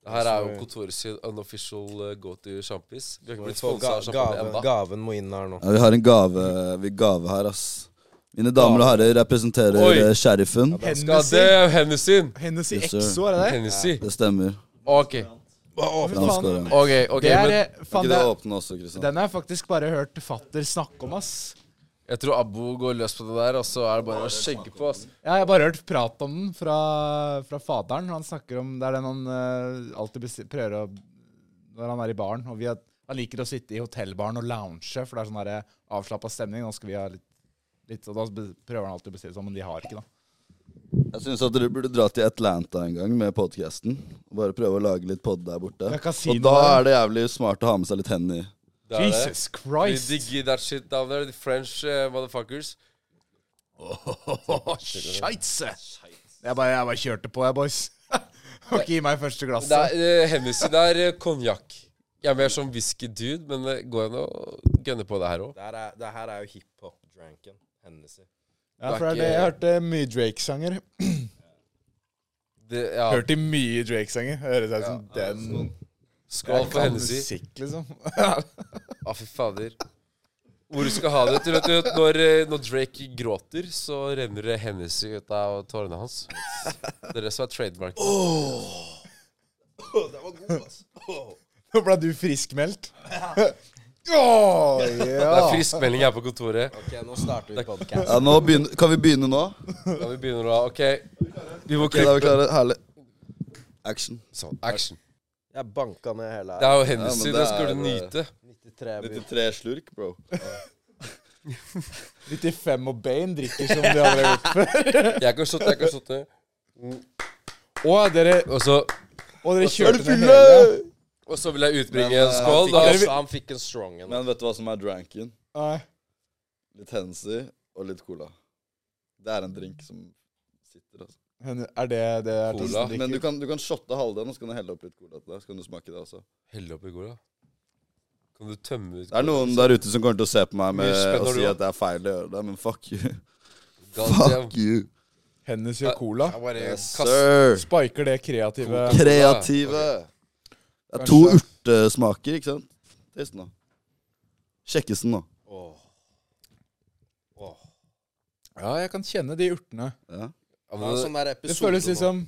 B: Det her er jo kontoret sin unofficial eh, go to sjampis. Vi har ikke blitt sponsa av sjampis
D: Gaven,
B: ennå.
D: gaven må inn her nå.
C: Ja, vi har en gave, vi gave her, ass. Mine damer og herrer representerer
B: Oi.
C: eh, sheriffen.
B: Skal det Hennessy?
A: Hennessy
C: Yes, sir.
A: XO, er det det?
B: Hennessy.
C: Det stemmer.
B: Ok.
A: Å,
C: Den
A: faen.
C: skal jeg.
B: Ok, ok,
A: Det er,
B: men
A: eh, faen,
C: Ikke
A: det
C: det
A: er,
C: åpne også, Kristian.
A: den har jeg faktisk bare hørt fatter snakke om, ass.
B: jeg tror Abbo går løs på det der, og så er det bare å skjegge på. ass.
A: Ja, jeg har bare hørt prat om den fra, fra faderen. Han snakker om Det er den han eh, alltid besti- prøver å Når han er i baren. Og vi har, han liker å sitte i hotellbaren og lounge, for det er sånn der, eh, avslappa stemning. Nå skal vi ha litt, litt Og da be- prøver han alltid å bestille sånn, men de har ikke, da.
C: Jeg syns at dere burde dra til Atlanta en gang med podkasten. Bare prøve å lage litt pod der borte.
A: Det er kasino
C: Og da
A: der.
C: er det jævlig smart å ha med seg litt hender i.
B: Det er det.
A: Jesus
B: We
A: Christ!
B: dig that shit down there, the French eh, motherfuckers.
A: Scheisse! Jeg bare, jeg bare kjørte på, jeg, boys. Ok, gi meg første
B: Det
A: glasset.
B: er, eh, Hennessy, det er eh, konjakk. Jeg er mer som whisky-dude, men det går an å gønne på det her òg.
D: Det her er, det her er jo hiphop-dranken. Hennessy.
A: Ja, for det er det, jeg hørte mye Drake-sanger.
B: Ja.
A: Hørte mye Drake-sanger. Høres ut som den
B: Skål for
A: Kan
B: Hennessy.
A: musikk, liksom.
B: Å, fy fader. Hvor du skal ha det til, vet du. Når, eh, når Drake gråter, så renner det Hennessy ut av tårene hans. Det er det som er trademark.
A: Nå ble du friskmeldt. Åh,
B: Det er
A: ja.
B: friskmelding her på kontoret.
D: Ok, nå starter vi podcast.
C: Ja, nå begynner, kan vi begynne nå?
B: Ja, vi begynner da. OK. Vi må
C: Ok, da er vi
B: klippe.
C: klare. Herlig. Action.
B: Sånn, action.
D: Jeg banka ned hele
B: Det
D: her.
B: er jo Hennessy.
C: Ja, men
B: det
C: det
B: skal
C: er,
B: du nyte.
D: 93 bit.
C: 93 slurk, bro.
A: 95 og Bane drikker som de aldri har gjort før.
B: Jeg kan shotte, jeg kan shotte.
A: Å, dere,
B: Og så,
A: og dere kjørte ned hele.
B: og så vil jeg utbringe
C: Men,
B: en skål.
D: Fikk
B: Da.
D: en- Han fikk en strong en.
C: Men vet du hva som er dranken?
A: Nei.
C: Litt Hennessy og litt cola. Det er en drink som sitter, altså.
A: Henne- Er det det er
B: Cola.
A: Tønsen
C: Men du
A: drikker?
C: kan, du kan shotte halve den, og så kan du helle opp litt cola til deg. Så kan du smake det også.
B: Helle oppi cola. Kan du tømme ut
C: Det er noen der ute som kommer til å se på meg med
B: Mye spenn
C: og
B: har du
C: si
B: også.
C: at det er feil å gjøre det, men fuck you.
B: Goddamn.
C: Fuck you.
A: Hennessy og cola.
B: Jeg bare
C: Yes,
B: kaster
C: sir.
A: Spiker det kreative
B: Cola.
C: Kreative. Det er to urtesmaker, ikke sant? Taste den, da. Sjekkes den, da.
D: Åh. Åh.
A: Ja, jeg kan kjenne de urtene.
B: Ja,
C: Ja.
D: Det er en
B: men
D: sånn der
A: Det
D: episode
A: føles
D: nå.
A: liksom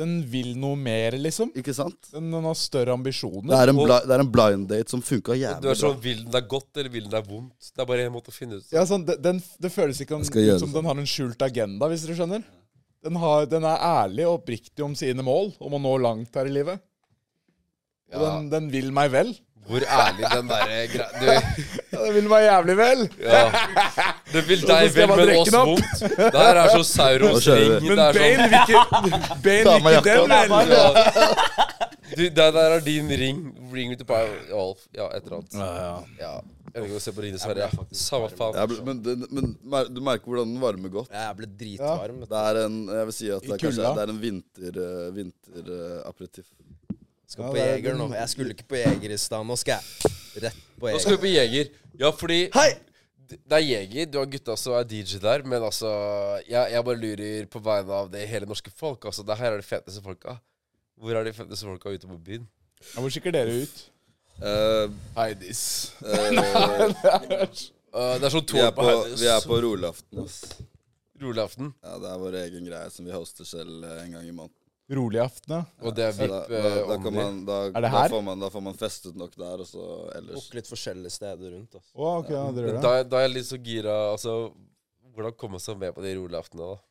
A: Den vil noe mer, liksom.
C: Ikke sant?
A: Den, den har større
C: Det
A: ambisjoner.
C: er en, bli, det er en blind date som funka
B: Du er
C: jævlig bra.
B: sånn Vil den deg godt, eller vil den deg vondt? Det er bare en måte å finne ut
A: Ja, sånn, det- den, det føles ikke om,
C: skal gjøre
A: ut som
C: det
A: den har en skjult agenda, hvis dere skjønner. Den, har, den er ærlig og oppriktig om sine mål, om å nå langt her i livet. Og
B: Ja.
A: den, den vil meg vel.
B: hvor ærlig den derre greia Du,
A: Ja, den vil meg jævlig vel!
B: ja. Det vil
A: skal
B: deg
A: jeg
B: vel,
A: bare
B: men
A: drikke
B: oss
A: den opp.
B: vondt. Det her er sånn Saurons
C: Da kjører vi.
B: ring.
A: Men
B: Det er sånn
A: Bane vil ikke, Bane
C: Ta
A: vil
C: meg
A: ikke den
C: jakka.
A: vel!
B: ja. Du, det der er din ring. Ring to power Alf. Ja, et eller annet. Ja. Jeg vil ikke se på Rine Sverre.
D: Jeg ble faktisk
B: Samme
D: varm.
B: faen.
C: Jeg ble, men, den- men mer- du merker hvordan den varmer godt.
D: Jeg ble dritvarm. vet du.
C: Det er en jeg vil si at det
A: I
C: er kanskje
A: kulda.
C: det er en vinter, eh, vinteraperitif.
D: Skal
A: Ja,
D: på
A: det er
D: Jeger nå.
A: den-
D: Jeg skulle ikke på Jeger i stad. Nå skal jeg rett på
B: Nå skal
D: Jeger.
B: vi på Jeger. Ja, fordi
D: Hei!
B: Det det er Jeger, du har gutta som er DJ der, men altså jeg, jeg bare lurer på vegne av det hele norske folk. Altså, det her er de feteste folka. Hvor er de feteste folka ute på byen?
A: Ja, hvor skikker dere ut?
C: Eh,
H: Heidis.
C: eh,
B: Øh, det er sånn
C: vi, er
B: tog på
C: på, vi er
B: Heidis.
C: på rolaften, ass.
B: Rolig aften.
C: Ja, det er vår egen greie som vi hoster selv eh, en gang i måneden.
A: Rolig aften, ja.
B: Og det er
C: Så da,
B: VIP
C: da,
B: eh,
C: da, kan
B: only.
C: man, da,
A: det
C: da,
A: her?
C: får man, da får man festet nok der, og så ellers.
D: Booke litt forskjellige steder rundt. Altså.
A: Å, ok, ja, dere
B: Men
A: gjør det.
B: Da, da er jeg litt så gira. Altså, hvordan komme seg med på de rolige aftenene, da?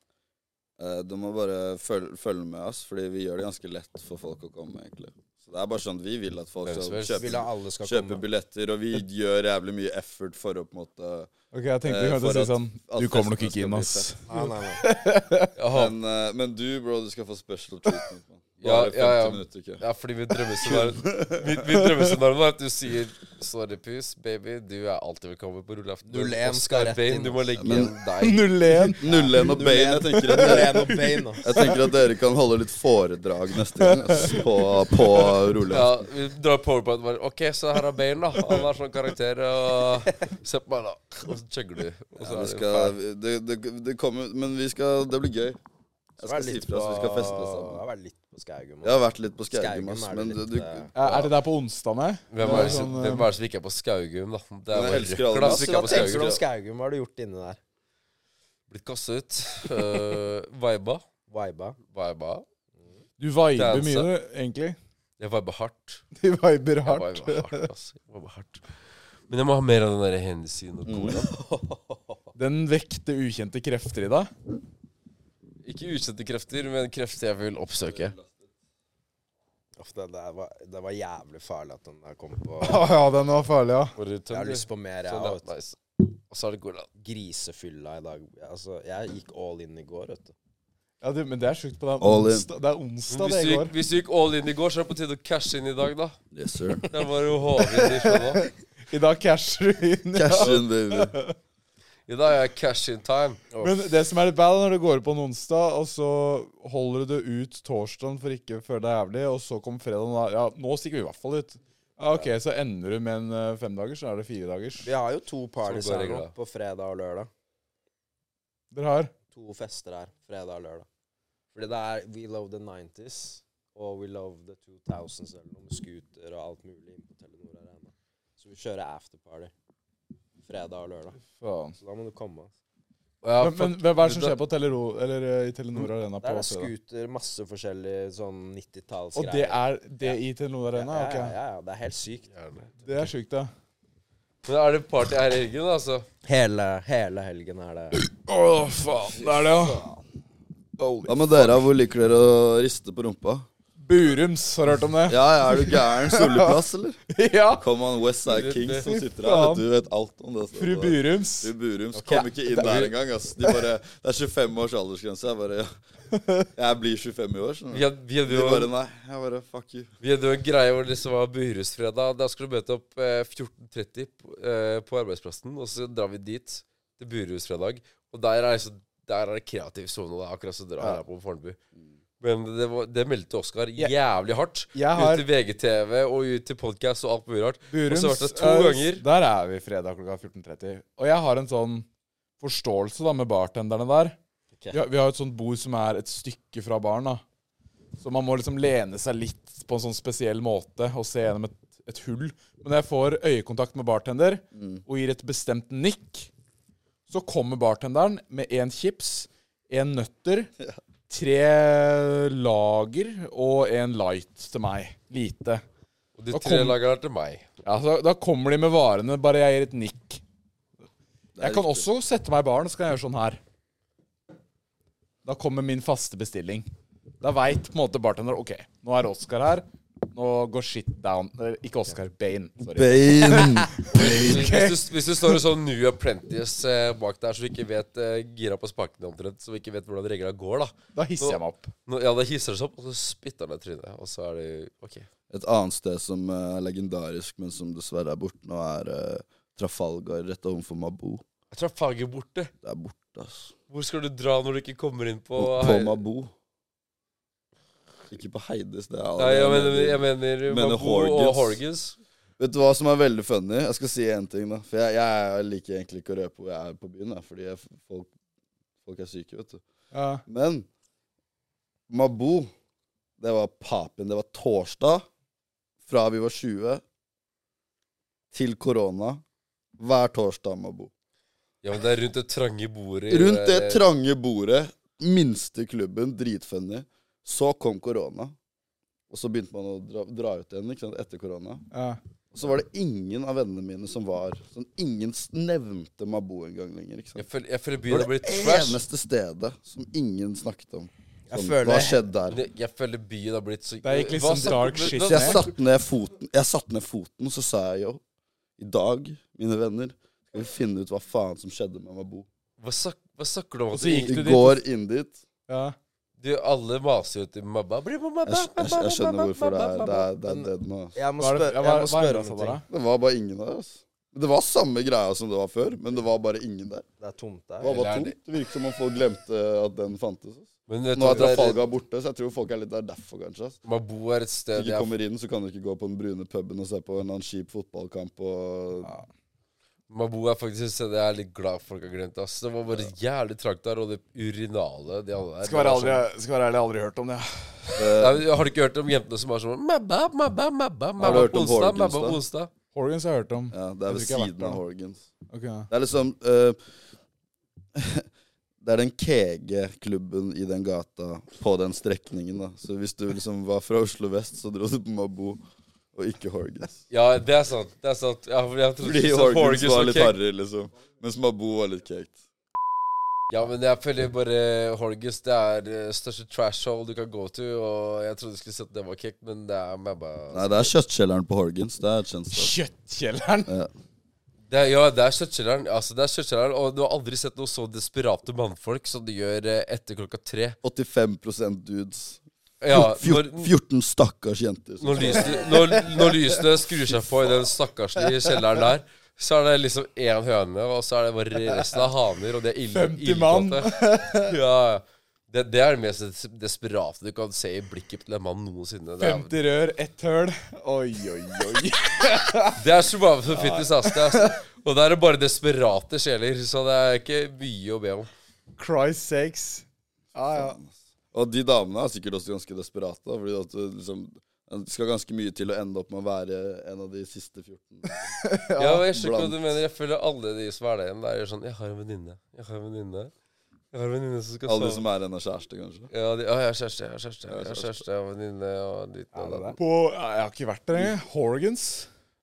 C: Eh, du må bare følge, følge med oss, fordi vi gjør det ganske lett for folk å komme, egentlig. Så det er bare sånn vi vil at folk
B: Hvem som
C: skal
B: helst.
D: Vi vil
C: kjøpe,
D: at alle skal
C: kjøpe
D: komme.
C: billetter, og vi gjør jævlig mye effort for å på en måte
A: Ok, jeg tenkte
C: eh,
A: vi
C: for
A: kunne si
C: at-
A: sånn
C: at
A: Du kommer nok
C: festene
A: ikke
C: skal
A: inn,
C: bli
A: ass.
C: fett.
D: Nei, nei, nei.
B: Jeg håper-
C: Men, eh, men du, bro, du skal få special treatment. Man.
B: Ja,
C: Bare 50
B: ja, ja.
C: minutter kø.
B: Ja, fordi mitt drømmescenario mitt, mitt drømmescenario var at du sier Sorry, pus, baby, du er alltid velkommen på rullaften.
D: Null en
B: Oscar
D: skal rett
B: Bane,
D: inn,
B: Du må
D: altså.
B: legge
C: Men-
B: igjen deg.
A: 0-1.
C: Null en og Bane. Jeg tenker, at dere,
D: Ren og bein, altså. da.
C: jeg tenker at dere kan holde litt foredrag neste gang ass, på, på rolig.
B: Ja, vi drar powerpoint og bare OK, så her er Bane, da. Han har sånn karakter, og Se på meg, da. Og så chugger du. Og så
C: Ja, vi
B: er det
C: skal,
B: ferdig.
C: det, det, det kommer, men vi skal, det blir gøy. Jeg
D: Så er
C: skal
D: det
C: si
D: litt
C: fra, så vi skal feste oss
D: på-
C: sammen.
D: Jeg har vært litt på Skaugum. altså.
C: Jeg har vært litt på Skaugum,
D: Skaugum
C: ass,
D: er det
C: men
D: litt,
C: du,
D: eh,
A: Ja, Er det der på onsdagene?
B: Hvem er sånn, eh, det som hvem er det som ikke er på Skaugum, da? Det
C: Men
B: er
C: jeg
B: bare
C: elsker alle
B: røkla som
C: disse.
B: ikke er
D: Hva
B: på
D: tenker du
B: Skaugum.
D: om Skaugum? Hva har du gjort inni der?
B: Blitt kassa ut. Øh, Viba.
D: Viba?
B: Viba.
A: Du viber
B: Danse.
A: mye, du,
C: altså-
A: egentlig.
B: Jeg viber hardt.
A: Du viber
B: Jeg
A: hardt.
B: viber hardt, altså. Jeg viber hardt. Men jeg må ha mer av den der hensynet og
C: Mm.
B: cola.
A: Den vekte ukjente krefter i deg.
B: Ikke ukjente krefter, men krefter jeg vil oppsøke.
D: Uff, det, det, var, det var jævlig farlig at den der kom på.
A: Å ja, den var farlig, ja.
D: Jeg har lyst på mer, jeg
B: Sånn,
D: òg.
B: ja, nice. Og så er det cola.
D: Grisefylla i dag. Altså, jeg gikk all in i går, vet du.
A: ja du, men det er sjukt på deg.
C: All in.
A: Onsdag, det er onsdag
B: Hvis
A: det
B: du, gikk,
A: går.
B: hvis du gikk all in i går, så er det på tide å cashe inn i dag, da.
C: Yes, sir.
B: Der var jo HV i showet.
A: I dag casher du inn. ja.
C: Cash in, baby.
B: I dag er jeg cash in time. Og
A: Men det som er litt bad, er når du går på en onsdag, og så holder du det ut torsdagen for ikke å føle deg jævlig, og så kommer fredagen, og da Ja, nå stikker vi i hvert fall ut. Ja, OK, så ender du med en eh, femdagers, så er det firedagers.
D: Vi har jo to parties
B: går
D: her nå,
B: regla.
D: på fredag og lørdag.
A: Dere har
D: To fester her, fredag og lørdag. Fordi det er We Love the 90s og We Love the 2000s eller noe med scooter og alt mulig inn på Telenor Arena. Så vi kjører afterparty fredag og lørdag.
A: Faen.
D: Så da må du komme. altså. ass.
B: jeg har
A: Men, men
B: fått-
A: hva er det som
B: du-
A: skjer på Telero, eller, eh, i Telenor Arena på
D: Der er det
A: fredag?
D: scooter, masse forskjellig sånn 90-tallsgreier.
A: Og det er det i Telenor Arena?
D: ja, ja,
A: Ok.
D: ja, ja, det er helt sykt.
A: Det er sjukt, ja.
B: Men er det party her i helgen, altså?
D: Hele, hele helgen er det
A: Å, faen. Det er det, ja.
C: Hva med dere? Hvor liker dere å riste på rumpa?
A: Burums, har du hørt om det?
C: Ja, ja, er du gæren? Soleplass, eller?
A: ja.
C: Kom an, Westside Kings som sitter her. Du vet alt om det. stedet
A: Fru
C: der.
A: Burums.
C: Fru Burums kom ikke inn der engang. ass. De bare, det er 25 års aldersgrense. Jeg bare ja. Jeg blir 25 i år,
B: Vi
C: skjønner du.
B: hadde, vi hadde
C: De
B: jo
C: bare nei. Jeg bare fuck you.
B: Vi hadde jo en greie hvor det liksom var Burhusfredag. Da skulle du møte opp eh, 14.30 på, eh, på arbeidsplassen, og så drar vi dit til Burhusfredag. Og der er, liksom, der er det kreativ sone, og det er akkurat som drar her på Fornebu. Men det, var, det meldte Oskar jævlig hardt.
A: Jeg har-
B: Ut til VGTV og ut til podkast og alt mulig rart. Og
A: Burums,
B: så ble det to
A: eh,
B: ganger.
A: Der er vi fredag klokka 14.30. Og jeg har en sånn forståelse da med bartenderne der.
D: Ok.
A: Vi, har, vi har et sånt bord som er et stykke fra baren. da Så man må liksom lene seg litt på en sånn spesiell måte og se gjennom et, et hull. Men når jeg får øyekontakt med bartender
B: Mm.
A: og gir et bestemt nikk, så kommer bartenderen med én chips, én nøtter, tre lager og en light til meg. Lite.
B: Og de
A: Og
B: tre
A: kom-
B: lagene er til meg.
A: Ja, så Da kommer de med varene, bare jeg gir et nikk.
C: er
A: Jeg kan
C: riktig.
A: også sette meg i baren, så kan jeg gjøre sånn her. Da kommer min faste bestilling. Da veit på en måte bartender OK, nå er Oscar her. Nå går shit down. Eller, ikke Oscar, Bane. Sorry.
C: Bane.
B: Hvis, du, hvis du står i sånn New Apprentice eh, bak der, så du ikke vet eh, gira på spakene omtrent, så du ikke vet hvordan reglene går, da.
A: Da hisser jeg meg opp.
B: Nå, ja, da hisser det seg opp, og så spytter han deg i trynet. Og så er det OK.
C: Et annet sted som eh, er legendarisk, men som dessverre er borte nå, er eh, Trafalgar rett overfor Mabo.
B: Jeg tror faget er borte.
C: Det er borte, ass.
B: Hvor skal du dra når du ikke kommer inn på
C: På Mabo. Ikke på Heides, det er
B: Nei, jeg mener, jeg mener
C: mener
B: Mabo og
C: Horgans.
B: Horgans.
C: Vet du hva som er veldig funny? Jeg skal si én ting, da. For jeg, jeg liker egentlig ikke å røpe hvor jeg er på byen, da, fordi jeg, folk, folk er syke, vet du.
A: Ja.
C: Men Mabo, det var papen. Det var torsdag fra vi var 20 til korona. Hver torsdag, Mabo.
B: Ja, men det er rundt det trange bordet. eh,
C: Rundt det trange bordet, minste klubben, dritfunny. Så kom korona. Og så begynte man å dra, dra ut igjen ikke sant, etter korona.
A: Ja.
C: Og så var det ingen av vennene mine som var sånn, Ingen s- nevnte Mabo engang lenger. ikke
B: Jeg
C: sant?
B: føler, jeg føler
C: Det
B: byen har
C: var
B: blitt
C: det
B: trash.
C: eneste stedet som ingen snakket om. Sånn,
D: føler-
C: Hva skjedde der?
B: Det- Jeg føler byen har blitt
A: Det
B: så
A: gikk litt
B: Hva
A: sånn
B: sa-
A: dark
B: men-
A: shit
B: men-
C: Så jeg satte ned foten, jeg satte ned foten og så sa jeg jo I dag, mine venner, skal vi finne ut hva faen som skjedde med Mabo.
B: Hva, sak, hva snakker du om?
A: Og
B: At
A: så gikk
B: du,
C: Vi
A: du dit.
C: går inn dit.
A: ja.
B: du, alle maser jo til mamma. Bli med mamma,
C: Jeg, skj- jeg, skj- jeg skjønner hvorfor det er, det er, det er dead nå. ass.
D: Jeg må
A: Hva er det,
D: spørre,
A: ja, hva,
D: jeg
A: hva
D: må
A: er
D: spørre
A: det
D: om
A: for
D: en
A: deg?
D: ting.
C: Det var bare ingen der. altså. Det var samme greia som det var før, men det var bare ingen der.
D: Det er tomt
C: Det
D: der.
C: var bare
I: Eller er
C: tomt. Det virket som om folk glemte at den fantes. ass.
B: Men vet du
C: Nå
B: hva,
C: er
B: det er,
C: Trafalgar borte, så jeg tror folk er litt der derfor, kanskje. ass.
B: Mabo er et
C: Hvis
B: sted
C: du ikke
B: jeg
C: kommer inn, så kan du ikke gå på den brune puben og se på en eller annen kjip fotballkamp og
B: Mabo er faktisk et sted jeg er litt glad folk har glemt. Ass. Det var bare jævlig trangt der, og det urinale de alle der.
A: Skal være,
B: det var
A: aldri, skal være ærlig, aldri hørt om det.
B: sånn- Nei, men Har du ikke hørt om jentene som er sånn Mabba, mabba, mabba,
C: Har du
B: mabba
C: hørt
B: på
C: om
B: onsdag,
C: Horgans,
B: mabba
C: da?
B: på onsdag?
A: Horgans har jeg hørt om.
C: Ja, det er
A: Jeg tror
C: ved
A: ikke jeg har vært
C: siden
A: der.
C: av Horgans.
A: Ok, ja.
C: Det er liksom eh, Det er den kegeklubben i den gata på den strekningen, da. Så hvis du liksom var fra Oslo vest, så dro du på Mabo og ikke Horgans.
B: Ja, det er sant. Det er sant. Ja, for jeg trodde
C: Fordi
B: så
C: Horgans
B: Horgans
C: var
B: og
C: litt
B: Keg-
C: harry, liksom. Mens Mabo var litt caked.
B: Ja, men jeg føler bare Horgus det er eh, største trash hole du kan gå til. Og jeg trodde du skulle si at det var kekt, men det er mabba.
C: Nei, det er kjøttkjelleren på Horgans. Det er et kjent sted.
A: Kjøttkjelleren!
C: Ja.
B: Det er, ja, det er kjøttkjelleren. Altså, det er kjøttkjelleren, og du har aldri sett noe så desperate mannfolk som du gjør eh, etter klokka tre.
C: 85 dudes.
B: Ja,
C: Fjor-
B: når,
C: 14 stakkars jenter. som-
B: når, lysene, når, når lysene skrur seg på i den stakkarslige kjelleren der, så er det liksom én høne, og så er det bare resten av haner, og det er ille,
A: 50 mann.
B: ildkåte. Ja, ja. det, det er det mest des- desperate du kan se i blikket til en mann noensinne. Det er,
A: 50 rør, ett høl. Oi, oi, oi.
B: Det er Shubham for fitness, ass. Det er, ass. Og der er det bare desperate sjeler, så det er ikke mye å be om.
A: Christ sakes. Ja, ja.
C: Og de damene er sikkert også ganske desperate. da, Fordi at du liksom det skal ganske mye til å ende opp med å være en av de siste 14.
B: Ja, og jeg skjønner ikke hva
C: blant.
B: du mener. Jeg føler alle de som er der igjen, der gjør sånn Jeg har en venninne. Jeg har en venninne. Jeg har en venninne som skal
C: Alle de
B: sove.
C: som er hennes kjæreste, kanskje.
B: Ja, de, å, jeg har kjæreste, jeg har kjæreste, jeg har kjæreste, jeg har venninne og ditt og datt.
A: På, ja, jeg har ikke vært der engang. Horgans.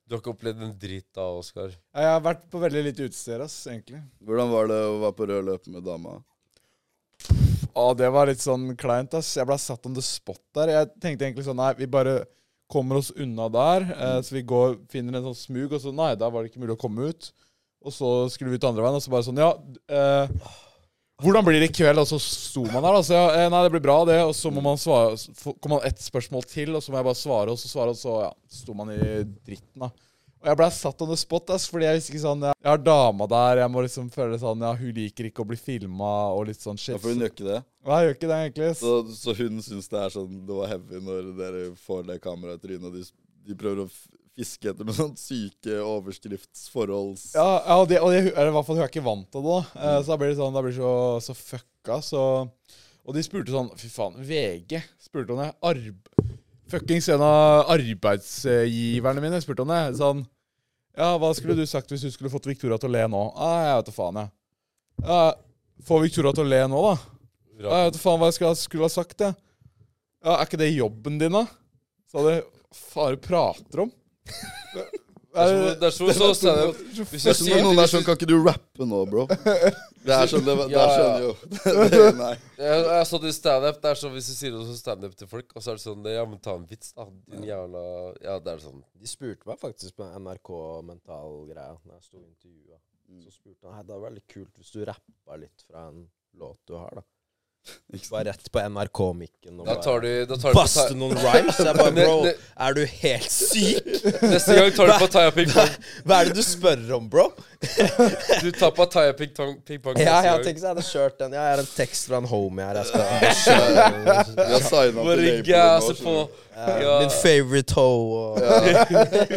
B: Du har ikke opplevd en dritt da, Oskar.
A: Ja, Jeg har vært på veldig lite utesteder, ass, egentlig.
C: Hvordan var det å være på rød løper med dama?
A: Å, det var litt sånn kleint, ass. Jeg ble satt on the spot der. Jeg tenkte egentlig sånn, nei, vi bare kommer oss unna der. Eh,
C: Mm.
A: så vi går, finner en sånn smug, og så nei, der var det ikke mulig å komme ut. Og så skulle vi ut andre veien, og så bare sånn, ja, d- eh, hvordan blir det i kveld? Og så sto man der, altså, ja, eh, nei, det blir bra det. Og så må man svare, s- få- kom man ett spørsmål til, og så må jeg bare svare, og så svare, og så ja, sto man i dritten da. Og jeg ble satt on the spot, ass, fordi jeg visste ikke sånn, jeg, jeg har dama der, jeg må liksom føle sånn, ja, hun liker ikke å bli filmet, og litt sånn shit.
C: Ja, for hun gjør ikke det.
A: Nei, jeg gjør ikke det, egentlig.
C: Så, så hun syns det er sånn det var heavy når dere får det kameraet i trynet, og de, de prøver å f- fiske etter med sånne syke overskriftsforholds...
A: Ja, ja og det, og det, eller i hvert fall hun er ikke vant til det. da. Eh, Så da blir det sånn, da blir det så, så fucka. Så, og de spurte sånn Fy faen, VG spurte om det. Arb Fuckings en av arbeidsgiverne mine spurte om det. Sånn Ja, hva skulle du sagt hvis du skulle fått Victoria til å le nå? Ah, jeg vet da faen, jeg. Ja, få Victoria til å le nå, da. Ja, jeg vet da faen hva jeg skulle, ha- skulle ha sagt, jeg. Ja, er ikke det jobben din, da? Så hadde jeg Hva er det du prater om?
B: Det er som- det er som så standup. Hvis jeg
C: Det er som når
B: sier
C: noen er sånn Kan ikke du rappe nå, bro? Det er sånn, det, var- det er
B: Ja,
C: sånn jo. Det, nei.
B: Jeg jeg har stått i standup. Det er sånn hvis du sier noe som standup til folk, og så er det sånn Ja, men ta en vits, da, din jævla Ja, det er sånn.
D: De spurte meg faktisk på NRK Mental-greia når jeg sto i intervjuet.
B: Mm.
D: Så spurte han «Hei, det hadde vært litt kult hvis du rappa litt fra en låt du har, da. Bare rett på NRK-mikken og
B: Da tar du da tar du på
D: Baste
B: ta-
D: noen rhymes. Jeg bare
B: Ne-
D: Bro,
B: ne-
D: er du helt syk?
B: Neste gang tar du på Taya Ping Pong.
D: Hva er det du spør om, bro?
B: Du tar på Taya Ping Tong- Ping Pong.
D: Ja,
B: neste
D: jeg
B: gang.
D: tenkte jeg hadde kjørt den. Ja, jeg har en tekst fra en homie her. Jeg skal
C: Vi har signet
B: Bare
C: til
B: gasse
C: labelen
B: på.
C: nå. så-
B: Ja.
D: liksom. Min favorite hoe og
C: Ja.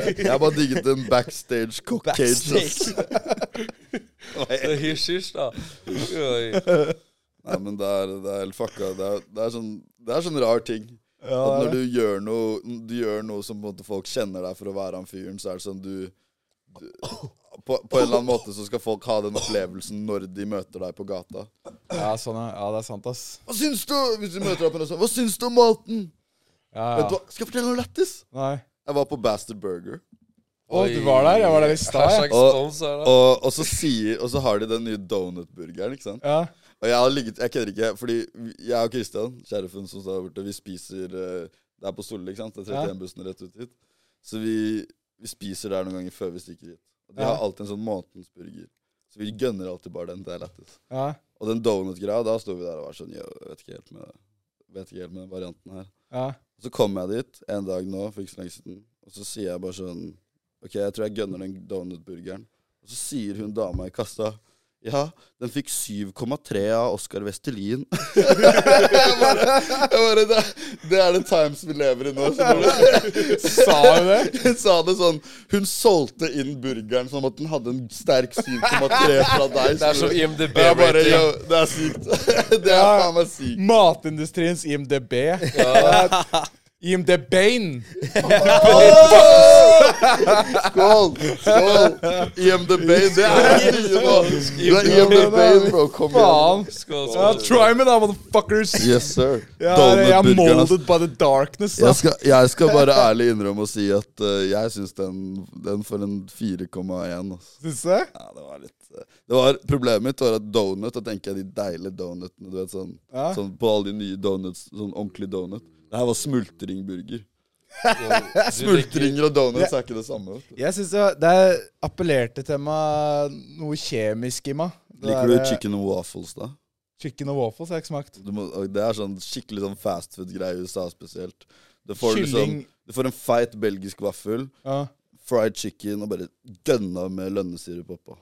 C: Jeg bare digget den backstage cock cage. ass.
D: backstage.
B: Så Hysj, hysj, da. Oi.
C: Nei, men det er, det er helt fucka. Det er, det er, sånn, det er sånn rar ting.
A: Ja, det
C: At når
A: er det.
C: du gjør noe, du gjør noe som på en måte folk kjenner deg for å være han fyren, så er det sånn du, du på, på en eller annen måte så skal folk ha den opplevelsen når de møter deg på gata.
A: Ja, sånn, ja. ja, det er sant, ass.
C: Hva syns du Hvis du møter deg på en restaurant, hva syns du om maten?
A: Ja,
C: Vet du
A: ja.
C: hva, Skal jeg fortelle noe lættis?
A: Nei.
C: Jeg var på Bastard Burger,
A: Å, du var der? Jeg var der i stad, jeg.
B: Hashtag spons her, da.
C: og, og, så sier, og så har de den nye donutburgeren, ikke sant?
A: Ja.
C: Og jeg har ligget Jeg kødder ikke, fordi vi- jeg og Kristian, sheriffen som står borte, vi spiser eh, Det er på Stole, ikke sant? Det er
A: Ja.
C: 31-bussen rett ut hit. Så vi, vi spiser der noen ganger før vi stikker hit. Og de
A: Ja.
C: har alltid en sånn månedens burger. Så vi gønner alltid bare den. Det er lettest.
A: ja.
C: Og den donut-greia, da sto vi der og var sånn «Yo, Jeg vet ikke helt med Vet ikke helt med den varianten her.
A: Ja.
C: Og så kom jeg dit en dag nå, for ikke så lenge siden, og så sier jeg bare sånn OK, jeg tror jeg gønner den donutburgeren. Og så sier hun dama i kassa ja, den fikk 7,3 av Oskar Vestelin. jeg bare, jeg bare det, det er the times vi lever i nå. skjønner du?
A: Sa du det?
C: Hun sa det sånn Hun solgte inn burgeren som at den hadde en sterk 7,3 fra deg.
B: Det er som
C: skjønner du?
B: IMDb
C: Det er bare,
B: rating.
C: yo, det er sykt. Det er faen meg sykt.
A: Matindustriens IMDb. IMDb-en.
C: Skål! Skål! IMDb, det er det nye nå. Du er IMDb, bro. Kom igjen.
A: Faen.
B: Skål,
A: Ja,
B: skål.
A: try me, da, motherfuckers.
C: Yes, sir.
A: Ja, jeg er
C: Donutburgeren, ass.
A: molded by the darkness. Da.
C: Jeg skal, jeg skal bare ærlig innrømme og si at eh, jeg syns den, den får en 4,1. ass.
A: Syns du?
C: Ja, det var litt eh, det var, Problemet mitt var at donut, da tenker jeg de deilige donutene. Du vet, sånn,
A: Ja.
C: sånn På alle de nye donuts. Sånn ordentlig donut. Det her var smultringburger. Smultringer og donuts er ikke det samme. Vet du.
A: Jeg syns det, det er- appellerte til meg noe kjemisk i meg. Det
C: Liker du
A: der, eh,
C: chicken and waffles, da?
A: Chicken og waffles har jeg ikke smakt.
C: Du må, og det er sånn skikkelig sånn fastfood-greie i USA spesielt. Du får, liksom,
A: Kylling
C: du får en feit belgisk vaffel,
A: ja.
C: fried chicken og bare gønna med lønnesirup oppå.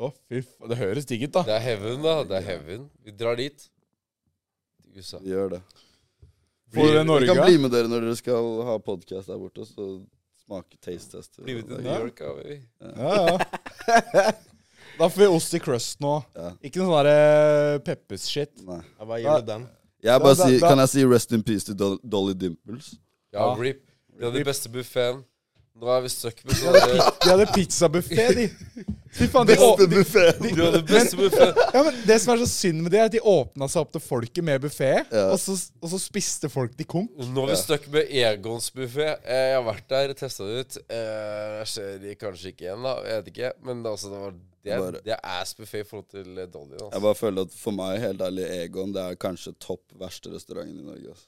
A: Å, fy faen. Det høres digg ut, da.
B: Det er heaven, da. Det er heaven. Vi drar dit. Til USA.
C: Vi Gjør det.
A: Får du det i
C: Vi
A: Norge?
C: kan
A: da?
C: bli med dere når dere skal ha podkast der borte. Så smake taste-test.
B: Blir vi til
C: Det er
B: New York, da? baby?
A: Ja, ja. da får vi ost i crust nå.
C: Ja.
A: Ikke noe sånn derre peppers-shit.
C: gøy. Nei.
D: Ja, hva gir du den?
C: Jeg bare
A: Da- da-
C: sier-
A: da-
C: Kan jeg si rest in peace til Dol- Dolly Dimples?
A: Ja.
B: Ja, RIP. Vi hadde den beste buffeen. Nå er vi stuck med sånn, eh,
A: De hadde,
B: sånne
A: pi- de hadde pizzabuffé, de. Fy faen, de å-
C: Beste buffeen!
B: Du hadde beste buffeen.
A: ja, men det som er så synd med det, er at de åpna seg opp til folket med buffé,
C: Ja.
A: og, så- og så spiste folk de konk.
B: Nå er vi stuck med Egons buffé. Eh, Jeg har vært der, testa det ut. Eh, Jeg ser de kanskje ikke igjen, da. Jeg vet ikke. Men altså, det, var, det, er,
C: Bare-
B: det er ass buffé i forhold til eh, Dolly. Altså.
C: Jeg bare føler at For meg, helt ærlig, Egon det er kanskje topp verste restauranten i Norge. Altså.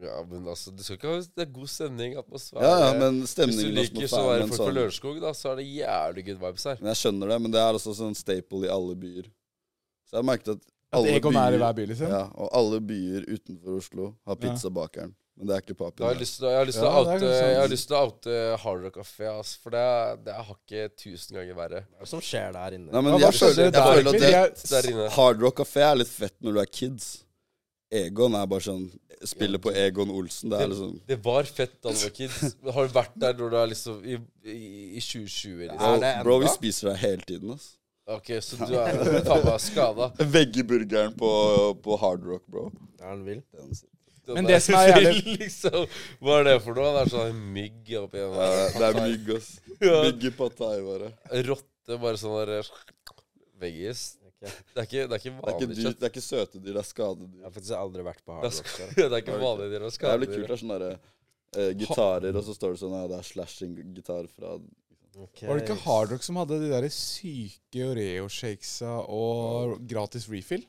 B: Ja, men altså, du skal ikke ha Det er god stemning, atmosfære.
C: Ja, ja, men
B: Hvis du
C: stemningen hos
B: liker sånn
C: atmosfæren,
B: der
C: men
B: folk på
C: sånn-
B: Lørenskog, da, så er det jævlig good vibes her.
C: Men jeg skjønner det, men det er også sånn staple i alle byer. Så jeg har merket at
A: At
C: alle
A: Egon er i
C: byer,
A: hver by, liksom.
C: ja, og alle byer utenfor Oslo har
A: Ja.
C: pizzabakeren. Men det er ikke
B: Da har jeg
C: papir.
B: lyst til, å- jeg har lyst
A: Ja,
B: til
A: det
B: å
A: er
B: oute,
A: kanskje sant.
B: jeg har lyst til å oute Hard Rock Café, ass, for det, er- det er hakket tusen ganger verre.
D: Hva er det som skjer der
C: Nei,
D: inne?
C: men
A: Ja, hva
C: jeg
A: skjedde
C: føler, jeg
A: der
C: føler
A: egentlig?
C: at
B: Det er inne.
C: det, Hard Rock Café er litt fett når du er kids. Egon er bare sånn Spiller på Egon Olsen. Det er liksom
B: Det var fett da du var kids. Men Har du vært der når du er liksom i, i, i 2020?
C: Bro,
B: Liksom?
C: bro vi spiser deg hele tiden, ass.
B: Ok, så du er faen meg skada.
C: Veggeburgeren på, på Hard Rock, bro.
D: Er den vill?
A: Men det som er jævlig-
B: liksom, Hva er det for noe? Det er sånn mygg oppi en
C: Eh, Det er mygg, ass.
B: Ja.
C: Mygg i pattai, bare.
B: rotte, bare sånn der Veggis. Det er ikke, det er ikke
C: Det er
B: vanlig
C: ikke, dyr,
B: kjøtt.
C: det er ikke søte dyr, det er skadedyr.
D: Jeg har faktisk aldri vært
B: Det
D: på
B: er
D: Hard Rock.
B: sk-
D: før.
B: Det er ikke vanlig dyr å
C: Det er
B: skade
C: jævlig kult. Det er sånn derre eh, gitarer, og så står det sånn Ja, det er slashing-gitar fra
D: Ok.
A: Var det ikke Hard Rock som hadde de der syke Oreo-shakesa og gratis refill?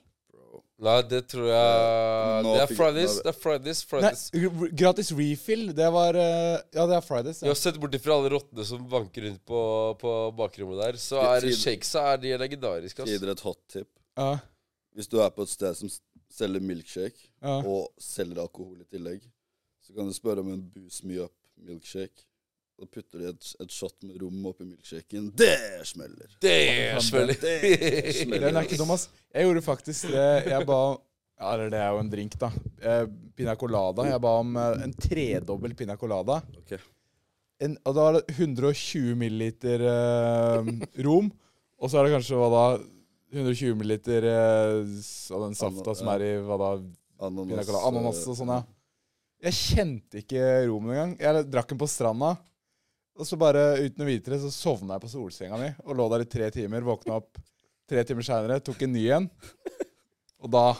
B: Nei, det tror jeg
C: Nå
B: Det er
C: fikk-
B: Fridays.
C: nå-
B: Det er Fridays.
A: Nei,
B: Fridays.
A: gr- gratis refill, det var eh, Ja, det er Fridays.
B: Jeg
A: Ja.
B: har sett bort ifra alle rottene som vanker rundt på, på bakrommet der, så er
C: Tid-
B: shakesa er de legendariske, ass.
C: Tidligere et hot tip.
A: Ja,
C: Hvis du er på et sted som s- selger milkshake,
A: ja.
C: og selger alkohol i tillegg, så kan du spørre om en boost me up milkshake. Da putter de et, et shot med rom oppi milkshaken. Det smeller!
B: Det er selvfølgelig
C: Det smeller.
A: Den er ikke dum, ass. Jeg gjorde faktisk det. Jeg ba Ja, eller det er jo en drink, da. Eh, Pina colada. Jeg ba om eh, en tredobbel pina colada.
C: Ok.
A: En, og da er det 120 milliliter eh, rom, og så er det kanskje hva da 120 milliliter eh, s- av den safta som er i hva da, pina
C: Ananas. eh,
A: colada, ananas
B: eh,
A: og sånn, ja. Jeg kjente ikke romen engang. Jeg drakk den på stranda. Og så bare uten å vite det, så sovna jeg på solsenga mi og lå der i tre timer. Våkna opp tre timer seinere, tok en ny en. Og da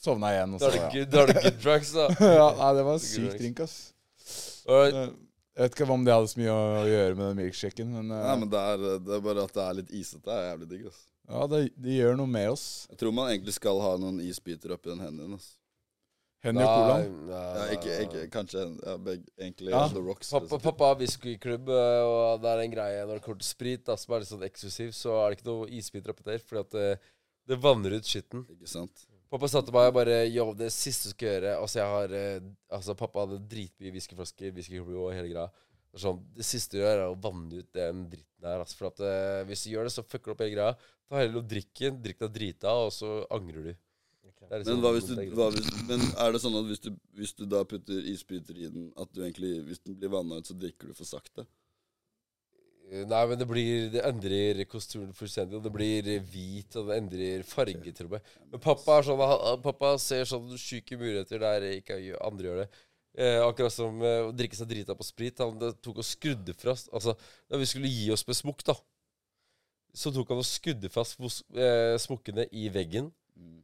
A: sovna jeg igjen. Og
B: Da
A: så,
B: er det
A: ja.
B: good, da er det good drugs, da.
A: ja, nei, det var en
B: Det er good
A: syk drink, ass.
B: Og
A: Jeg vet ikke om det hadde så mye å, å gjøre med den milkshaken, men, eh,
C: Nei, men det er, det er bare at det er litt isete. Det er jævlig digg. ass.
A: ja, det, det gjør noe med oss.
C: Jeg tror man egentlig skal ha noen isbiter oppi den hendene. ass.
A: Henny og colaen.
C: Ja, ikke, ikke, kanskje ja, begge, egentlig
A: Ja.
C: The Rocks.
B: Pappa,
C: liksom.
B: pappa har whiskyklubb, eh, og det er en greie når det kommer til sprit, da, som er litt sånn eksklusiv, så er det ikke noe isbiter oppi der, fordi at det, det vanner ut skitten.
C: Ikke sant?
B: Pappa sa til meg bare Yo, det siste du skal gjøre Altså, jeg har eh, Altså, pappa hadde dritmye whiskyflasker, whiskyklubber og hele greia. Det er Sånn, det siste du gjør, er å vanne ut den dritten der. Altså, for at eh, hvis du gjør det, så fucker du opp hele greia. Ta heller og drikk den. Drikk deg drita, og så angrer du. Det er liksom-
C: Men, hva
D: Sånn
C: hvis du,
B: det er greit.
C: hva hvis, men er det sånn at hvis du, hvis du da putter isbiter i den, at du egentlig, hvis den blir vanna ut, så drikker du for sakte?
B: Eh, Nei, men det blir Det endrer kostymen fullstendig. Og det blir hvit, og det endrer farge, til og med. Men pappa er sånn han- Pappa ser sånn sjuke muligheter der ikke jeg gjør- andre gjør det. Eh, akkurat som eh, å drikke seg drita på sprit. Han det tok og skrudde fast Altså, da vi skulle gi oss med smokk, da, så tok han og skudde fast hos- eh, smokkene i veggen.
D: Mm,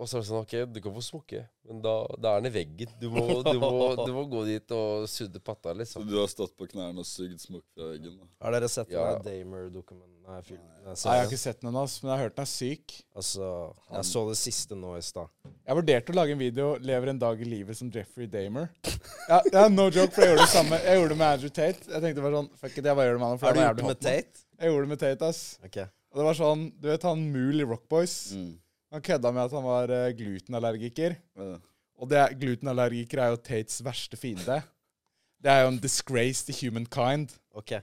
B: Og så er det sånn OK, du kan få smokke, men da, da er den i veggen. Du må, du, må, du må gå dit og sudde patta,
C: Så
B: liksom.
C: du har stått på knærne og sugd smokk fra veggen? da.
D: Har dere sett
B: Ja.
D: den Damer-dokumenten? Nei, film- nei,
A: Nei, jeg har
D: serien.
A: ikke sett den ennå, ass, men jeg har hørt den er syk.
D: Altså, jeg så det siste nå i stad.
A: Jeg vurderte å lage en video 'Lever en dag i livet' som Jeffrey Damer. Ja, ja, No joke, for jeg gjorde det samme Jeg gjorde det med Andrew Tate. Jeg tenkte bare sånn Fuck it, jeg bare gjør det med han. For
D: Har du
A: han er
D: gjort
A: jævlig
D: det med
A: hot nå.
D: Tate?
A: Jeg gjorde det med Tate, ass.
D: Ok.
A: Og det var sånn Du vet han Mool i Rock Boys?
C: Mm.
A: Han kødda med at han var eh, glutenallergiker.
C: Ja.
A: Og det, er- glutenallergiker er jo Tates verste fiende. Det er jo en disgrace to humankind.
D: ok.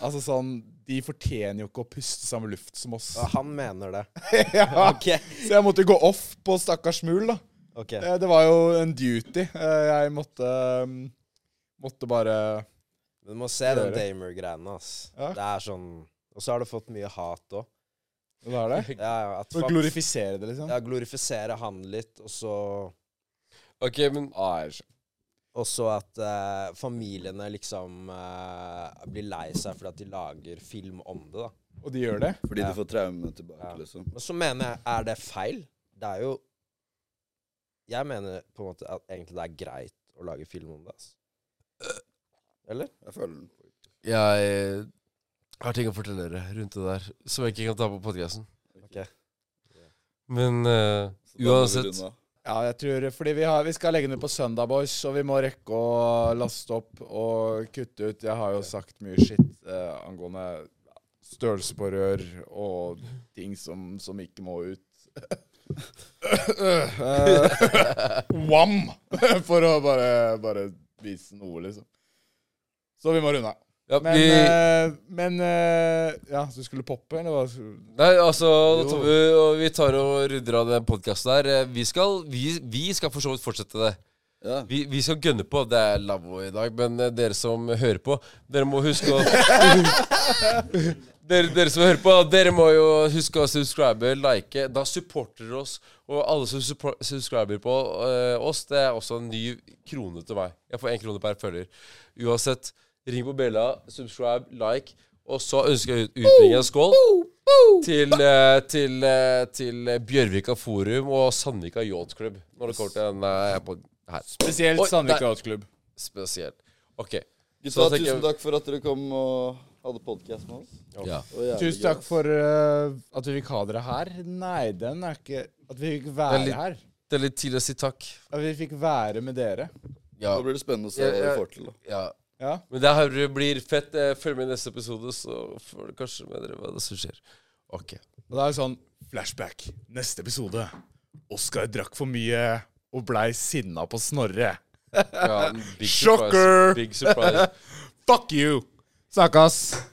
A: Altså sånn De fortjener jo ikke å puste samme luft som oss.
D: Ja, han mener det.
A: Ja.
D: Ok.
A: Så jeg måtte jo gå off på stakkars Mool, da.
D: Ok.
A: Eh, Det var jo en duty. Eh, Jeg måtte um, Måtte bare
D: Men du må se den
A: Gjøre.
D: Damer-greiene, ass.
A: Ja.
D: Det er sånn Og så har du fått mye hat òg.
A: Hva er det?
D: Ja, ja, at
A: For å
D: folk-
A: glorifisere det, liksom.
D: Ja, glorifisere han litt, og så
B: OK, men
D: Også at eh, familiene liksom eh, blir lei seg fordi at de lager film om det, da.
A: Og de gjør det.
C: Fordi
D: Ja.
C: du får traume tilbake,
D: Ja.
C: liksom.
D: Men så mener jeg, er det feil? Det er jo Jeg mener på en måte at egentlig det er greit å lage film om det, altså. Eller?
C: Jeg føler den.
B: Jeg eh, har ting å fortelle dere rundt det der som jeg ikke kan ta på podkasten.
D: Ok.
B: Men eh,
C: Så da må vi
B: uansett
C: runde av.
A: Ja, jeg tror Fordi vi, har, vi skal legge ned på søndag, boys, og vi må rekke å laste opp og kutte ut. Jeg har jo sagt mye skitt eh, angående størrelse på rør og ting som, som ikke må ut. Eh, Wam! For å bare, bare vise noe, liksom. Så vi må runde av.
B: ja,
A: Men,
B: vi,
A: eh, men eh, Ja, så du skulle poppe, eller hva? skulle-
B: Nei, altså da
A: Jo.
B: tar vi, og vi tar og runder av den podkasten der. Eh, Vi skal, vi, vi skal for så vidt fortsette det.
C: Ja.
B: Vi, vi skal gønne på. Det er lavvo i dag, men eh, dere som hører på, dere må huske å dere, dere som hører på, dere må jo huske å subscribe, like. Da supporter dere oss. Og alle som suppor- subscriber på eh, oss, det er også en ny krone til meg. Jeg får én krone per følger. Uansett, ring på bjella, subscribe, like. Og så ønsker jeg å ut- utbringe en skål til, eh, til, eh, til eh, Bjørvika Forum og Sandvika Yacht Club. Når det kommer til den eh, pod- her.
A: Spesielt
B: Oi,
A: Sandvik
B: nei.
A: Outklubb.
B: Spesielt. OK.
C: Gutta,
B: Så tenker jeg-
C: tusen takk for at dere kom og hadde podkast med oss.
B: Ja.
C: Det var jævlig
A: Tusen
C: gøy.
A: takk for eh, at vi fikk ha dere her. Nei, den er ikke At vi fikk være
B: Det er litt-
A: her.
B: Det er litt tidlig å si takk.
A: At vi fikk være med dere.
B: Ja.
C: Da blir det spennende å se
B: Jeg-
C: hva vi
B: jeg-
C: får til. da.
B: ja.
A: Ja.
B: Men det her blir fett. Eh, Følg med i neste episode, så får du kanskje med dere hva det er som skjer. Ok.
A: Og det er jo sånn flashback. Neste episode. Oskar drakk for mye og blei sinna på Snorre.
B: Ja, big
A: Shocker!
B: Surprise. Big surprise.
A: Fuck you! Snakkes.